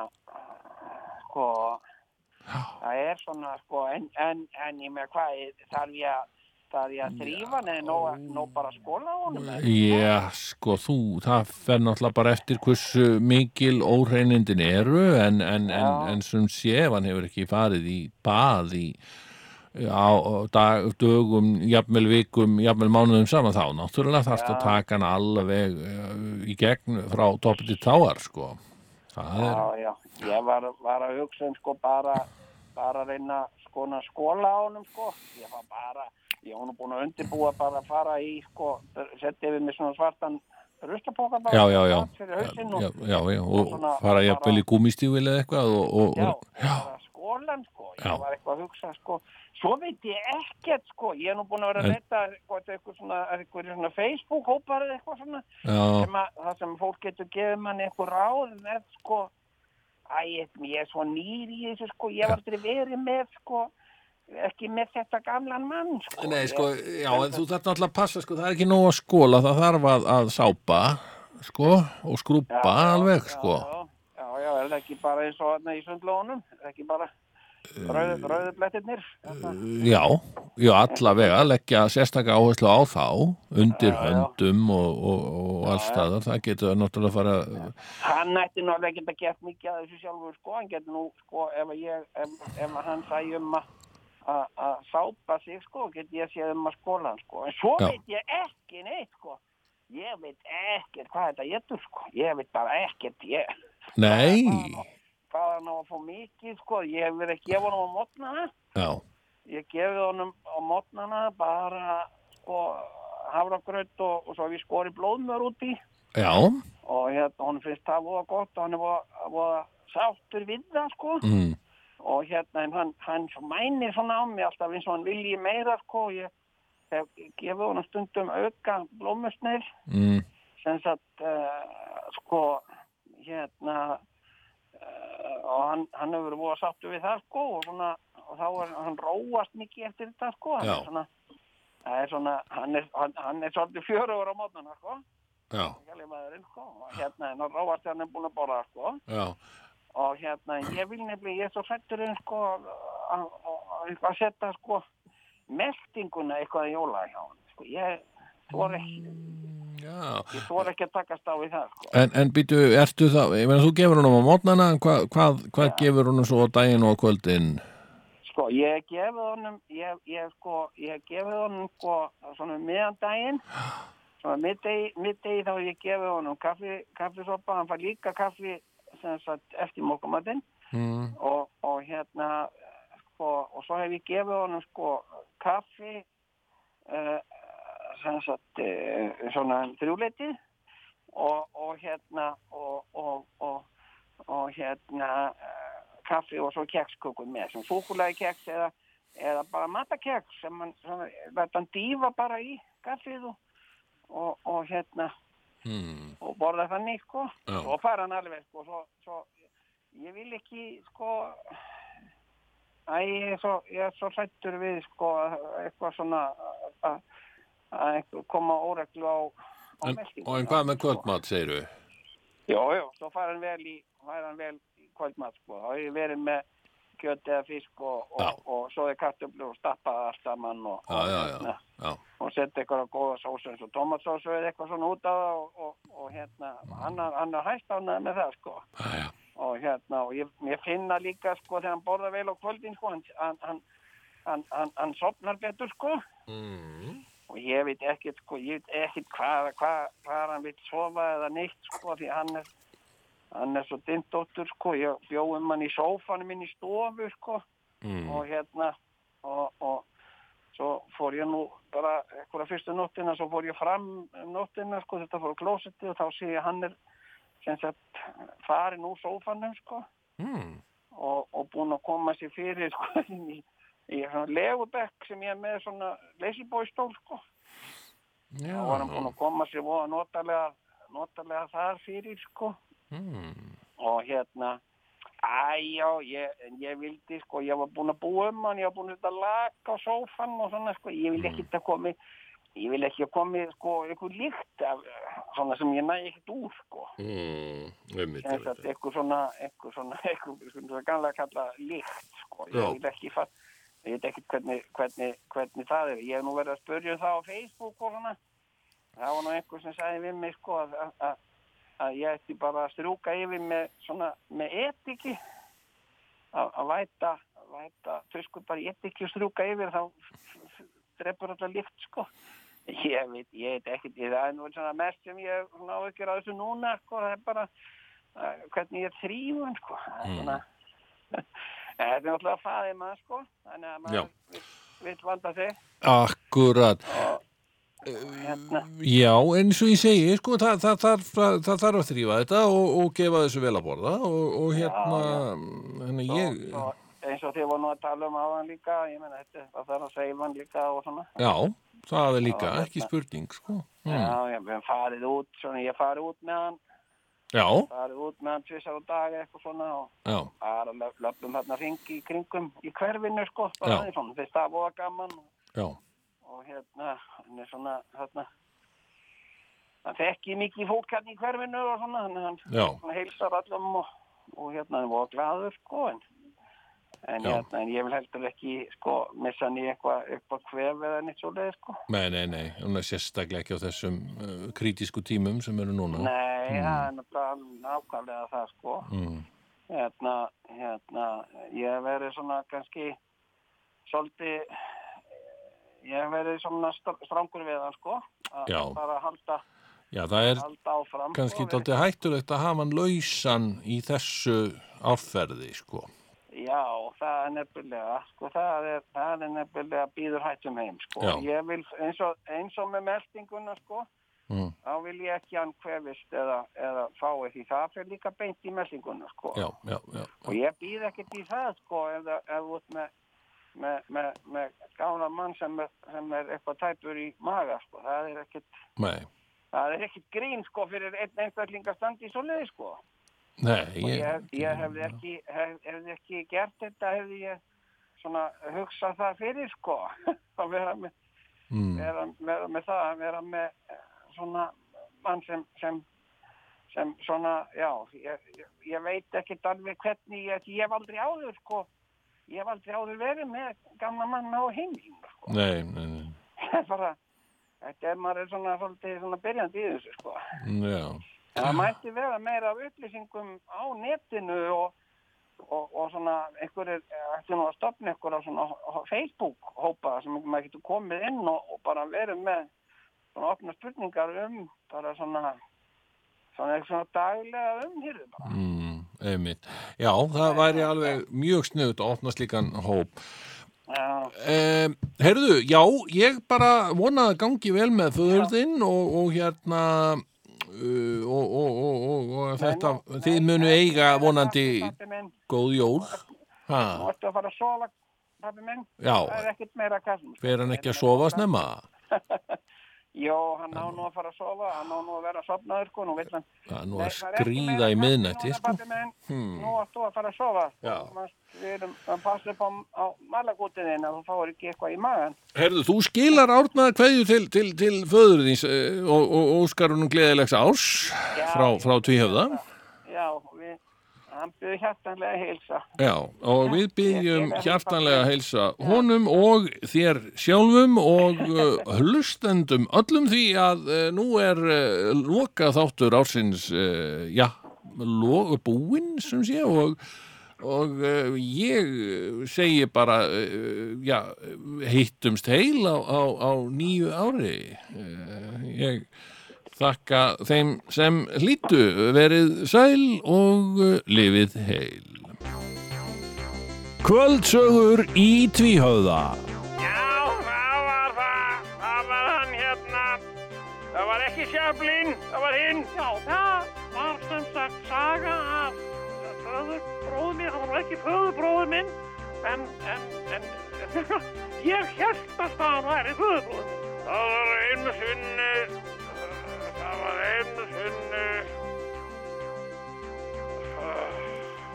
sko það er svona sko en, en, en ég með hvað ég- þarf ég að þarf ég að þrýfa hann eða nóg, nóg bara að skóla á honum eða? Já, sko, þú, það fer náttúrulega bara eftir hversu mikil óhreinindin eru en, en, en, Já. en sem sé ef hann hefur ekki farið í bað í á á dag, dögum, jafnvel vikum, jafnvel mánuðum saman þá náttúrulega þarfst að taka hann alveg eh, í gegn frá toppi til táar sko það er, já, já, ég var, var að hugsa um sko bara bara að reyna sko að skóla á honum sko ég var bara, ég var nú búin að undirbúa bara að fara í sko setja yfir mig svona svartan rustapoka bara já, já, já fyrir hausinn já, og já, já, og svona fara bara- jafnvel í gúmistífil eða eitthvað og, og, Já, og bara skólan sko, ég Já. var eitthvað að hugsa sko, svo veit ég ekkert sko, ég er nú búin að vera að En- leta eitthvað, eitthvað svona, eitthvað svona Facebook-hópar eða eitthvað svona, já, sem að, það sem fólk getur gefið manni eitthvað ráð með sko, æ, ég er svo nýr í þessu sko, ég var aldrei verið með sko, ekki með þetta gamlan mann sko. Nei, sko, Ég- já, en þú þarf náttúrulega að passa, sko, það er ekki nóg að skóla, það þarf að, að sápa, sko, og skrúpa alveg, sko. Já, já, já, er það ekki bara eins og þarna í sundlónum, er það ekki bara Eh, rauðu, rauðu blettirnir, þetta. Já, já, allavega, leggja sérstaka áherslu á þá, undir höndum og, og, og allstæðar, það getur náttúrulega að fara, Hann ætti nú alveg ekki að geta mikið að þessu sjálfur sko, hann getur nú sko ef að ég, ef, ef að hann sæði um að að- að sápa sig sko get ég séð um að skóla hann sko en svo Já. veit ég ekki neitt sko ég veit ekkert hvað þetta getur sko ég veit bara ekkert ég, nei, hvað hann á að fá mikið sko ég hef verið að gefa honum á mótnana já, ég gefið honum á mótnana bara sko hafragraut og, og svo hef ég skori blóðmör út í já, og hérna, hún finnst það voða gott og hann er voða, voða sáttur við það sko mm, og hérna en hann, hann svo mænir svona á mig alltaf eins og hann vilji meira sko og ég hef gefið honum stundum auka blómusnir mm, sem sagt uh, sko hérna uh, og hann, hann hefur voða sáttur við það sko og svona og þá er hann róast mikið eftir þetta sko hann Já. er svona, það er svona hann er, hann, hann er svolítið fjörugur á mótnana sko já, Kjali maðurinn, sko, og hérna, en að ráast hann er búin að borða, sko, já, og hérna, ég vil nefnilega, ég er svo hrætturinn, sko, að- að að- að setja, sko, meldinguna eitthvað í jóla hjá hann, sko, ég þor ekki, Mm, já. ég þor ekki að takast á við það, sko. En, en býtu, ertu það, ég meina, þú gefur honum á mótnana, hvað, hvað, hvað gefur honum svo á daginn og á kvöldin? Sko, ég hef gefið honum, ég, ég, sko, ég hef gefið honum, sko, svona meðan daginn, svona middegi, middegi þá hef ég gefið honum kaffi, kaffisopa, hann fær líka kaffi, sem sagt, eftir mókumatinn Mm, og, og hérna sko, og svo hef ég gefið honum sko kaffi uh, sem sagt uh, svona þrjúleitið og, og hérna og, og, og, og hérna uh, kaffi og svo kekskökum með sem súkulagi keks eða, eða bara matakeks sem hann, svona, þetta hann dýfa bara í kaffið og, og, og hérna mm, og borða þannig sko Já. og fara hann alveg sko svo, svo, ég vil ekki sko æ, ég er svo, ég er svo sættur við sko eitthvað svona að- að einhver koma óreglu á, á en, meltinguna, og en hvað með sko. kvöldmat, segirðu? Jó, jó, svo fær hann vel í, fær hann vel í kvöldmat, sko. Þá er ég verið með kjöt eða fisk og, og, Já. og, svo er kartöflu og stappaði allt saman og, Já, já, já, hérna, já. og setja eitthvað góða sósu eins og tomatsósu eða eitthvað svona út á það og, og, og hérna, hann, er- hann er hægt ánæði með það, sko. Æja. Og hérna, og ég, ég finna líka, sko, þegar hann borða vel á kvöldin, sko, hann, hann, hann, hann, hann, hann sopnar betur, sko. Og ég veit ekkert, sko, ég veit ekkert hvað, hvað, hvað hann vil sofa eða neitt, sko, því hann er, hann er svo dindóttur, sko, ég bjóðum hann í sófanum minn í stofu, sko, og hérna, og, og, svo fór ég nú bara ekkur að fyrstu nóttina, svo fór ég fram um nóttina, sko, þetta fór á klósetti og þá sé ég hann er sem sagt farin úr sófanum, sko Mm. og, og búin að koma sér fyrir, sko, [LAUGHS] inn í, í svona legubekk sem ég er með svona leysibóistól, sko Já, þá var hann búin að koma sér voða notalega, notalega þar fyrir, sko mm. og hérna æjá, ég, en ég vildi sko, ég var búin að búa um hann ég var búin að setja lak á sófan og svona sko, ég vil ekki að komi ég vil ekki að komi sko, einhver líkt af, svona sem ég næ ekkert úr sko, Mm. Einmitt, eins einmitt. að einhver svona einhver svona, [LAUGHS] einhver svona, svona ganlega kalla líkt sko, ég Já. vil ekki fatt ég veit ekki hvernig, hvernig, hvernig það er ég hef nú verið að spurja um það á Facebook og svona það var nú einhver sem sagði við mig sko að, að- að, að ég ætti bara að strjúka yfir með svona með etiki að, að væta, væta þau sko bara etiki og strjúka yfir þá f- f- f- drepur alltaf líkt sko ég veit, ég veit ekkert ég, það er nú svona mest sem ég ná ekki á þessu núna sko það er bara að, hvernig ég þrýf hann sko Það Mm. er svona [LAUGHS] En þetta er náttúrulega fæðið maður sko, þannig að Já. maður vill- vill vanda sig. Akkurat. Hérna. Já, eins og ég segi, sko, það, það, það, það, það þarf að þrýfa þetta og, og gefa þessu vel að borða og, og hérna, henni ég, Svo, eins og þið voru nú að tala um áðan líka, ég menna þetta, það þarf að seifa hann líka og svona. já, það er líka, Já, ekki hérna. spurning, sko. Mm. Já, ég hef farið út, svona ég farið út með hann, Já, farið út með hann tvisar á dag eitthvað svona og já, bara löp- löpum hérna hringi í kringum í hverfinu sko, bara Já. aðeins svona, fyrst það voru gaman og, já, og hérna, hann er svona, hérna, hann þekki mikið fólk hérna í hverfinu og svona, þannig að hann já, hann heilsar allum og, og hérna hann var glaður sko en, en, Já. hérna, en ég vil heldur ekki sko missa hann í eitthvað upp á kvef eða nýtt svo leið sko nei, nei, nei, hún er sérstaklega ekki á þessum uh, krítísku tímum sem eru núna. nei, það er náttúrulega alveg nákvæmlega það sko Mm. hérna, hérna ég hef verið svona kannski svolítið ég hef verið svona str- strangur við hann sko að Já. bara halda, Já, það er halda áfram kannski sko, dálítið hættulegt að hafa hann lausan í þessu árferði, sko. Já, það er nefnilega, sko, það er, það er nefnilega býður hættum heim, sko. Já. Ég vil, eins og, eins og með meldinguna, sko, Mm. þá vil ég ekki hann kvefist eða, eða fái því það fyrir líka beint í meldinguna, sko. Já, já, já, Og ég býð ekkert í það, sko, ef það- ef þú ert með, með, með, með gána mann sem er, sem er eitthvað tæpur í maga, sko. Það er ekkert, nei, það er ekkert grín, sko, fyrir einn einstaklinga standi í svo sko. nei, Og ég, ég, ég hefði ekki, hef, hefði ekki gert þetta, hefði ég svona hugsað það fyrir sko [LAUGHS] að vera með, mm. vera, vera með það, að vera með eh, svona mann sem, sem, sem svona, já, ég, ég- ég veit ekki alveg hvernig, ég, ég hef aldrei áður sko, ég hef aldrei áður verið með gamla mann á heimilinu [LAUGHS] sko, nei, nei, nei. það er bara, þetta er maður er svona, svolítið svona byrjandi í þessu sko. Já, En það mætti vera meira af upplýsingum á netinu og, og, og svona einhverjir, ætti nú að stopna einhverja svona ho- Facebook-hópa sem maður getur komið inn og, og bara verið með svona opna spurningar um bara svona svona eitthvað svona daglega umhyrðu bara. mm, einmitt. Já, það væri alveg mjög snuðt að opna slíkan hóp. Já, Um, herðu, já, ég bara vona að gangi vel með föðurðinn og, og hérna uh, og, og, og, og, og þetta, Nei, nú- þið nei, munu nei, eiga nei, vonandi pabbi minn, góð jól. Ha, Nú ertu að fara að sofa, pappi minn. Já. Það er ekkert meira kassum. fer hann ekki að sofa snemma? Jó, hann á nú að fara að sofa, hann á nú að vera að sopnaður, sko, nú vill hann Það er nú Nei, að það er ekki meira skrýða í kaffi miðnætti, núna, sko. pabbi minn. Nú átt þú að fara að sofa. Já. Manst, Við erum að passa upp á, á malagútið þinn að þú fáir ekki eitthvað í magan. Herðu, þú skilar árnaða kveðju til, til, til föður þins eh, og, og, og óskarunum gleðilegs árs Já, frá, ég- frá tvíhöfða. Já, við, hann byrði hjartanlega að heilsa. Já, og við byggjum ég- ég- hjartanlega að heilsa honum og þér sjálfum og eh, hlustendum öllum því að eh, nú er eh, loka þáttur ársins, eh, já, lo- búinn sem sé og og uh, ég segi bara uh, já, hittumst heil á, á, á nýju ári uh, ég þakka þeim sem hlýttu verið sæl og uh, lifið heil Kvöldsögur í tvíhöða Já, það hérna. Chaplin, það var hinn. Já, það var sem sagt saga af föðurbróðu minn, það var nú ekki föðurbróðu minn, en, en, en, [LAUGHS] ég held að hann væri föðurbróðu minn. Það var einu sinni, það var einu sinni,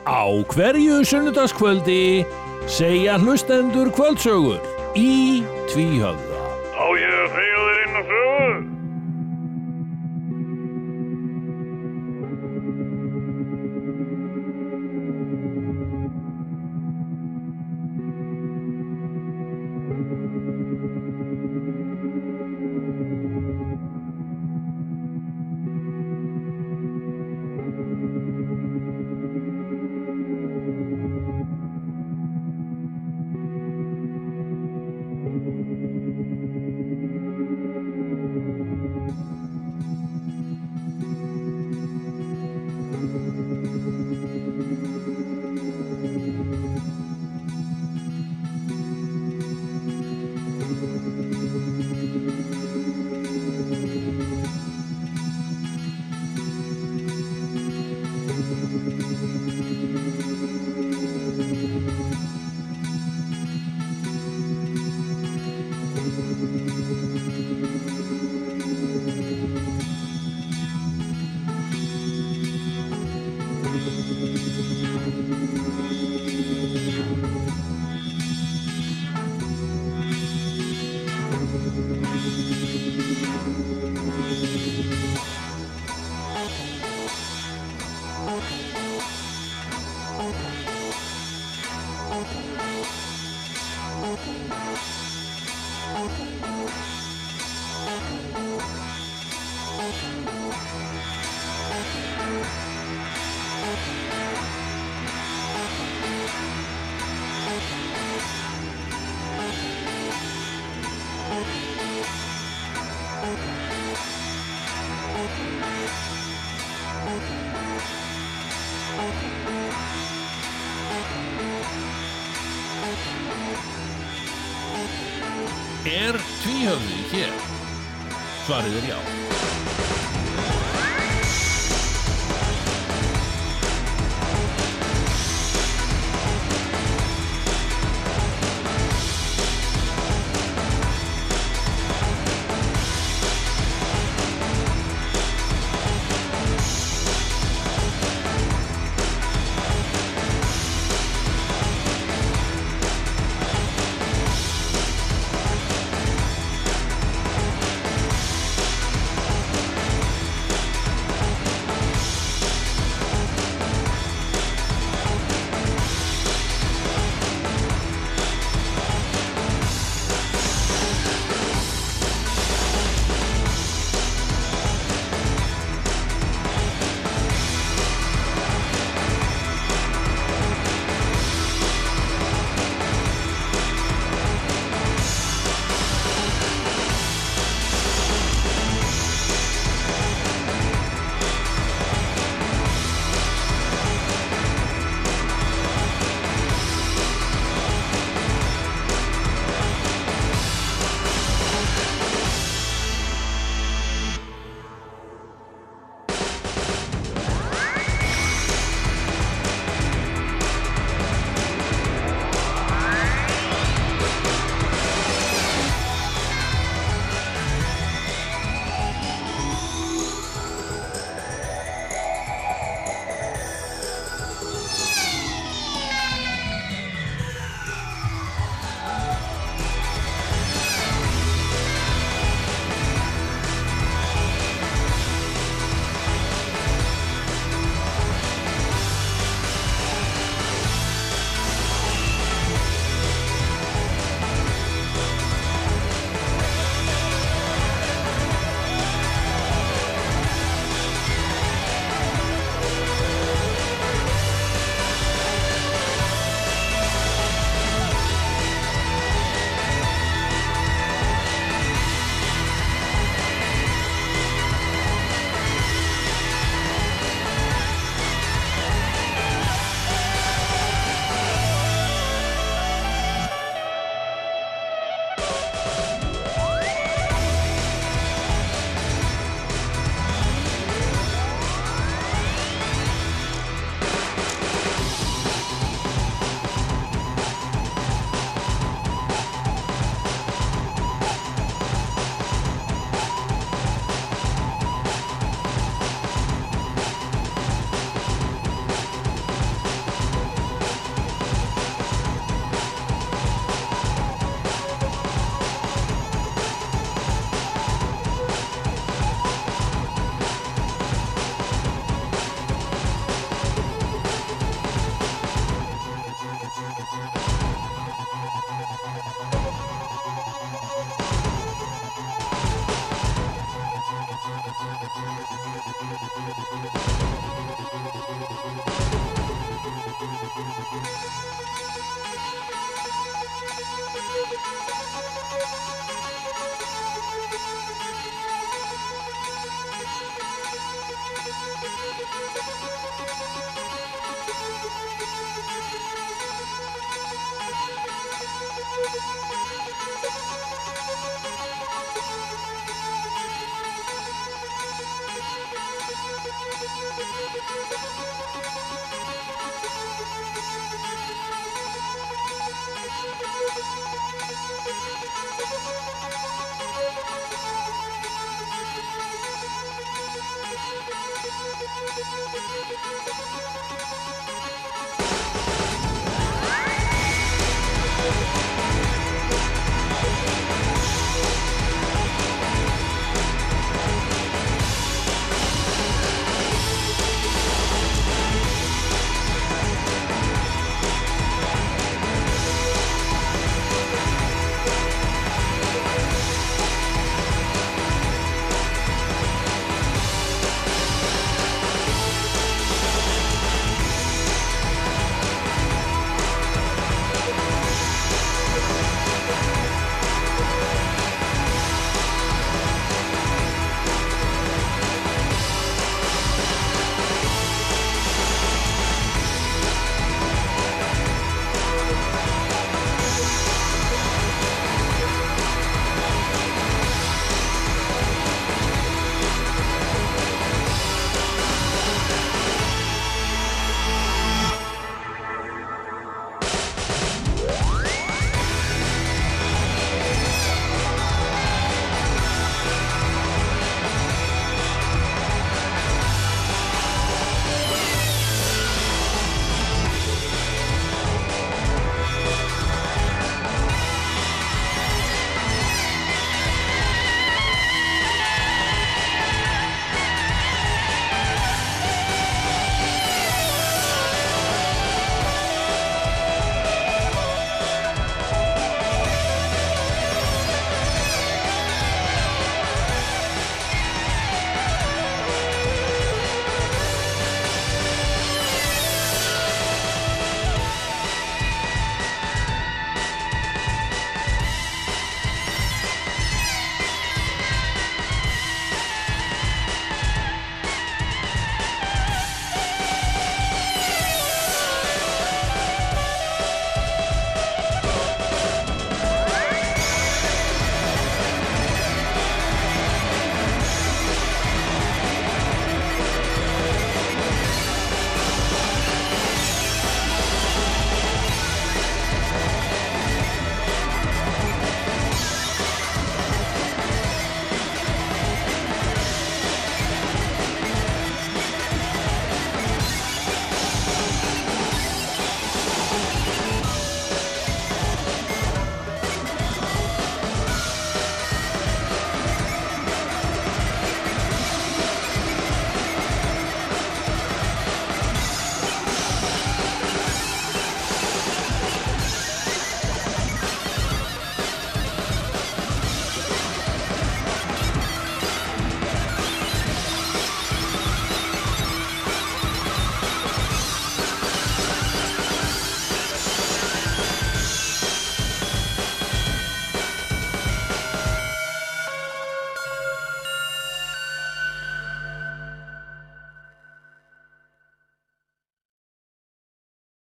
Á hverju sunnudagskvöldi segja hlustendur kvöldsögur í tvíhöfða. á ég að segja þér einu sögur. Er tvíhöfði hér? Svarið er já.